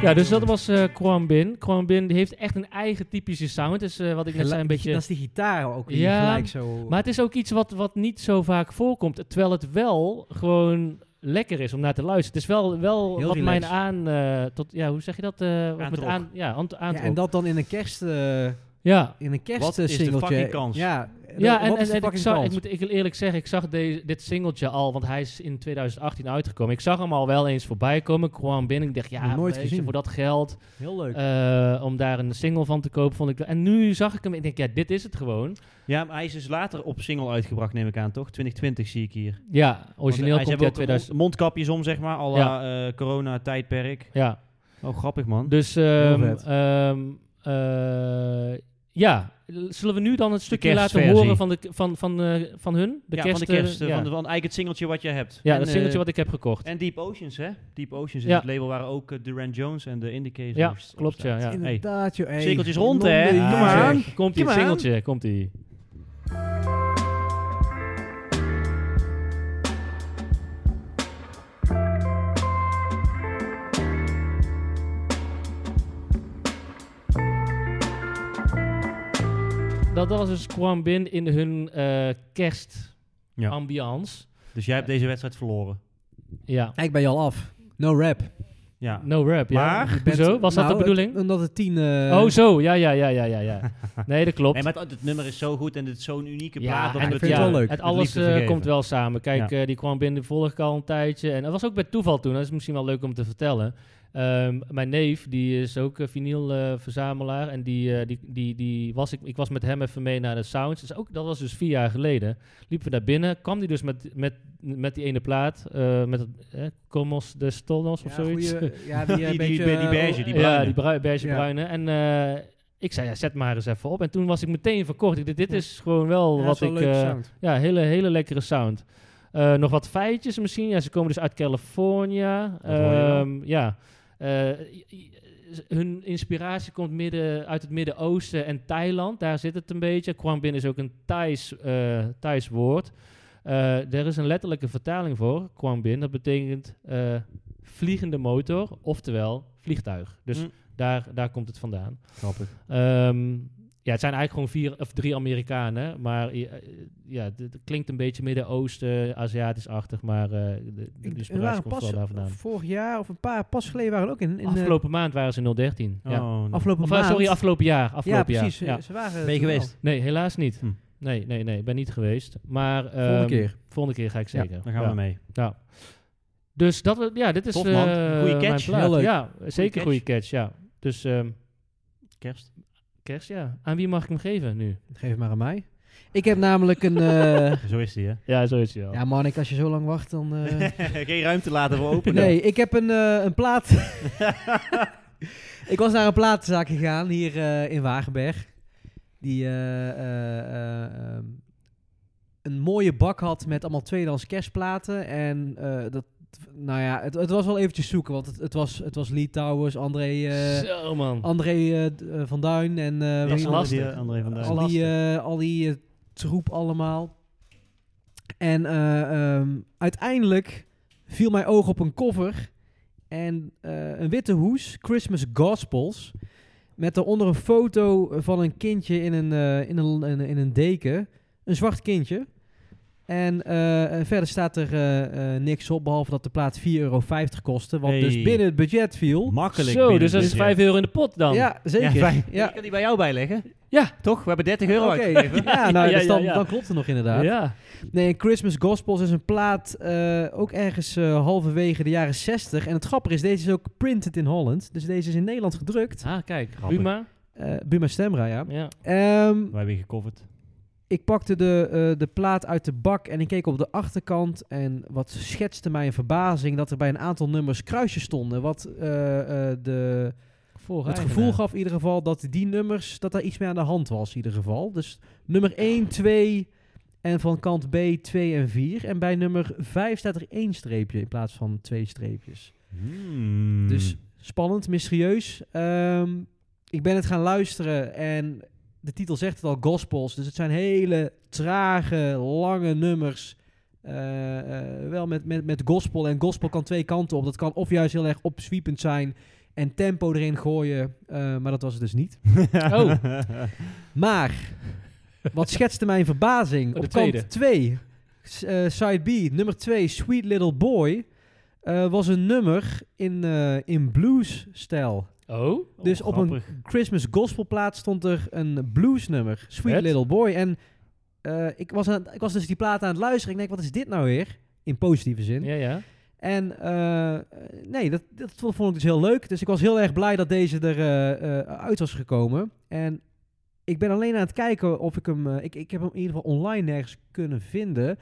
S2: Ja, dus dat was eh Kwang Bin. Kwang Bin die heeft echt een eigen typische sound. Dus eh, wat ik net
S3: Gela-
S2: zei, een
S3: Dat
S2: beetje...
S3: is die gitaar ook die
S2: Ja,
S3: gelijk zo...
S2: Maar het is ook iets wat, wat niet zo vaak voorkomt. Terwijl het wel gewoon lekker is om naar te luisteren. Het is wel, wel
S3: Heel
S2: wat
S3: relaxed.
S2: mijn aan... eh, tot, ja, hoe zeg je dat? eh, wat met
S1: Aantrok.
S2: aan, ja, aan,
S3: ja, en dat dan in een kerst... eh,
S2: ja.
S3: in een kerst eh,
S1: Wat is de
S3: singeltje.
S1: fucking kans?
S3: Ja,
S2: Ja,
S3: wat
S2: en,
S3: is
S2: en,
S3: de
S2: en ik,
S3: fucking
S2: zag, ik
S3: kans?
S2: moet ik eerlijk zeggen, ik zag deze, dit singeltje al, want hij is in 2018 uitgekomen. Ik zag hem al wel eens voorbij komen. Ik kwam binnen, ik dacht, ja,
S3: Nog nooit
S2: weet je,
S3: gezien.
S2: voor dat geld,
S3: Heel leuk.
S2: eh, om daar een single van te kopen, vond ik... En nu zag ik hem, ik denk, ja, dit is het gewoon.
S1: Ja, maar hij is dus later op single uitgebracht, neem ik aan, toch? 2020 zie ik hier.
S2: Ja,
S1: Want, eh,
S2: origineel
S1: hij zei
S2: komt hij
S1: ook
S2: uit 2000...
S1: mond- Mondkapjes om, zeg maar, al eh,
S2: Ja.
S1: corona-tijdperk.
S2: Ja,
S1: Oh, grappig, man.
S2: Dus ehm,
S3: vet.
S2: ehm, eh, ja, zullen we nu dan het stukje laten
S1: kerstversie.
S2: horen van, de, van, van, eh, van hun? De
S1: ja,
S2: kerst,
S1: van de kerst.
S2: eh,
S1: eh,
S2: ja.
S1: Van, de, van eigenlijk het singeltje wat je hebt.
S2: ja,
S1: En,
S2: dat singeltje
S1: eh,
S2: wat ik heb gekocht.
S1: En Deep Oceans, hè? Deep Oceans is
S2: Ja.
S1: het label waar ook eh, Duran Jones en de Indicators
S2: Ja,
S1: op staan.
S2: klopt, ja, ja.
S1: Hey.
S3: Inderdaad, joh. hey.
S1: Cirkeltjes rond, hè?
S3: Londen,
S1: Kom
S3: ja.
S1: aan.
S2: Komt ie,
S1: Come
S2: het
S1: on.
S2: Ah, singeltje, komt ie. Dat, dat was dus Kwam Bin in hun eh
S1: Ja.
S2: kerstambiance.
S1: Dus jij hebt deze wedstrijd verloren.
S2: Ja.
S3: Ik ben je al af. No rap.
S1: Ja.
S2: No rap, ja.
S1: Maar-
S3: Je bent-
S2: Hoezo? Was dat
S3: Nou,
S2: de bedoeling?
S3: het- omdat het tien... eh,
S2: oh, zo. Ja, ja, ja, ja, ja. ja. Nee, dat
S1: [laughs]
S2: klopt.
S1: Nee, maar het, het nummer is zo goed en dit is zo'n unieke plaat. dat
S2: en
S1: we
S2: het-
S3: ik vind
S1: ja,
S3: wel
S2: Het
S3: leuk.
S1: met
S2: alles
S1: liefde
S2: eh,
S1: vergeven.
S2: komt wel samen. Kijk,
S1: Ja.
S2: eh, die kwam binnen, volg ik al een tijdje. En dat was ook bij toeval toen. Dat is misschien wel leuk om te vertellen. Ehm, mijn neef, die is ook een vinylverzamelaar. en die, eh, die, die, die was ik, ik was met hem even mee naar de Sounds. Dus ook, dat was dus vier jaar geleden. Liepen we naar binnen. Kwam die dus met, met, met die ene plaat. eh, met het, eh, Comos de Stolnos of
S3: Ja,
S2: zoiets. [laughs]
S3: goeie- ja, die, eh,
S1: Die- die-
S3: beetje,
S1: die- die
S3: eh,
S1: beige, die
S2: Ja,
S1: bruine.
S2: die brui- beige
S3: Ja.
S2: bruine. En eh, ik zei, ja, zet maar eens even op. En toen was ik meteen verkocht. Ik dacht, dit is gewoon wel
S3: Ja, dat
S2: wat
S3: is wel
S2: ik...
S3: een leuke
S2: eh,
S3: sound.
S2: ja, hele, hele lekkere sound. Eh, nog wat feitjes misschien. Ja, ze komen dus uit California.
S1: Dat hoor je wel.
S2: Ehm, ja. Eh, i- i- s- hun inspiratie komt midden, uit het Midden-Oosten en Thailand. Daar zit het een beetje. Kwambin is ook een Thais, eh, Thais woord. Eh, er is een letterlijke vertaling voor, Kwambin. Dat betekent eh, vliegende motor, oftewel vliegtuig. Dus
S1: Mm. Oh,
S2: daar, daar komt het vandaan.
S1: Grappig.
S2: Ehm, Ja, het zijn eigenlijk gewoon vier of drie Amerikanen. Maar ja, eh, ja, het- het klinkt een beetje Midden-Oosten, Aziatisch-achtig. Maar eh, de- de, de
S3: Ik, er
S2: inspiratie
S3: waren
S2: komt
S3: pas,
S2: wel daar vandaan.
S3: vorig jaar of een paar pas geleden waren er ook in. in eh,
S2: afgelopen maand waren ze 013. Ja.
S1: Oh, nee.
S3: afgelopen
S2: Of, eh,
S3: maand.
S2: sorry, afgelopen jaar.
S3: ja,
S2: Afgelopen
S3: precies.
S2: jaar.
S3: eh,
S2: Ja.
S3: Ze waren
S1: Ben je
S3: toen wel.
S1: geweest?
S2: Nee, helaas niet.
S1: Hm.
S2: Nee, nee, nee. Ik ben niet geweest. Maar,
S3: Volgende
S2: ehm,
S3: keer.
S2: Volgende keer ga ik
S3: Ja,
S2: zeker.
S1: Dan gaan
S2: Ja.
S1: we mee.
S2: Ja. Dus dat, we- ja, dit is
S1: Tof, man.
S2: eh,
S1: Goeie
S2: mijn
S1: catch.
S2: plaat.
S3: Heel leuk.
S2: Ja, zeker
S1: catch.
S2: goede catch. Ja. Dus ehm,
S1: Kerst.
S2: kerst, ja. Aan wie mag ik hem geven nu?
S3: Geef het maar aan mij. Ik heb namelijk een...
S2: [laughs]
S3: eh,
S1: Zo is die, hè? [laughs]
S2: Ja, zo is hij al.
S3: ja, Marnik, als je zo lang wacht, dan... [laughs] eh,
S1: Geen ruimte laten voor openen.
S3: Nee, ik heb een, eh, een plaat. ik was naar een platenzaak gegaan hier eh, in Wagenberg. Die eh, eh, eh, ehm, een mooie bak had met allemaal tweedehands kerstplaten. En eh, dat, nou ja, het, het was wel eventjes zoeken. Want het, het, was, het was Lee Towers, André, eh,
S2: zo, man.
S3: André eh, d- eh, van Duin en eh,
S1: Dat
S3: wie
S1: is
S3: nog?
S1: lastig. André van Duin.
S3: al die, eh, al die eh, troep allemaal. En eh, ehm, uiteindelijk viel mijn oog op een cover en eh, een witte hoes, Christmas Gospels, met daaronder een foto van een kindje in een, eh, in een, in een, in een deken, een zwart kindje. En eh, eh, verder staat er eh, eh, niks op, behalve dat de plaat 4,50 euro kostte, wat dus
S1: Hey.
S3: binnen het budget viel.
S1: Makkelijk.
S2: Zo,
S1: binnen
S2: dus dat
S1: de
S2: is
S1: budget.
S2: 5 euro in de pot dan.
S3: Ja,
S1: Ja,
S3: zeker.
S1: fijn.
S3: Ja.
S7: Ik kan die bij jou bijleggen.
S2: Ja.
S7: Toch? We hebben 30 euro
S3: Oké,
S7: uitgegeven.
S3: ja, nou,
S2: Ja,
S3: dus dan,
S2: ja, ja.
S3: dan klopt het nog inderdaad.
S2: ja.
S3: Nee, en Christmas Gospels is een plaat eh, ook ergens eh, halverwege de jaren 60. En het grappige is, deze is ook printed in Holland. Dus deze is in Nederland gedrukt.
S2: Ah, kijk.
S1: Grappig.
S2: Buma.
S3: Eh Buma Stemra, ja.
S2: Ja.
S3: Ehm,
S1: We hebben je gecoverd.
S3: ik pakte de, eh, de plaat uit de bak en ik keek op de achterkant. En wat schetste mij een verbazing dat er bij een aantal nummers kruisjes stonden. Wat eh, eh, de,
S2: Voor
S3: het gevoel gaf in ieder geval dat die nummers, dat daar iets mee aan de hand was in ieder geval. Dus nummer 1, 2 en van kant B 2 en 4. En bij nummer 5 staat er één streepje in plaats van twee streepjes.
S1: Hmm. [laughs]
S3: Dus spannend, mysterieus. Ehm, ik ben het gaan luisteren en de titel zegt het al, gospels. Dus het zijn hele trage, lange nummers. Eh, eh, wel met, met, met gospel. En gospel kan twee kanten op. Dat kan of juist heel erg opzwiepend zijn en tempo erin gooien. Eh, maar dat was het dus niet.
S2: Oh.
S3: Maar, wat schetste mijn verbazing.
S2: Oh, [laughs] de
S3: op kant
S2: tweede.
S3: 2, side B, nummer 2, Sweet Little Boy... eh, was een nummer in, eh, in blues-stijl.
S2: Oh.
S3: Dus op een Christmas gospelplaat stond er een bluesnummer. Sweet
S2: Vet.
S3: Little Boy. En eh, ik, was aan, ik was dus die plaat aan het luisteren. Ik denk, wat is dit nou weer? In positieve zin.
S2: Ja, ja.
S3: En eh, nee, dat, dat vond ik dus heel leuk. Dus ik was heel erg blij dat deze er eh, eh, uit was gekomen. En ik ben alleen aan het kijken of ik hem... eh, ik, ik heb hem in ieder geval online nergens kunnen vinden.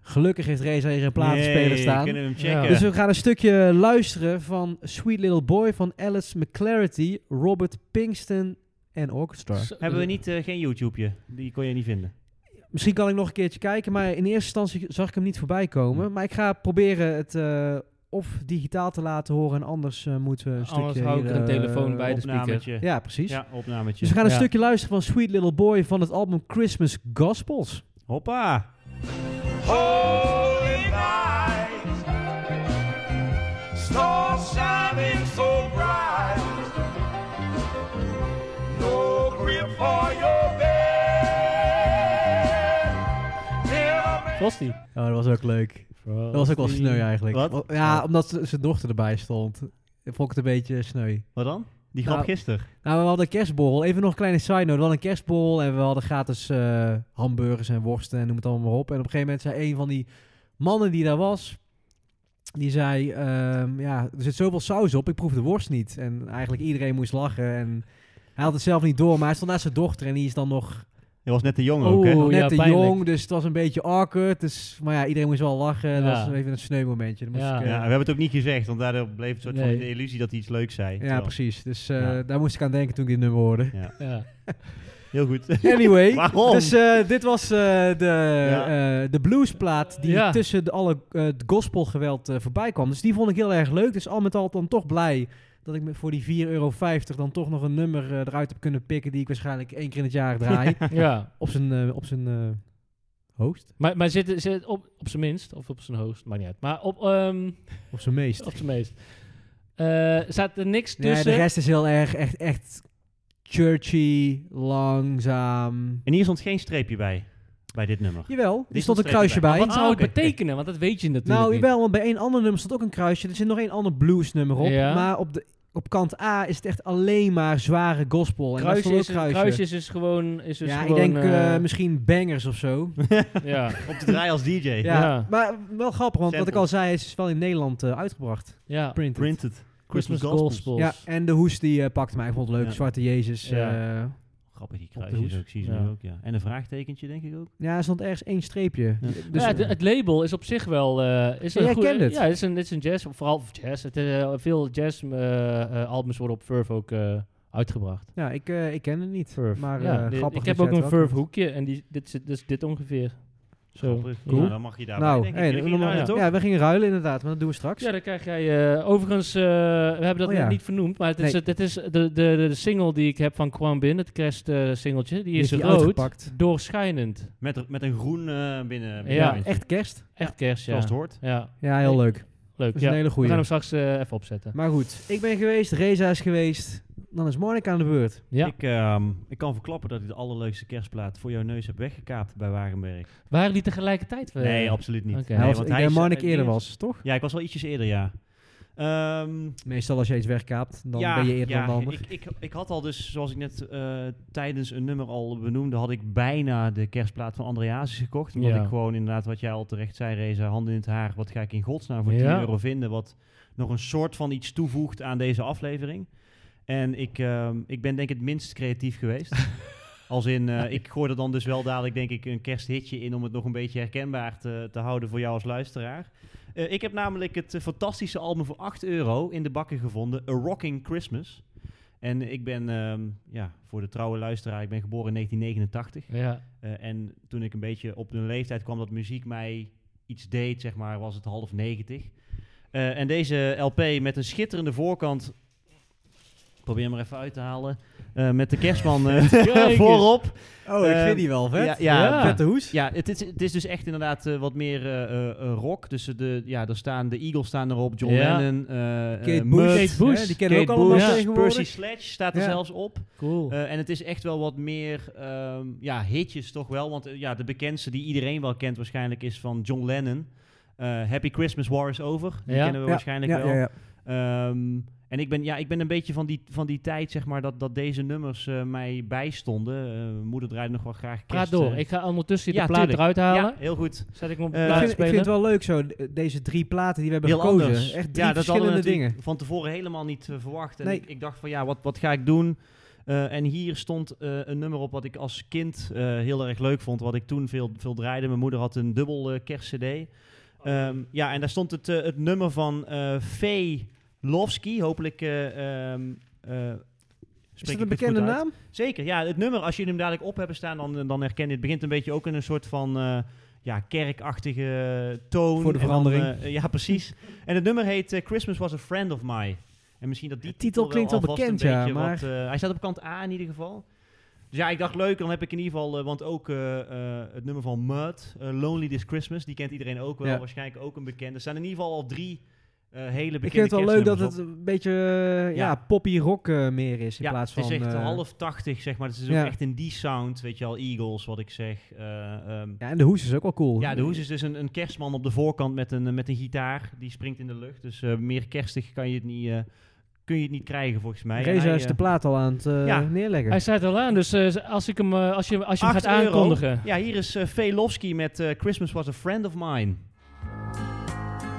S3: Gelukkig heeft Reza hier een platenspeler
S1: Nee,
S3: staan.
S1: kunnen we hem
S2: Ja.
S1: checken.
S3: Dus we gaan een stukje luisteren van Sweet Little Boy van Alice McClarity, Robert Pinkston en Orchestra.
S2: Zo-
S1: hebben we niet, eh, geen YouTubeje? Die kon je niet vinden.
S3: Misschien kan ik nog een keertje kijken, maar in eerste instantie zag ik hem niet voorbij komen. Maar ik ga proberen het eh, of digitaal te laten horen en anders eh, moeten we een stukje...
S2: Anders hou ik er
S3: hier,
S2: een
S3: eh,
S2: telefoon bij de speaker.
S1: Opnametje.
S3: Ja, precies.
S1: Ja, opnametje.
S3: Dus we gaan een
S2: Ja.
S3: stukje luisteren van Sweet Little Boy van het album Christmas Gospels.
S1: Hoppa.
S5: Holy night, stars shining so bright. No grip for your bed.
S2: Frosty.
S3: Oh, dat was ook leuk. Dat was ook wel sneu eigenlijk.
S1: Wat?
S3: Ja, omdat z- zijn dochter erbij stond. Vond ik het een beetje sneu.
S1: Wat dan? Die grap
S3: Nou,
S1: gisteren.
S3: Nou, we hadden een kerstborrel. Even nog een kleine side note. We hadden een kerstborrel en we hadden gratis eh, hamburgers en worsten en noem het allemaal maar op. En op een gegeven moment zei een van die mannen die daar was, die zei, ehm, ja, er zit zoveel saus op, ik proef de worst niet. En eigenlijk iedereen moest lachen en hij had het zelf niet door, maar hij stond naast zijn dochter en die is dan nog
S1: Je was net te jong ook,
S2: Oeh,
S1: hè?
S3: nog
S2: ja,
S3: net te
S2: pijnlijk.
S3: jong, dus het was een beetje awkward. Dus, maar ja, iedereen moest wel lachen. Dat
S2: Ja.
S3: was even een sneumomentje. Dan moest
S2: Ja.
S1: Ja,
S3: ik, eh,
S1: we hebben het ook niet gezegd, want daardoor bleef het soort
S2: Nee.
S1: van de illusie dat hij iets leuks zei.
S3: ja,
S1: Terwijl-
S3: precies. Dus eh,
S1: Ja.
S3: daar moest ik aan denken toen ik dit nummer hoorde.
S2: Ja.
S1: Heel goed. [laughs]
S3: Anyway,
S1: Waarom?
S3: dus eh, dit was eh, de,
S1: Ja.
S3: eh, de bluesplaat die
S2: Ja.
S3: tussen de alle eh, het gospelgeweld eh, voorbij kwam. Dus die vond ik heel erg leuk. Dus al met al dan toch blij dat ik me voor die 4,50 euro dan toch nog een nummer eh, eruit heb kunnen pikken die ik waarschijnlijk één keer in het
S1: [laughs]
S3: jaar draai.
S2: ja.
S3: op zijn, eh, op zijn eh, hoogst?
S2: Maar, maar zit, zit op, op zijn minst, of op zijn hoogst, maakt niet uit. Maar op, ehm
S3: Op zijn meest.
S2: op zijn meest. Eh, staat er niks
S3: Nee,
S2: tussen?
S3: de rest is heel erg, echt, echt churchy, langzaam.
S1: En hier stond geen streepje bij, bij dit nummer.
S3: Jawel, er
S1: Die
S3: stond
S1: stond
S3: een
S1: er
S3: kruisje
S1: even
S3: bij.
S2: Wat
S1: Ah,
S2: zou het
S1: oké.
S2: betekenen? Want dat weet je natuurlijk
S3: Nou,
S2: niet.
S3: jawel, want bij een ander nummer stond ook een kruisje. Er zit nog een ander bluesnummer op.
S2: Ja.
S3: Maar op, de, op kant A is het echt alleen maar zware gospel. En daar
S2: Kruisje
S3: stond ook
S2: is,
S3: kruisje.
S2: kruisjes is dus gewoon... Is dus
S3: ja,
S2: gewoon,
S3: ik denk eh,
S2: eh,
S3: misschien bangers of
S2: [laughs]
S3: zo.
S2: ja.
S1: Op te draaien als DJ.
S3: Ja,
S2: Ja.
S3: maar wel grappig, want wat ik
S1: Samples.
S3: al zei, is wel in Nederland eh, uitgebracht.
S2: ja.
S3: Printed.
S1: Printed.
S2: Christmas
S1: Gospels.
S2: Gospels.
S3: Ja, en de hoes die eh, pakte mij. Ik vond het leuk.
S1: Ja.
S3: Zwarte Jezus. eh,
S2: Ja.
S3: Ja.
S1: Grappig, die
S3: de
S1: kruisjes
S3: hoes.
S1: ook. Zie je
S2: Ja.
S1: ze nu ook, ja. En een vraagtekentje, denk ik ook.
S3: er stond ergens één streepje.
S1: Ja.
S3: Dus,
S2: ja, het, het label is op zich wel... eh is
S3: Ja,
S2: een
S3: jij
S2: goede-
S3: kent het.
S2: Ja, het is een, het is een jazz. Vooral jazz. Het, is, eh, veel jazz-albums worden op Verve ook eh, uitgebracht.
S3: ja, ik, eh, ik ken het niet.
S2: Verve.
S3: Maar
S2: ja,
S3: eh,
S2: dit-
S3: grappig.
S2: Ik heb
S3: dat
S2: ook
S3: jij
S2: een
S3: het wel
S2: Verve hoekje. En die, dit, zit- dit is dit ongeveer. Zo.
S1: Grappig.
S2: Cool.
S1: Nou, dan mag je daar
S3: Nou,
S1: denk ik.
S3: hey,
S1: Jullie
S3: dan-
S1: gingen
S3: dan-
S1: ruilen,
S3: kent.
S1: toch?
S3: Ja, we gingen ruilen inderdaad, maar dat doen we straks.
S2: Ja, dan krijg jij... eh, overigens, eh, we hebben dat
S3: Oh,
S2: nog
S3: ja.
S2: niet vernoemd, maar het is,
S3: Nee.
S2: het, het is de, de, de, de single die ik heb van Kwam Bin, het kerst eh, singeltje, die
S3: Die
S2: is
S3: heeft hij
S2: rood,
S3: uitgepakt.
S2: doorschijnend.
S1: Met, met een groen eh, binnen. binnen
S2: Ja,
S1: eentje.
S3: Echt kerst.
S2: Echt kerst, ja.
S1: Zoals het hoort.
S2: Ja,
S3: Ja, heel leuk.
S2: leuk.
S3: Dat is een
S2: Ja.
S3: hele
S2: We
S3: goeie.
S2: gaan hem straks eh, even opzetten.
S3: Maar goed, ik ben geweest, Reza is geweest. Dan is Monica aan de beurt.
S2: Ja.
S1: Ik, ehm, ik kan verklappen dat ik de allerleukste kerstplaat voor jouw neus heb weggekaapt bij Wagenberg.
S2: Waren die tegelijkertijd? eh,
S1: Nee, absoluut niet.
S2: Oké.
S1: Nee,
S3: Hij was,
S1: want
S3: ik
S1: hij
S3: denk
S1: is-
S3: Monica
S1: eh,
S3: eerder
S1: die is-
S3: was, toch?
S1: Ja, ik was wel ietsjes eerder, ja. Ehm,
S3: Meestal als je iets wegkaapt, dan
S1: ja,
S3: ben je eerder
S1: ja,
S3: dan de ander.
S1: Ik, ik, ik had al dus, zoals ik net eh, tijdens een nummer al benoemde, had ik bijna de kerstplaat van Andreasis gekocht. Omdat
S2: Ja.
S1: ik gewoon inderdaad, wat jij al terecht zei, Reza, handen in het haar. Wat ga ik in godsnaam voor 10
S2: Ja.
S1: euro vinden? Wat nog een soort van iets toevoegt aan deze aflevering. En ik, ehm, ik ben denk ik het minst creatief geweest. Als in, eh, ik gooi er dan dus wel dadelijk denk ik een kersthitje in om het nog een beetje herkenbaar te, te houden voor jou als luisteraar. Eh, ik heb namelijk het eh, fantastische album voor 8 euro in de bakken gevonden, A Rocking Christmas. En ik ben, ehm, ja, voor de trouwe luisteraar, ik ben geboren in 1989.
S2: Ja.
S1: Eh, en toen ik een beetje op de leeftijd kwam dat muziek mij iets deed, zeg maar, was het half negentig. Eh, en deze LP met een schitterende voorkant. Ik Probeer hem er even uit te halen. Eh, met de kerstman eh, [laughs]
S2: eens.
S1: voorop.
S3: Oh,
S1: ik vind
S3: die wel
S1: Ehm, Ja,
S2: Ja.
S1: ja,
S2: vette
S3: hoes.
S1: ja het, is, het is dus echt inderdaad eh, wat meer eh, eh, eh, rock. Dus de, ja, er staan, de Eagles staan erop, John
S2: Ja.
S1: Lennon, eh, eh,
S3: Kate
S1: Mutt,
S3: Bush.
S2: Kate Bush.
S3: hè, Die kennen we ook
S1: Kate
S3: allemaal
S2: Bush,
S1: Bush,
S3: tegenwoordig.
S1: Percy Sledge staat er
S3: Ja.
S1: zelfs op.
S2: Cool.
S1: Eh, en het is echt wel wat meer ehm, ja, hitjes toch wel. Want eh, ja, de bekendste die iedereen wel kent waarschijnlijk is van John Lennon. Eh, Happy Christmas War is Over. Die
S2: Ja.
S1: kennen we
S3: Ja,
S1: waarschijnlijk
S3: ja,
S1: wel.
S3: ja, ja.
S1: Ehm, en ik ben, ja, ik ben een beetje van die, van die tijd, zeg maar, dat, dat deze nummers eh, mij bijstonden. Eh, mijn moeder draaide nog wel graag
S2: Praat
S1: kerst,
S2: door.
S1: eh.
S2: Ik ga ondertussen de
S1: ja,
S2: plaat
S1: tuurlijk.
S2: eruit halen.
S1: Ja, heel goed.
S2: Zet ik hem op de
S1: Eh,
S3: Ik
S2: plaat
S3: vind, ik vind
S2: spelen.
S3: het wel leuk zo, d- deze drie platen die we hebben
S1: Heel
S3: gekozen.
S1: anders.
S3: Echt drie
S1: ja, dat hadden we
S3: verschillende
S1: natuurlijk
S3: dingen.
S1: van tevoren helemaal niet eh, verwacht. En
S3: Nee.
S1: ik, ik dacht van ja, wat, wat ga ik doen? Eh, en hier stond eh, een nummer op wat ik als kind eh, heel erg leuk vond. Wat ik toen veel, veel draaide. Mijn moeder had een dubbel eh, kerstcd. Ehm, ja, en daar stond het, eh, het nummer van eh Faye Lovsky. Hopelijk... eh, ehm, eh,
S3: Is
S1: spreek ik
S3: dat een
S1: het goed
S3: bekende
S1: uit.
S3: naam?
S1: Zeker, ja. Het nummer, als jullie hem dadelijk op hebben staan, dan, dan herken je het. begint een beetje ook in een soort van eh, ja, kerkachtige toon.
S3: Voor de
S1: En dan,
S3: verandering.
S1: eh, ja, precies.
S3: [laughs]
S1: en het nummer heet eh, Christmas Was a Friend of Mine. En misschien dat die
S3: De titel klinkt wel
S1: alvast
S3: bekend,
S1: een
S3: ja,
S1: beetje
S3: maar-
S1: wat, eh, hij staat op kant A in ieder geval. Dus ja, ik dacht leuk, dan heb ik in ieder geval, eh, want ook eh, eh, het nummer van Mud, eh, Lonely This Christmas, die kent iedereen ook wel,
S3: Ja.
S1: waarschijnlijk ook een bekende. Er staan in ieder geval al drie eh, hele bekende
S3: Ik vind het wel leuk dat
S1: kerstnummers op.
S3: het een beetje eh, ja.
S1: Ja.
S3: poppy rock eh, meer is in plaats van...
S1: Het is echt
S3: eh,
S1: half tachtig, zeg maar. Het is ook
S3: ja.
S1: echt in die sound, weet je al, Eagles, wat ik zeg. Eh, ehm, ja.
S3: Ja, en de hoes is ook wel cool.
S1: de hoes is dus een, een kerstman op de voorkant met een, eh, met een gitaar. Die springt in de lucht. Dus eh, meer kerstig kan je het niet, eh, kun je het niet krijgen, volgens mij. En
S3: Reza
S1: hij,
S3: is
S1: eh,
S3: de plaat al aan het eh,
S1: Ja.
S3: neerleggen.
S2: Hij staat al aan, dus eh, z- als, ik hem, eh, als je, als je hem
S1: 8
S2: gaat
S1: euro.
S2: aankondigen.
S1: Ja, hier is eh Faye Lofsky met eh, Christmas Was a Friend of Mine.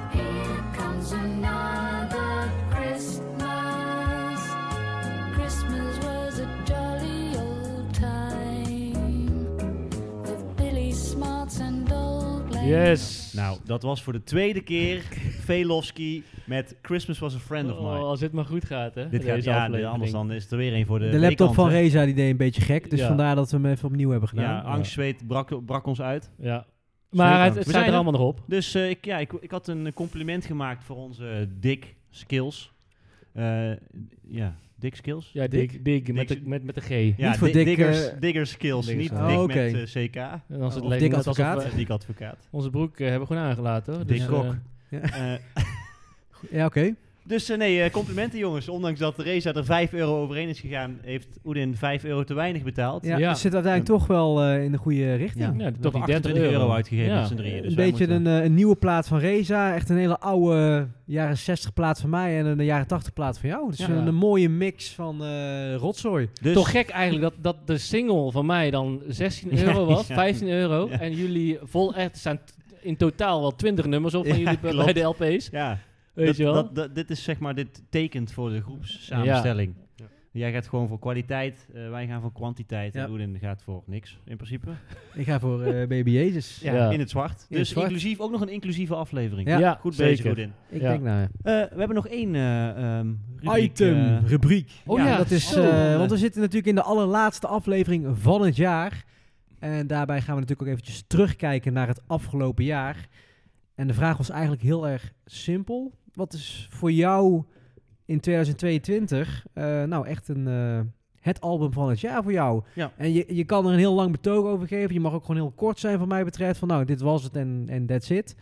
S6: Here comes another Christmas. Christmas was a jolly old time with Billy Smarts and old Lang
S2: Yes.
S1: Nou, dat was voor de tweede
S3: [laughs]
S1: keer Faye Lofsky met Christmas Was a Friend of
S2: Oh,
S1: Mine.
S2: als dit maar goed gaat, hè?
S1: Dit gaat,
S2: deze
S1: ja,
S2: aflevering.
S1: anders dan is het er weer een voor de
S3: Oh, de laptop
S1: B-kant,
S3: van
S1: hè?
S3: Reza die deed een beetje gek, dus
S2: Ja.
S3: vandaar dat we hem even opnieuw hebben gedaan.
S1: Ja, angst, zweet brak, brak ons uit.
S2: Ja. Maar het,
S3: We
S2: het staat
S1: zijn
S2: er
S1: er.
S2: allemaal nog op.
S1: Dus eh, ik, ja, ik, ik had een compliment gemaakt voor onze eh, Dick Skills. Eh, ja, Dick Skills?
S2: Ja, Dick. Dick, met, de, met, met de G.
S1: Ja,
S3: niet voor
S1: Di-
S3: Dick,
S1: diggers,
S3: eh,
S1: digger Skills,
S2: Diggers.
S1: niet
S2: Oh,
S1: Dick
S3: oké.
S1: met eh, CK.
S2: En als het
S3: Of
S2: lijkt
S3: Dick
S2: net alsof
S3: Advocaat.
S2: we
S1: Dick advocaat.
S2: eh, Dus, onze broek eh, hebben we gewoon aangelaten. Hoor.
S1: Dick
S2: eh,
S1: Kok.
S3: Ja.
S1: Eh,
S3: Ja, oké.
S1: Dus eh, nee, eh, complimenten jongens. Ondanks dat Reza er 5 euro overheen is gegaan, heeft Oedin 5 euro te weinig betaald.
S3: Ja,
S2: Ja.
S3: het zit uiteindelijk toch wel eh, in de goede richting.
S2: Ja,
S1: We
S2: toch
S1: hebben
S2: die 30
S1: 28 euro
S2: euro.
S1: uitgegeven
S2: Ja.
S1: met z'n drieën. Dus
S3: een
S1: wij
S3: beetje
S1: moeten-
S3: een, eh, een nieuwe plaat van Reza. Echt een hele oude eh, jaren 60 plaat van mij en een jaren 80 plaat van jou. Dus
S2: Ja.
S3: een, een mooie mix van eh, rotzooi.
S1: Dus,
S2: Toch gek eigenlijk dat, dat de single van mij dan 16
S1: [laughs] Ja,
S2: euro was,
S1: ja.
S2: 15 euro.
S1: Ja.
S2: En jullie vol echt staan t- in totaal wel 20 nummers op van
S1: Ja,
S2: jullie bij-
S1: klopt.
S2: bij de LP's.
S1: ja,
S2: Weet
S1: dat-
S2: je wel?
S1: dat- dat- dit is zeg maar, dit tekent voor de groepssamenstelling.
S8: Ja.
S1: Jij gaat gewoon voor kwaliteit, eh, wij gaan voor kwantiteit
S3: Ja.
S1: en Oedin gaat voor niks in principe.
S3: Ik ga voor eh, Baby Jezus.
S2: Ja.
S1: In het zwart.
S3: In
S1: dus
S3: het zwart.
S1: inclusief, ook nog een inclusieve aflevering.
S3: Ja,
S1: Goed
S2: zeker.
S1: bezig, Oedin.
S3: Ik
S2: Ja.
S3: denk nou ja.
S1: Eh, we hebben nog één eh, ehm, rubriek, eh,
S3: rubriek.
S2: Oh
S3: ja,
S2: ja,
S3: dat is,
S2: zo.
S3: eh, want we zitten natuurlijk in de allerlaatste aflevering van het jaar. En daarbij gaan we natuurlijk ook eventjes terugkijken naar het afgelopen jaar. En de vraag was eigenlijk heel erg simpel. Wat is voor jou in 2022 eh, nou echt een, eh, het album van het jaar voor jou?
S1: Ja.
S3: En je, je kan er een heel lang betoog over geven. Je mag ook gewoon heel kort zijn van mij betreft. Van nou, dit was het en en that's it.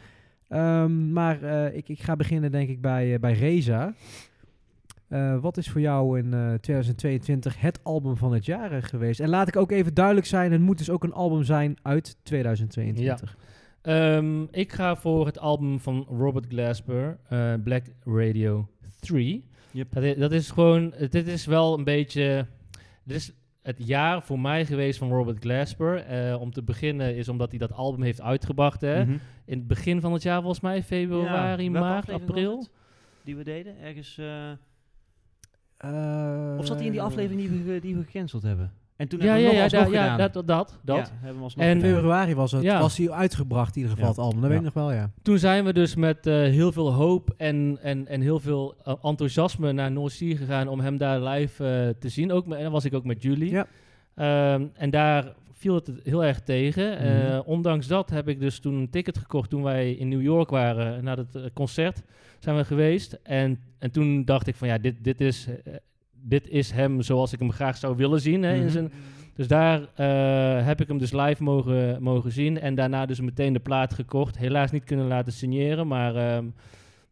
S3: Ehm, maar eh, ik, ik ga beginnen denk ik bij, eh, bij Reza. Eh, wat is voor jou in eh, 2022 het album van het jaar eh, geweest? En laat ik ook even duidelijk zijn, het moet dus ook een album zijn uit 2022.
S2: Ehm, ik ga voor het album van Robert Glasper, eh, Black Radio 3.
S1: Yep.
S2: Dat, is, dat is gewoon, dit is wel een beetje, dit is het jaar voor mij geweest van Robert Glasper. Eh, om te beginnen is omdat hij dat album heeft uitgebracht. Hè?
S1: mhm.
S2: In het begin van het jaar volgens mij, februari,
S1: Ja, welke
S2: maart,
S1: aflevering
S2: april.
S1: was het Die we deden, ergens... eh,
S3: Eh,
S1: of zat hij in die aflevering die we, ge- die we gecanceld hebben? En toen
S2: Eh. Ja,
S1: hebben
S2: ja,
S1: we
S2: ja,
S1: hem nog
S2: da-
S1: alsnog
S2: ja,
S1: gedaan.
S2: dat, dat, dat.
S1: Ja, hebben we alsnog
S2: En-
S1: gedaan.
S3: Februari was het,
S2: Ja.
S3: was hij uitgebracht in ieder geval
S1: Ja.
S3: het album. Dat weet
S1: Ja.
S3: ik nog wel, ja.
S2: Toen zijn we dus met eh, heel veel hoop en, en, en heel veel eh, enthousiasme naar North Sea gegaan om hem daar live eh, te zien. Ook met, en dan was ik ook met jullie.
S3: Ja.
S2: Ehm, en daar viel het heel erg tegen. Eh,
S3: Mhm.
S2: ondanks dat heb ik dus toen een ticket gekocht toen wij in New York waren naar het eh, concert. Zijn we geweest. En, en toen dacht ik van ja, dit, dit, is, eh, dit is hem zoals ik hem graag zou willen zien. Hè, in
S1: Mhm.
S2: zijn, dus daar eh, heb ik hem dus live mogen, mogen zien. En daarna dus meteen de plaat gekocht. Helaas niet kunnen laten signeren. Maar ehm,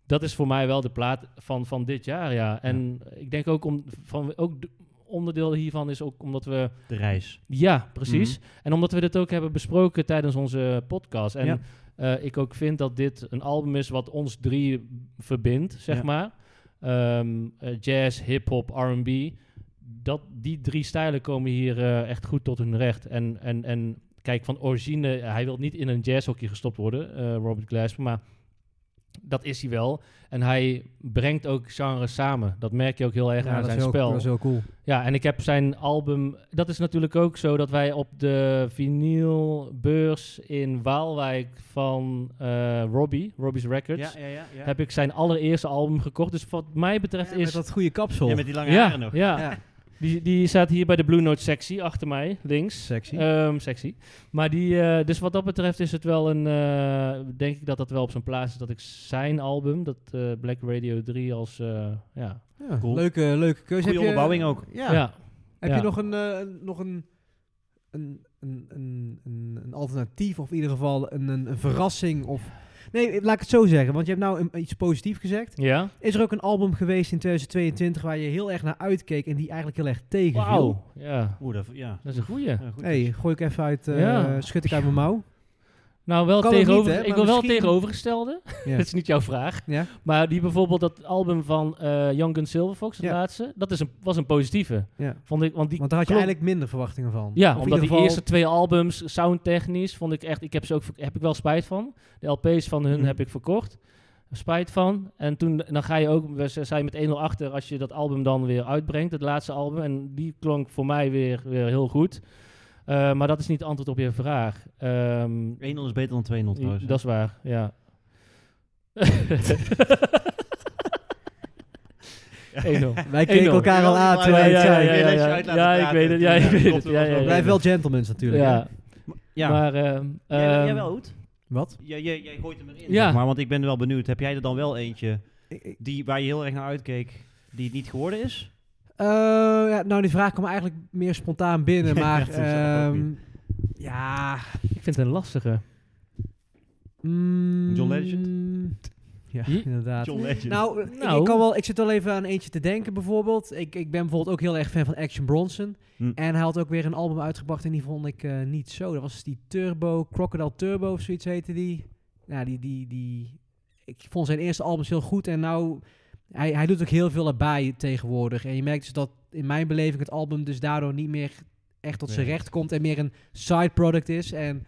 S2: dat is voor mij wel de plaat van, van dit jaar. Ja. En ik denk ook, om, van, ook d- onderdeel hiervan is ook omdat we...
S1: De reis.
S2: Ja, precies.
S3: Mhm.
S2: En omdat we dit ook hebben besproken tijdens onze podcast. En
S1: Ja.
S2: eh, ik ook vind dat dit een album is wat ons drie verbindt, zeg
S1: Ja.
S2: maar. Ehm, eh, jazz, hip-hop, RB. Dat, die drie stijlen komen hier eh, echt goed tot hun recht. En, en, en kijk, van origine, hij wil niet in een jazzhokje gestopt worden, eh, Robert Glasper. Maar dat is hij wel. En hij brengt ook genres samen. Dat merk je ook heel erg
S3: Ja,
S2: aan
S3: dat,
S2: zijn
S3: is heel,
S2: spel.
S3: dat is heel cool.
S2: Ja, en ik heb zijn album. Dat is natuurlijk ook zo dat wij op de vinylbeurs in Waalwijk van eh, Robbie, Robbie's Records,
S1: ja, ja. ja.
S2: heb ik zijn allereerste album gekocht. Dus wat mij betreft
S3: Ja,
S2: is.
S3: met dat goede kapsel.
S1: Ja, met die lange
S2: ja,
S1: haren nog.
S2: ja.
S3: Ja.
S2: Die, die staat hier bij de Blue Note sectie achter mij, links.
S3: Sexy.
S2: Ehm, sexy. Maar die, eh, dus wat dat betreft is het wel een, eh, denk ik dat dat wel op zijn plaats is dat ik zijn album, dat eh, Black Radio 3 als, eh, ja.
S3: Ja,
S1: cool.
S3: leuke, leuke keuze.
S1: Goede
S3: Dus Heb je-
S1: onderbouwing ook.
S3: Ja.
S2: ja.
S3: Heb
S2: Ja.
S3: je nog een, eh, een- nog een, een, een, een, een, een alternatief of in ieder geval een, een, een verrassing? Of... Nee, laat ik het zo zeggen, want je hebt nou een- iets positiefs gezegd.
S2: Ja.
S3: Is er ook een album geweest in 2022 waar je heel erg naar uitkeek en die eigenlijk heel erg tegenviel?
S2: Wauw. Ja.
S1: Oeh, dat, ja.
S2: Dat is een goeie.
S1: Ja, goed. dus.
S3: hey, gooi ik even uit, eh,
S2: Ja.
S3: schud ik uit mijn mouw.
S2: Nou, wel
S3: Kan ook
S2: tegenover,
S3: niet, hè,
S2: ik
S3: maar
S2: wil wel
S3: misschien-
S2: tegenovergestelde. [laughs]
S3: Ja.
S2: dat is niet jouw vraag.
S3: Ja.
S2: Maar die bijvoorbeeld dat album van eh Young Gun Silverfox, het
S3: Ja.
S2: laatste, dat is een, was een positieve.
S3: Ja.
S2: Vond ik, want die
S3: Want daar had je
S2: klonk-
S3: eigenlijk minder verwachtingen van. Of
S2: ja,
S3: in
S2: omdat die
S3: ieder geval-
S2: eerste twee albums, soundtechnisch, vond ik echt, ik heb ze ook, ver- heb ik wel spijt van. De LP's van hun
S1: Mhm.
S2: heb ik verkocht. Spijt van. En toen, en dan ga je ook, we z- zijn met 1-0 achter als je dat album dan weer uitbrengt, het laatste album. En die klonk voor mij weer, weer heel goed. Eh, maar dat is niet het antwoord op je vraag. Ehm
S1: 1-0 is beter dan 2-0 trouwens.
S2: I- Dat is waar,
S1: [laughs]
S2: ja. 1-0.
S3: Wij keken
S2: 1-0.
S3: elkaar al aan toen
S1: Ja,
S3: wij het
S1: ja,
S3: zeiden.
S1: ja, ja, ja.
S2: Ja, ik weet het, ja, ik weet het, ja, ja, ja.
S3: Blijf wel gentlemen natuurlijk. hè?
S2: Ja,
S1: Ja,
S2: maar... ehm,
S1: Jij-
S2: ehm,
S1: jij wel, Oet?
S3: Wat?
S1: Jij, jij, jij gooit hem erin.
S2: Ja.
S1: zeg Maar, want ik ben wel benieuwd. Heb jij er dan wel eentje
S3: Ik- ik-
S1: die, waar je heel erg naar uitkeek, die het niet geworden is?
S3: Eh, ja, nou, die vraag kwam eigenlijk meer spontaan
S1: [laughs]
S3: binnen,
S1: Ja,
S3: maar
S1: dat snap ik ook
S3: ehm,
S1: niet.
S3: ja.
S2: Ik vind het een lastige.
S3: mm,
S1: John Legend?
S3: [laughs]
S1: Hm?
S3: Ja,
S2: Je-
S3: inderdaad.
S1: John Legend.
S3: Nou, ik-
S2: Nou.
S3: Ik, kan wel, ik zit al even aan eentje te denken bijvoorbeeld. Ik, ik ben bijvoorbeeld ook heel erg fan van Action Bronson.
S1: Hm.
S3: En hij had ook weer een album uitgebracht en die vond ik eh, niet zo. Dat was die Turbo, Crocodile Turbo of zoiets heette die. Nou, die, die, die... Ik vond zijn eerste albums heel goed en nou... Hij, hij doet ook heel veel erbij tegenwoordig. En je merkt dus dat in mijn beleving het album dus daardoor niet meer echt tot zijn
S1: Nee.
S3: recht komt. En meer een side product is. En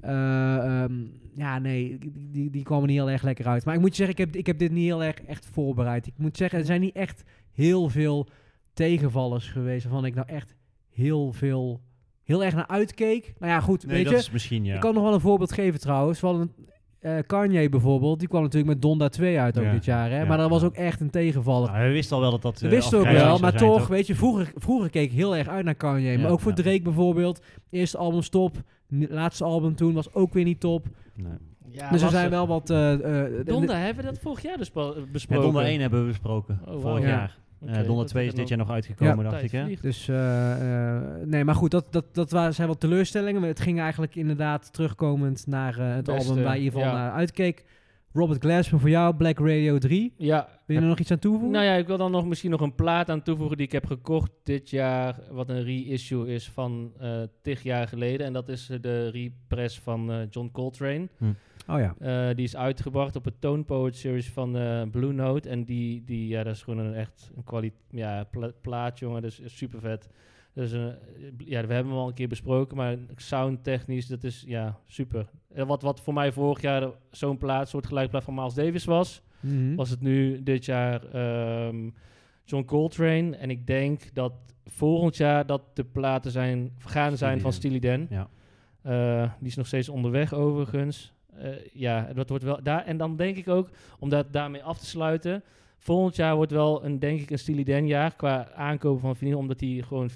S3: eh, ehm, ja, nee, die, die kwamen niet heel erg lekker uit. Maar ik moet je zeggen, ik heb, ik heb dit niet heel erg echt voorbereid. Ik moet zeggen, er zijn niet echt heel veel tegenvallers geweest... waarvan ik nou echt heel veel... heel erg naar uitkeek. Nou ja, goed,
S1: nee,
S3: weet
S1: dat
S3: je...
S1: is misschien, ja.
S3: Ik kan nog wel een voorbeeld geven trouwens. Van een, eh, Kanye bijvoorbeeld, die kwam natuurlijk met Donda 2 uit ook
S1: Ja.
S3: dit jaar. Hè?
S1: Ja,
S3: maar dat was
S1: ja.
S3: ook echt een tegenvaller.
S1: Nou, we wisten al wel dat dat...
S3: We
S1: eh,
S3: wisten ook
S1: afgrijzelijk
S3: wel,
S1: zou
S3: maar
S1: zijn,
S3: toch, weet je, vroeger, vroeger keek ik heel erg uit naar Kanye.
S1: Ja,
S3: maar ook voor
S1: ja.
S3: Drake bijvoorbeeld. Eerste album stop, ni- laatste album toen was ook weer niet top.
S1: Nee.
S2: Ja,
S3: dus er
S2: lastig.
S3: zijn wel wat... eh, eh, de-
S2: Donda, hebben we dat vorig jaar dus bespo-
S1: Ja,
S2: besproken?
S1: Donda 1 hebben we besproken,
S2: Oh, wauw.
S1: vorig
S3: Ja.
S1: jaar. Eh,
S2: Oké,
S1: Donda
S2: dat
S1: 2 is
S2: dan
S1: dit jaar nog
S3: Ja.
S1: uitgekomen, dacht
S2: tijd
S1: ik, hè?
S2: vliegt.
S3: Dus, eh, eh, nee, maar goed, dat, dat, dat wa- zijn wat teleurstellingen. Maar Het ging eigenlijk inderdaad terugkomend naar eh, het
S2: Beste,
S3: album waar je van
S2: ja.
S3: naar uitkeek. Robert Glasper voor jou, Black Radio 3.
S1: Dus-
S2: Ja,
S3: Wil je er nog iets aan toevoegen?
S2: Nou ja, ik wil dan nog misschien nog een plaat aan toevoegen die ik heb gekocht dit jaar, wat een reissue is van eh tig jaar geleden. En dat is eh, de repress van eh, John Coltrane.
S3: Oh ja.
S2: Eh, die is uitgebracht op het Tone Poet Series van eh, Blue Note. En die, die ja, dat is gewoon een echt een kwali- ja, pla- plaat, jongen. Dus super vet. Dus eh, ja, we hebben hem al een keer besproken, maar soundtechnisch, dat is ja, super. Eh, Wat, wat voor mij vorig jaar zo'n plaat, soort gelijkplaat van Miles Davis was,
S3: Mhm.
S2: was het nu dit jaar ehm, John Coltrane. En ik denk dat volgend jaar dat de platen zijn, gaan zijn van
S1: Steely
S2: Steely Dan.
S1: Ja.
S2: Eh, die is nog steeds onderweg overigens. Eh, ja, en dat wordt wel daar. En dan denk ik ook, om dat daarmee af te sluiten. Volgend jaar wordt wel een, denk ik, een Steely Dan jaar qua aankopen van vinyl, omdat die gewoon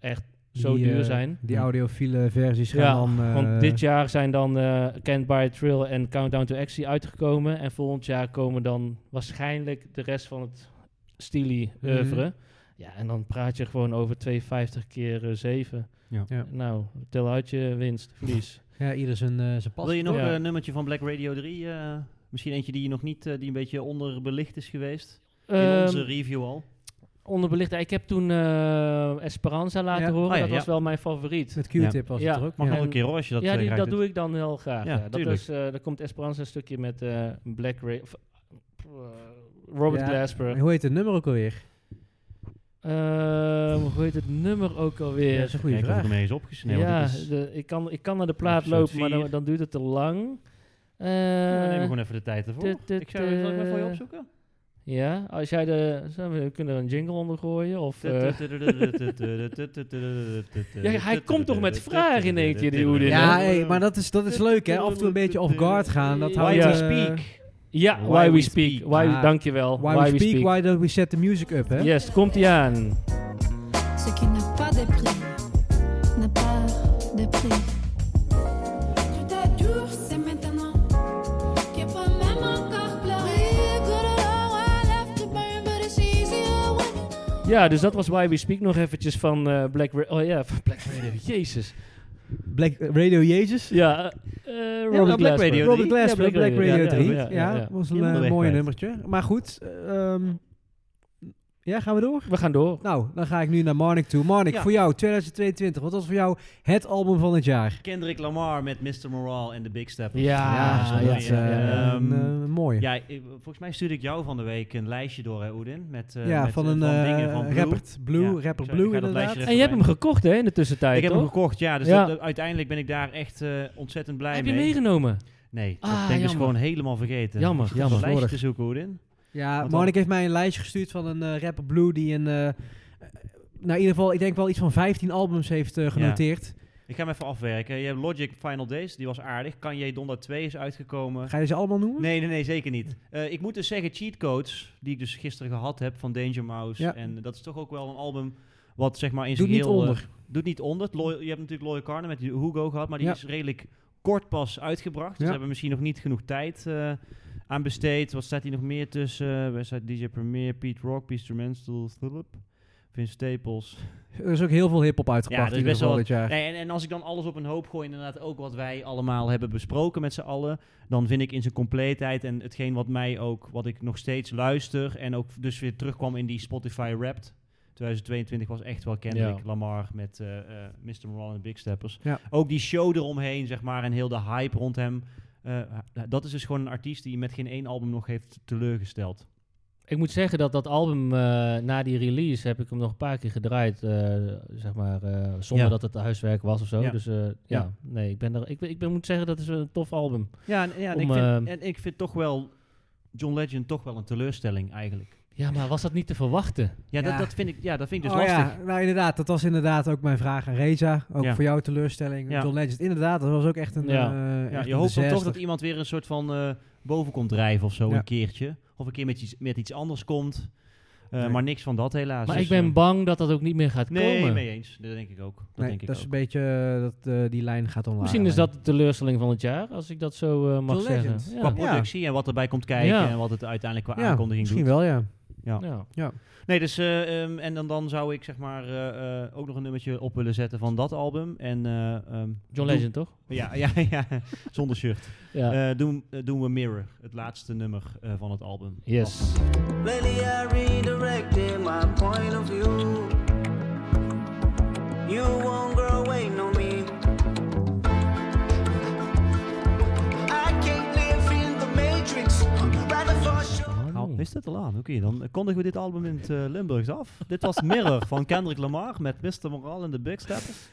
S2: echt zo
S3: Die,
S2: duur
S3: eh,
S2: zijn.
S3: Die audiofiele versies gaan
S2: Ja,
S3: dan... eh,
S2: Want dit jaar zijn dan eh Can't Buy a Thrill en Countdown to Action uitgekomen. En volgend jaar komen dan waarschijnlijk de rest van het Steely
S3: Mhm.
S2: oeuvre. Ja, en dan praat je gewoon over 2,50 keer 7.
S1: Ja.
S3: Ja.
S2: Nou, tel uit je winst, verlies.
S3: Ja, ieder zijn, eh zijn pas.
S1: Wil je nog
S2: Ja.
S1: een nummertje van Black Radio 3? eh, misschien eentje die je nog niet, eh, die een beetje onderbelicht is geweest. [laughs] in onze
S2: Ehm,
S1: review al.
S2: onderbelicht. Ik heb toen eh, Esperanza laten
S3: Ja.
S2: horen.
S1: Oh ja,
S2: dat was
S1: ja.
S2: wel mijn favoriet.
S3: Met Q-tip was
S2: Ja.
S3: het er ook.
S1: Mag
S3: ja.
S1: nog een keer hoor, als je dat
S2: ja,
S1: eh,
S2: die,
S1: graag
S2: dat
S1: doet.
S2: doe ik dan heel graag.
S1: Ja,
S2: Ja, Dat
S1: tuurlijk.
S2: is, eh, daar komt Esperanza een stukje met eh, Black Ray... of, eh, Robert
S3: Ja.
S2: Glasper.
S3: Hoe heet het nummer ook alweer?
S2: Ehm, hoe heet het nummer ook
S3: Ja,
S2: alweer?
S3: dat is een goede
S1: Kijken of ik
S3: vraag.
S1: hem eens opgesneden
S2: ja,
S1: want dit is-
S2: de- ik, kan, ik kan naar de plaat
S1: Episode
S2: lopen, maar dan,
S1: vier.
S2: dan duurt het te lang. Eh,
S1: Ja, we nemen gewoon even de tijd ervoor.
S2: dit- dit,
S1: ik zou zal ik hem even voor je
S2: eh, [laughs]
S1: opzoeken.
S2: ja, als jij de... zo, We kunnen er een jingle onder gooien, of... eh, Ja, hij komt toch met vragen in één keer, die Hoedin, hè?
S3: Ja, hey, maar dat is, dat is leuk hè. Af en toe een beetje off guard gaan. Dat
S2: Why
S3: houdt,
S2: we
S3: eh,
S1: speak.
S2: ja, Why, We Speak. Why,
S3: Ah.
S2: dankjewel.
S3: Why, we speak, why don't we set the music up hè.
S2: Yes, komt-ie aan.
S6: Ce qui n'a pas de prix n'a pas de prix. Tout est dur, c'est maintenant. Qui peut même encore pleurer? Good Lord, I left the burn, but it's easier when you
S2: Ja, dus dat was Why We Speak nog eventjes van eh, Black... Ra- oh ja, van Black Radio.
S1: [laughs]
S2: Jezus.
S3: Black eh, Radio Jezus.
S2: Ja, eh, Robert
S1: Black
S2: Glasper.
S1: Radio
S3: Robert
S1: drie.
S3: Glasper,
S2: Ja, Black
S3: Black
S2: Radio,
S3: Radio
S2: ja,
S3: 3.
S2: ja,
S3: Ja,
S2: ja, ja.
S3: was
S1: Je moet
S3: een
S1: hem
S3: eh,
S1: weg
S3: mooi
S1: kwijt.
S3: nummertje. Maar goed, eh, ehm, ja, gaan we door?
S2: We gaan door.
S3: Nou, dan ga ik nu naar Marnik toe. Marnik,
S1: Ja.
S3: voor jou 2022. Wat was voor jou het album van het jaar?
S1: Kendrick Lamar met Mr. Morale en The Big Step.
S2: Ja,
S3: Ja,
S2: ja,
S3: dat eh, ehm, is
S2: ja, ja.
S3: mooi.
S1: Ehm, Ja, ik- volgens mij stuurde ik jou van de week een lijstje door, hè, Oedin? Met, eh,
S3: ja,
S1: met,
S3: van
S1: eh,
S3: een
S1: dingen
S3: rapper
S1: van
S3: Blue.
S1: Blue.
S3: Rapper Blue,
S1: Ja,
S3: rapper
S1: ik ga- ik
S3: Blue
S1: ga dat lijstje
S3: inderdaad.
S1: er
S2: En je hebt hem
S1: even
S2: gekocht, hè, in de tussentijd,
S1: Ik heb hem
S2: toch?
S1: gekocht, ja. Dus
S2: Ja.
S1: dat- uiteindelijk ben ik daar echt eh, ontzettend blij
S2: Heb je
S1: mee.
S2: hem meegenomen?
S1: Nee, dat
S2: Ah,
S1: ben ik dus
S2: jammer.
S1: gewoon helemaal vergeten.
S2: Jammer,
S1: Ik zat
S2: jammer.
S1: een lijstje te
S3: Slordig.
S1: zoeken, Oedin.
S3: Ja,
S1: Want
S3: Marnik heeft mij een lijstje gestuurd van een eh, rapper Blue die een... eh, eh, nou, in ieder geval, ik denk wel iets van 15 albums heeft eh, genoteerd.
S1: Ik ga hem even afwerken. Je hebt Logic Final Days, die was aardig. Kanye Donda 2 is uitgekomen.
S3: Ga je ze allemaal noemen?
S1: Nee, nee, nee, zeker niet. Eh, ik moet dus zeggen, Cheat Codes, die ik dus gisteren gehad heb van Danger Mouse.
S3: Ja.
S1: En dat is toch ook wel een album wat zeg maar in
S3: Doe
S1: zijn
S3: niet
S1: heel... eh,
S3: onder.
S1: doet niet onder. Het Loy- je hebt natuurlijk Loyal Carner met Hugo gehad, maar die
S3: Ja.
S1: is redelijk kort pas uitgebracht. Dus
S3: Ja.
S1: ze hebben misschien nog niet genoeg tijd eh, aan besteed. Wat staat hier nog meer tussen? Waar staat DJ Premier, Pete Rock, Peace Instrumental, Philip, Vince Staples.
S3: Er is ook heel veel hip-hop uitgebracht
S1: er
S3: ja,
S1: is
S3: in ieder
S1: best
S3: geval
S1: wel
S3: dit jaar.
S1: Nee, en, en als ik dan alles op een hoop gooi, inderdaad ook wat wij allemaal hebben besproken met z'n allen, dan vind ik in zijn compleetheid en hetgeen wat mij ook, wat ik nog steeds luister en ook dus weer terugkwam in die Spotify Wrapped. 2022 was echt wel Kendrick
S2: Ja.
S1: Lamar met eh eh Mr. Moran en Big Steppers.
S3: Ja.
S1: Ook die show eromheen, zeg maar, en heel de hype rond hem. eh, dat is dus gewoon een artiest die met geen één album nog heeft teleurgesteld.
S2: Ik moet zeggen dat dat album eh, na die release heb ik hem nog een paar keer gedraaid. eh, zeg maar, eh, zonder
S1: Ja.
S2: dat het huiswerk was of zo.
S1: Ja.
S2: Dus eh, ja.
S1: Ja.
S2: nee, ik, ben er, ik, ben- ik ben, moet zeggen dat is een tof album.
S1: Ja, en, ja, en
S2: Om,
S1: ik, vind,
S2: ehm,
S1: en ik vind toch wel John Legend toch wel een teleurstelling eigenlijk.
S2: Ja, maar was dat niet te verwachten?
S1: Ja, Dat,
S3: Ja.
S1: dat, vind ik, ja dat vind ik dus
S3: Oh
S1: lastig.
S3: Ja, nou inderdaad, dat was inderdaad ook mijn vraag aan Reza. Ook
S1: Ja.
S3: voor jouw teleurstelling.
S1: Ja.
S3: John Legend, inderdaad, dat was ook echt een.
S2: Ja.
S3: eh,
S1: Ja,
S3: echt
S1: je
S3: een
S1: hoopt dan toch
S3: disaster.
S1: dat iemand weer een soort van eh, boven komt drijven of zo
S3: Ja.
S1: een keertje. Of een keer met iets, met iets anders komt. Eh,
S3: Nee.
S1: Maar niks van dat helaas.
S2: maar
S1: Dus,
S2: ik ben
S1: eh,
S2: bang dat dat ook niet meer gaat
S1: Nee,
S2: komen.
S1: mee eens. Dat denk ik ook. Dat
S3: Nee,
S1: denk ik
S3: dat is
S1: ook.
S3: een beetje eh, dat eh, die lijn gaat online.
S2: Misschien is dat de teleurstelling van het jaar, als ik dat zo eh, mag
S3: John
S2: zeggen.
S3: Legend.
S2: Ja.
S1: Qua
S3: Ja.
S1: productie en wat erbij komt kijken
S2: Ja.
S1: en wat het uiteindelijk qua
S3: Ja,
S1: aankondiging
S3: Misschien
S1: doet.
S3: wel, ja.
S2: Ja.
S1: Nee, dus eh, ehm, en dan, dan zou ik zeg maar eh, eh, ook nog een nummertje op willen zetten van dat album. En, eh, ehm,
S2: John
S1: doe-
S2: Legend, toch?
S1: Ja, [laughs] ja, ja, zonder shirt.
S2: Ja.
S1: Eh, doen, eh, doen we Mirror, het laatste nummer eh, van het album.
S2: yes.
S4: Lately I redirected my point of view. You won't grow waiting on me. I can't live in the matrix. Rather for sure.
S2: Hmm. Oh.
S1: Al, Nou, is dat al aan? Oké, dan kondigen we dit album in het eh, Limburgs af. dit was Mirror van Kendrick Lamar met Mr. Moral en de Big Steppers.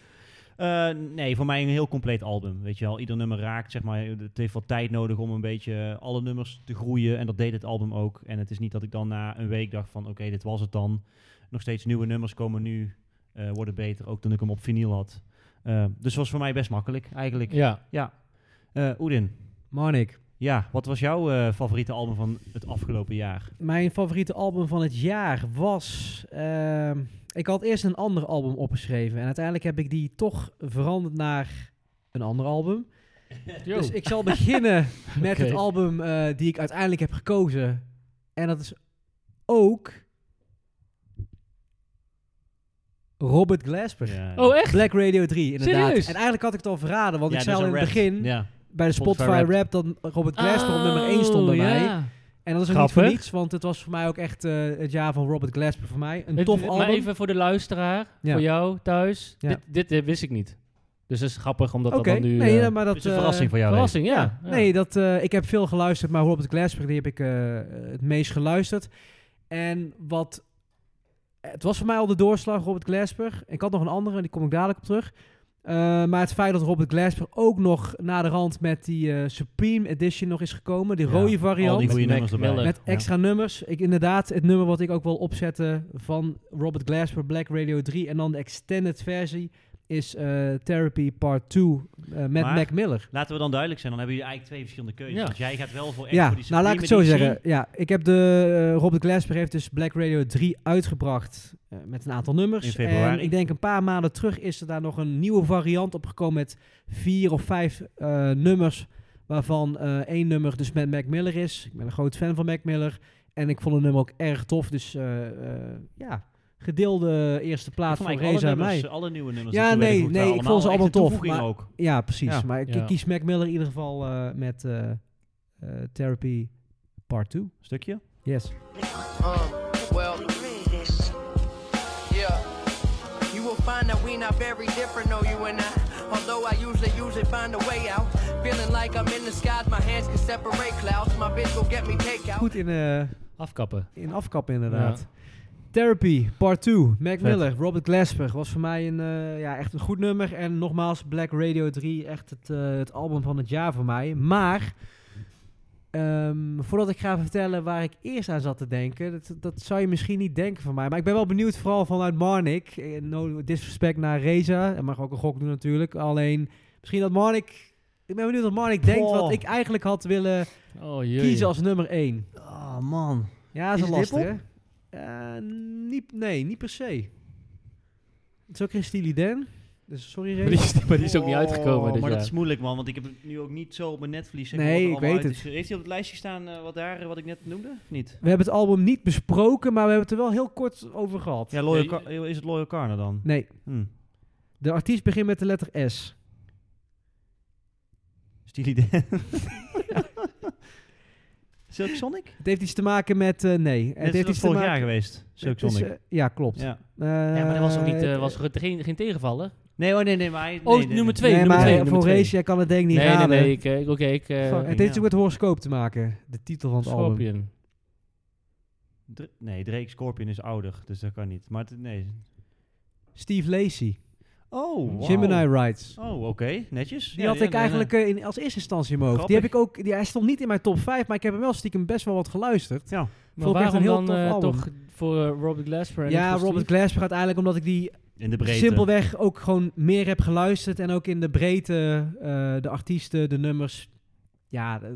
S1: Eh, nee, voor mij een heel compleet album. Weet je wel, ieder nummer raakt, zeg maar. Het heeft wat tijd nodig om een beetje alle nummers te groeien. En dat deed het album ook. En het is niet dat ik dan na een week dacht van, oké, dit was het dan. Nog steeds nieuwe nummers komen nu, eh, worden beter. Ook toen ik hem op vinyl had. Eh, dus was voor mij best makkelijk, eigenlijk.
S2: Ja.
S1: Eh, Oedin,
S3: Monik,
S1: ja, wat was jouw eh, favoriete album van het afgelopen jaar?
S3: mijn favoriete album van het jaar was. ehm, ik had eerst een ander album opgeschreven. En uiteindelijk heb ik die toch veranderd naar een ander album. Dus ik zal beginnen met
S2: Oké.
S3: het album eh, die ik uiteindelijk heb gekozen. En dat is ook. Robert Glasper.
S1: Ja.
S2: oh, echt?
S3: Black Radio 3, inderdaad.
S2: Serieus?
S3: En eigenlijk had ik het al verraden, want
S1: Ja,
S3: ik
S1: dus
S3: zei al in
S1: een rap.
S3: het begin
S1: Ja.
S3: bij de
S1: Spotify
S3: Spotify, rap dat Robert Glasper op nummer 1 stond bij
S2: Oh,
S3: mij.
S2: ja.
S3: En dat is ook
S2: Grappig.
S3: niet voor niets, want het was voor mij ook echt eh, het jaar van Robert Glasper voor mij. Een
S2: Het-
S3: tof
S2: Maar
S3: album.
S2: even voor de luisteraar,
S3: Ja.
S2: voor jou thuis.
S3: Ja.
S2: Dit, dit eh, wist ik niet. Dus dat is grappig, omdat
S3: Oké,
S2: dat dan nu...
S3: nee,
S2: eh,
S3: ja, maar dat...
S1: Het is een
S3: eh,
S1: verrassing voor jou. Leek.
S2: verrassing, ja.
S3: Ja. Nee, dat, eh, ik heb veel geluisterd, maar Robert Glasper, die heb ik eh, het meest geluisterd. En wat... eh, Het was voor mij al de doorslag, Robert Glasper. Ik had nog een andere, die kom ik dadelijk op terug. Eh, maar het feit dat Robert Glasper ook nog na de rand met die eh, Supreme Edition nog is gekomen, die
S1: Ja,
S3: rode variant.
S1: Al die goede
S2: Mac
S1: nummers erbij.
S2: Miller.
S3: Met extra nummers. Ik, inderdaad, het nummer wat ik ook wil opzetten van Robert Glasper, Black Radio 3. En dan de extended versie is eh, Therapy Part 2 eh, met
S1: Maar-
S3: Mac Miller.
S1: Laten we dan duidelijk zijn, dan hebben jullie eigenlijk twee verschillende keuzes.
S2: Ja.
S1: Want jij gaat wel voor echt
S3: Ja,
S1: voor die
S3: nou laat ik het zo
S1: Supreme
S3: zeggen. Ja, ik heb de, eh, Robert Glasper heeft dus Black Radio 3 uitgebracht eh, met een aantal nummers.
S1: In februari.
S3: En ik denk een paar maanden terug is er daar nog een nieuwe variant op gekomen met vier of vijf eh, nummers. Waarvan eh, één nummer dus met Mac Miller is. Ik ben een groot fan van Mac Miller. En ik vond het nummer ook erg tof. Dus eh, eh, ja, gedeelde eerste
S1: edition. Ik
S3: plaats
S1: vond
S3: voor
S1: eigenlijk alle,
S3: Reza en
S1: nummers,
S3: mij.
S1: alle nieuwe nummers. dus die
S3: Ja,
S1: toen werden
S3: nee,
S1: gevoegd
S3: nee,
S1: waren
S3: ik vond ze
S1: allemaal
S3: allemaal
S1: echt een
S3: tof,
S1: toevoeging ook.
S3: Ja, precies.
S1: Ja.
S3: Maar ik
S2: Ja.
S3: kies Mac Miller in ieder geval eh, met eh, eh, Therapy Part 2.
S1: Stukje?
S3: Yes.
S4: Um,
S8: Uh, well, yeah.
S4: You will find that we not very different, no, you and I. Although I usually, usually find a way out. Feeling like I'm in the skies, my hands can separate clouds. My bitch will get me takeout.
S3: Goed in, eh,
S2: Afkappen.
S3: in afkappen inderdaad. Therapy, part 2. Mac Miller, Robert Glasper. Was voor mij een, eh, ja, echt een goed nummer. En nogmaals, Black Radio 3. Echt het, eh, het album van het jaar voor mij. Maar, ehm, voordat ik ga vertellen waar ik eerst aan zat te denken. Dat, dat zou je misschien niet denken van mij. Maar ik ben wel benieuwd, vooral vanuit Marnik. Eh, No disrespect naar Reza. Hij mag ook een gok doen natuurlijk. Alleen, misschien dat Marnik... Ik ben benieuwd wat Marnik denkt.
S1: Goh.
S3: Wat ik eigenlijk had willen
S2: Oh, jee.
S3: kiezen als nummer 1.
S1: Oh
S3: Ah,
S1: man.
S3: Ja, dat
S1: Is
S3: is, een
S1: het
S3: lastig, hè? Eh, niet, nee, niet per se. Het is ook geen Steely Dan. Dus sorry,
S2: Maar die,
S3: Ray.
S2: is- maar die is ook niet
S1: Oh,
S2: uitgekomen. dit
S1: maar dat
S2: jaar.
S1: is moeilijk, man. Want ik heb het nu ook niet zo op mijn netvlies. zeg maar,
S3: Nee,
S1: wat er
S3: ik
S1: allemaal
S3: weet
S1: uit is. Heeft hij op het lijstje staan eh, wat, daar, eh, wat ik net noemde? Of Niet.
S3: We hebben het album niet besproken, maar we hebben het er wel heel kort over gehad.
S1: Ja, Loyal Car- eh, is het Loyal Carner dan?
S3: Nee,
S1: Hm.
S3: de artiest begint met de letter S.
S1: Steely [laughs] Dan. Silk Sonic?
S3: Het heeft iets te maken met... eh, nee.
S1: Net
S3: Het
S1: is
S3: heeft
S1: dat
S3: iets te
S1: vorig
S3: maken...
S1: jaar geweest, Silk
S3: het is,
S1: Sonic.
S3: eh, ja, klopt.
S1: ja.
S2: Ja, maar dat was ook niet, eh,
S3: Eh,
S2: was er geen, geen tegenvaller.
S1: Nee, oh, nee, nee, maar... hij-
S2: Oh,
S1: nee, nee,
S2: nummer
S1: nee.
S2: twee,
S3: nee,
S2: nummer
S3: maar
S2: twee,
S3: voor
S2: nummer twee.
S3: Race, jij kan het denk ik niet
S2: nee, nee,
S3: raden.
S2: nee, ik, eh, ik- oké, ik... eh,
S3: Fuck, het
S1: ja.
S3: heeft iets met horoscoop te maken. De titel van het album.
S2: Scorpion.
S1: Dr- nee, Drake Scorpion is ouder, dus dat kan niet. Maar het- nee.
S3: Steve Lacey.
S1: Oh, wow.
S3: Gemini Rides.
S1: Oh, oké. Netjes.
S3: Die had ik eigenlijk eh, in, als eerste instantie in mijn hoofd. Die heb ik ook, die, hij stond niet in mijn top 5, maar ik heb hem wel stiekem best wel wat geluisterd.
S1: Ja.
S2: Maar
S3: Vond ik echt
S2: waarom dan
S3: een heel tof
S2: eh,
S3: album.
S2: toch voor eh, Robert Glasper en
S3: ja,
S2: niet voor
S3: Robert
S2: Steve?
S3: Glasper uiteindelijk omdat ik die
S1: In de breedte.
S3: eh, simpelweg ook gewoon meer heb geluisterd. En ook in de breedte, eh, de artiesten, de nummers. Ja, eh,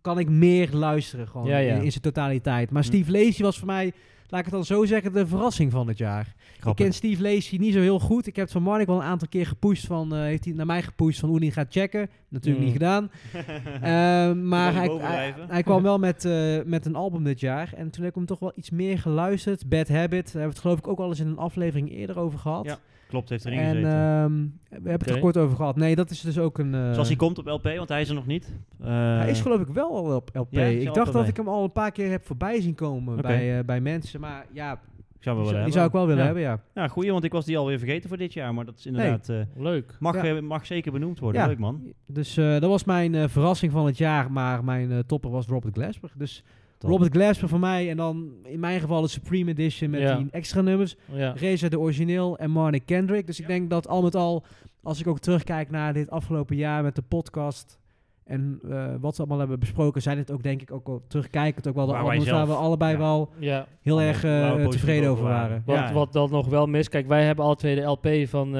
S3: kan ik meer luisteren gewoon
S2: Ja, ja.
S3: In, in zijn totaliteit. Maar
S1: Hm.
S3: Steve Lacey was voor mij, laat ik het dan zo zeggen, de verrassing van het jaar. Ik
S1: Grappig.
S3: ken Steve Lacey niet zo heel goed. Ik heb het van Marnik wel een aantal keer gepusht. Van, eh, heeft hij naar mij gepusht van Oedin gaat checken. Natuurlijk
S2: Mm.
S3: niet
S1: [laughs]
S3: gedaan. Eh, maar
S1: hem
S3: hij, hij,
S1: bovendrijven.
S3: hij kwam
S1: [laughs]
S3: wel met, eh, met een album dit jaar. En toen heb ik hem toch wel iets meer geluisterd. Bad Habit. Daar hebben we het geloof ik ook al eens in een aflevering eerder over gehad.
S1: Ja, Klopt, heeft erin
S3: en
S1: gezeten.
S3: ehm, we hebben het
S2: Oké.
S3: er kort over gehad. Nee, dat is dus ook een... eh,
S1: Zoals hij komt op LP, want hij is er nog niet. Eh,
S3: hij is geloof ik wel al op LP.
S1: Ja, hij is al
S3: ik
S1: op
S3: dacht dat
S1: LP.
S3: ik hem al een paar keer heb voorbij zien komen
S1: Oké.
S3: bij, eh, bij mensen. Maar ja,
S1: ik zou hem wel
S3: die, zou-
S1: willen
S3: die zou
S1: hebben.
S3: ik wel willen
S1: Ja.
S3: hebben, ja.
S1: Ja, goeie, want ik was die alweer vergeten voor dit jaar. Maar dat is inderdaad... eh,
S2: Leuk.
S1: mag,
S3: Ja.
S1: eh, mag zeker benoemd worden.
S3: Ja.
S1: Leuk, man.
S3: Dus eh, dat was mijn eh, verrassing van het jaar, maar mijn eh, topper was Robert Glasper. Dus
S1: Top.
S3: Robert Glasper voor mij en dan in mijn geval de Supreme Edition met
S2: Ja.
S3: die extra nummers.
S2: Ja.
S3: Reza de origineel en Marnik Kendrick. Dus ik denk dat al met al, als ik ook terugkijk naar dit afgelopen jaar met de podcast en eh, wat we allemaal hebben besproken, zijn het ook denk ik ook al terugkijkend ook wel de
S1: Waar wij
S3: albums waar
S1: zelf-
S3: we allebei
S1: ja.
S3: wel
S2: ja.
S3: heel
S1: Waar
S3: erg
S1: we-
S3: eh,
S1: waar we positief
S3: tevreden
S1: over
S3: over
S1: waren.
S3: waren.
S2: Wat,
S1: Ja.
S2: wat dan nog wel mis. Kijk, wij hebben alle twee de LP van eh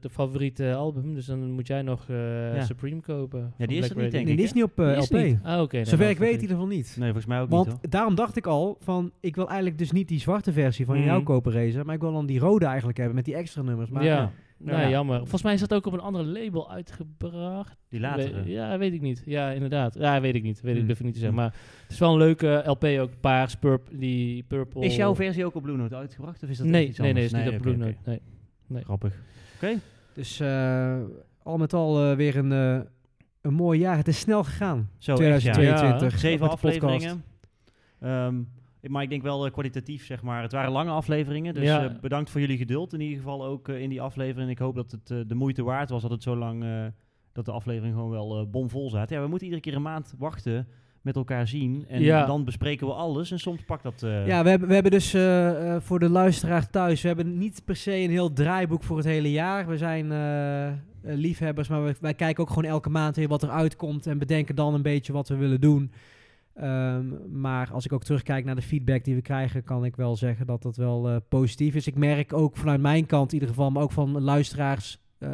S2: de favoriete album. Dus dan moet jij nog eh,
S1: Ja.
S2: Supreme kopen. van
S1: die is
S2: Black
S1: er niet,
S2: Radio.
S1: denk
S3: Nee,
S1: ik,
S3: die is niet op eh,
S2: Die is
S3: LP.
S2: niet. Ah, oké. nee,
S3: Zover
S2: dan
S3: ik weet in
S2: vergeet
S3: ieder geval niet.
S1: Nee, volgens mij ook
S3: Want
S1: niet, hoor.
S3: daarom dacht ik al van, ik wil eigenlijk dus niet die zwarte versie van
S1: Mm.
S2: Mhm.
S3: jou kopen racer, maar ik wil dan die rode eigenlijk hebben met die extra nummers. Maar
S2: ja.
S1: ja.
S2: Nou,
S1: Ja.
S2: jammer. Volgens mij is dat ook op een ander label uitgebracht.
S1: Die latere.
S2: We- ja, weet ik niet. Ja, inderdaad. Ja, weet ik niet. Weet ik
S1: Hmm.
S2: durf ik niet te zeggen.
S1: Hmm.
S2: Maar het is wel een leuke LP ook. Paars, purp, die purple.
S1: Is jouw versie ook op Blue Note uitgebracht? Of is dat echt
S2: eh, oh. Nee,
S1: iets
S2: nee, nee.
S1: anders?
S2: Is niet op
S1: oké,
S2: Blue
S1: oké.
S2: Note. Nee.
S1: Grappig.
S3: Dus eh, al met al eh, weer een, eh, een mooi jaar. Het is snel gegaan.
S1: Zo, echt, ja.
S3: 2022.
S1: Zeven
S3: met de podcast.
S1: afleveringen. Ehm, ik- maar ik denk wel eh, kwalitatief, zeg maar. Het waren lange afleveringen, dus
S2: Ja.
S1: eh, bedankt voor jullie geduld in ieder geval ook eh, in die aflevering. Ik hoop dat het eh, de moeite waard was dat het zo lang, eh, dat de aflevering gewoon wel eh, bomvol zat. Ja, we moeten iedere keer een maand wachten met elkaar zien en
S2: Ja.
S1: dan bespreken we alles en soms pakt dat... eh,
S3: Ja, we hebben, we hebben dus eh, eh, voor de luisteraar thuis, we hebben niet per se een heel draaiboek voor het hele jaar. We zijn eh, eh, liefhebbers, maar we- wij kijken ook gewoon elke maand weer wat er uitkomt en bedenken dan een beetje wat we willen doen. Ehm, maar als ik ook terugkijk naar de feedback die we krijgen, kan ik wel zeggen dat dat wel eh, positief is. Ik merk ook vanuit mijn kant in ieder geval, maar ook van luisteraars eh,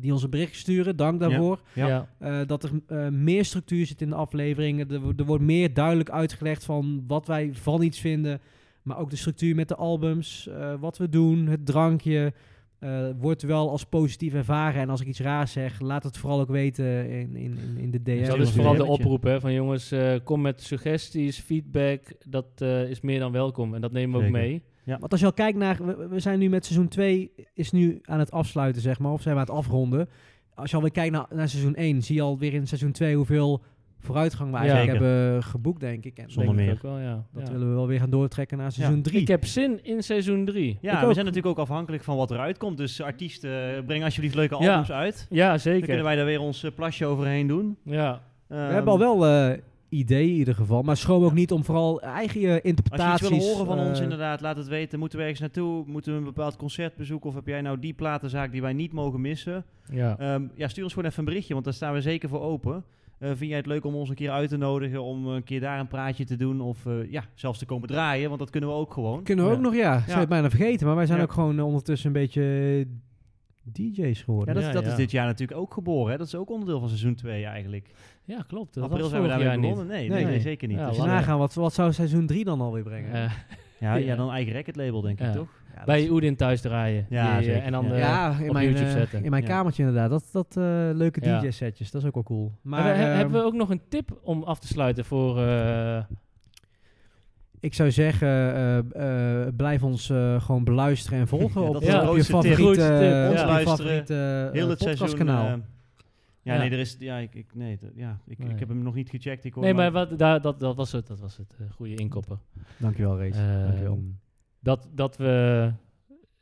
S3: die ons een bericht sturen, dank daarvoor.
S1: Ja.
S2: Ja.
S3: Eh, dat er eh, meer structuur zit in de afleveringen. Er, wo- er wordt meer duidelijk uitgelegd van wat wij van iets vinden. Maar ook de structuur met de albums, eh, wat we doen, het drankje. eh, wordt wel als positief ervaren. En als ik iets raars zeg, laat het vooral ook weten in, in, in, in de DM.
S1: Ja,
S2: Dus dat
S1: dat
S2: is
S1: is
S2: vooral
S1: een
S2: de
S1: beetje.
S2: oproep hè, van jongens, eh, kom met suggesties, feedback. Dat eh, is meer dan welkom en dat nemen we ook
S1: Zeker.
S2: mee.
S3: Want als je al kijkt naar... We, we zijn nu met seizoen 2, is nu aan het afsluiten, zeg maar. Of zijn we aan het afronden. Als je alweer kijkt naar, naar seizoen 1, zie je alweer in seizoen 2 hoeveel vooruitgang we
S2: Ja.
S3: eigenlijk
S1: Zeker.
S3: hebben geboekt, denk ik. En
S1: Zonder
S2: Denk ik
S1: meer.
S2: Ook wel, ja.
S3: dat
S2: Ja.
S3: willen we wel weer gaan doortrekken naar seizoen 3.
S2: Ik heb zin in seizoen 3.
S1: Ja,
S3: Ik
S1: we
S3: ook.
S1: zijn natuurlijk ook afhankelijk van wat eruit komt. Dus artiesten, eh, breng alsjeblieft leuke
S2: Ja.
S1: albums uit.
S2: Ja,
S1: Dan kunnen
S2: zeker.
S1: wij daar weer ons eh, plasje overheen doen.
S2: Ja.
S1: Ehm,
S3: We hebben al wel eh ideeën in ieder geval. Maar schroom ook niet om vooral eigen eh,
S1: Als je iets
S3: interpretaties...
S1: wil horen van ons,
S3: eh,
S1: inderdaad, laat het weten. Moeten we ergens naartoe? Moeten we een bepaald concert bezoeken? Of heb jij nou die platenzaak die wij niet mogen missen?
S2: ja.
S1: Ehm, ja, stuur ons gewoon even een berichtje, want daar staan we zeker voor open. Eh, vind jij het leuk om ons een keer uit te nodigen? Om een keer daar een praatje te doen? Of eh, ja, zelfs te komen draaien, want dat kunnen we ook gewoon.
S3: Kunnen we ook
S2: Ja.
S3: nog, ja. Zou je het bijna vergeten. Maar wij zijn
S1: Ja.
S3: ook gewoon eh, ondertussen een beetje eh, DJ's
S1: Ja,
S3: geworden.
S1: dat,
S2: Ja,
S1: dat
S2: ja.
S1: is dit jaar natuurlijk ook geboren. Hè? Dat is ook onderdeel van seizoen 2 eigenlijk.
S2: ja, klopt. Dat
S1: April
S2: was
S1: zijn we
S2: vorig
S1: daarmee
S2: jaar
S1: begonnen.
S2: niet.
S1: Nee, nee,
S3: Nee.
S1: nee, zeker niet.
S2: Ja,
S1: Dus
S3: dus
S2: lang.
S1: ja,
S3: nagaan, wat, wat zou seizoen 3 dan alweer brengen?
S2: Eh,
S1: ja, dan eigen record label denk ik,
S2: Ja.
S1: toch?
S3: Ja,
S2: bij
S3: dat-
S2: Oedin thuis draaien.
S1: Ja,
S2: Die, eh,
S1: zeker.
S2: en dan
S1: Ja.
S2: eh,
S3: ja, in
S2: op
S3: mijn,
S2: YouTube
S3: eh,
S2: zetten.
S3: in mijn
S1: Ja.
S3: kamertje inderdaad. Dat, dat eh, leuke
S2: Ja.
S3: DJ-setjes, dat is ook wel cool. Maar,
S2: Maar we- he-
S3: ehm,
S2: hebben we ook nog een tip om af te sluiten voor... eh,
S3: ik zou zeggen, eh, eh, blijf ons eh, gewoon beluisteren en volgen
S1: Ja,
S3: op, eh,
S1: dat
S2: is de
S3: op je
S1: grootste tip.
S3: favoriete,
S2: Grootste tip,
S3: eh, op
S2: ja.
S3: je
S1: Luisteren,
S3: favoriete eh,
S1: Heel het seizoen.
S3: podcastkanaal.
S1: eh, ja,
S2: Ja.
S1: nee, er is... Ja, ik, ik, nee, dat- ja, ik,
S2: Nee.
S1: ik heb hem nog niet gecheckt. Ik hoor
S2: nee, maar
S1: maar-
S2: wat, daar, dat, dat was het. Dat was het. eh, goede inkopper.
S3: Dankjewel, Rees.
S2: Ehm,
S3: Dankjewel.
S2: dat, dat we...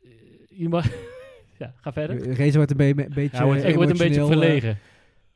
S2: eh, Je mag- [laughs] ja, ga verder.
S3: Rees wordt een be- be- beetje
S1: Hij wordt-
S3: eh,
S2: Ik word een beetje
S3: emotioneel, eh,
S2: verlegen.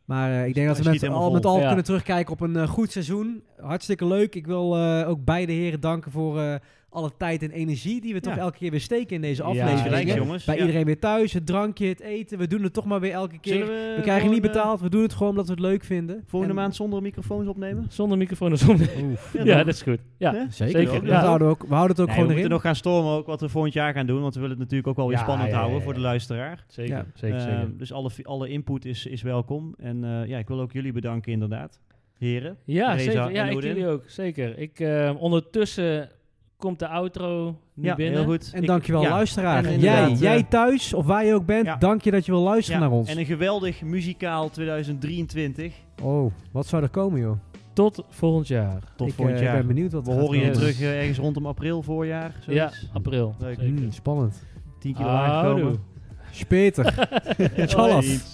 S3: Maar eh, ik denk dat we
S1: Hij schiet
S3: met
S1: helemaal
S3: al, met
S1: vol.
S3: al
S2: Ja.
S3: kunnen terugkijken op een eh, goed seizoen. Hartstikke leuk. Ik wil eh, ook beide heren danken voor eh, alle tijd en energie die we toch
S1: Ja.
S3: elke keer weer steken in deze
S2: Ja,
S3: aflevering.
S1: gelijk,
S2: hè?
S1: jongens.
S3: Bij
S1: Ja.
S3: iedereen weer thuis, het drankje, het eten. We doen het toch maar weer elke keer.
S1: Zullen
S3: We,
S1: we,
S3: krijgen niet
S1: gewoon, eh,
S3: betaald, we doen het gewoon omdat we het leuk vinden.
S1: volgende
S3: En-
S1: maand zonder microfoons
S2: [laughs]
S1: opnemen?
S2: Zonder microfoon en zonder... [laughs] Ja,
S1: toch?
S2: dat is goed. Ja.
S1: Hè?
S3: Zeker.
S2: Zeker,
S3: Dat
S2: ja.
S3: houden we, ook, we houden het
S1: Nee,
S3: ook
S1: we
S3: gewoon
S1: moeten
S3: erin.
S1: nog gaan stormen ook wat we volgend jaar gaan doen. Want we willen het natuurlijk ook wel weer
S2: Ja,
S1: spannend
S2: ja, ja,
S1: houden
S2: ja.
S1: voor de luisteraar.
S2: Zeker,
S3: Ja.
S2: zeker,
S1: Eh,
S2: zeker.
S1: dus alle, fi- alle input is, is welkom. En eh, ja, ik wil ook jullie bedanken inderdaad. Heren.
S2: Ja,
S1: Reza
S2: zeker.
S1: en
S2: Ja, ik
S1: Odin.
S2: jullie ook. Zeker. Ik, eh, ondertussen komt de outro nu
S1: ja,
S2: binnen.
S1: heel goed.
S3: En
S1: Ik-
S3: dankjewel
S1: ja.
S3: luisteraar.
S1: en
S3: jij,
S1: inderdaad,
S3: jij
S1: eh,
S3: thuis, of waar je ook bent,
S1: ja.
S3: dank je dat je wil luisteren
S1: Ja,
S3: naar ons.
S1: En een geweldig muzikaal 2023.
S3: Oh, wat zou er komen joh?
S2: Tot volgend jaar.
S1: Tot
S3: ik
S1: volgend
S3: eh,
S1: jaar.
S3: ben benieuwd wat
S1: We
S3: er gaat
S1: horen je
S3: komen.
S1: terug eh, ergens rondom april, voorjaar. Zoiets.
S2: Ja, april.
S1: Leuk.
S2: Zeker.
S3: Hmm, spannend.
S1: 10 kilo
S2: [laughs] Houdoe.
S1: aangekomen.
S3: Speter. Tjallas.
S1: Zoiets.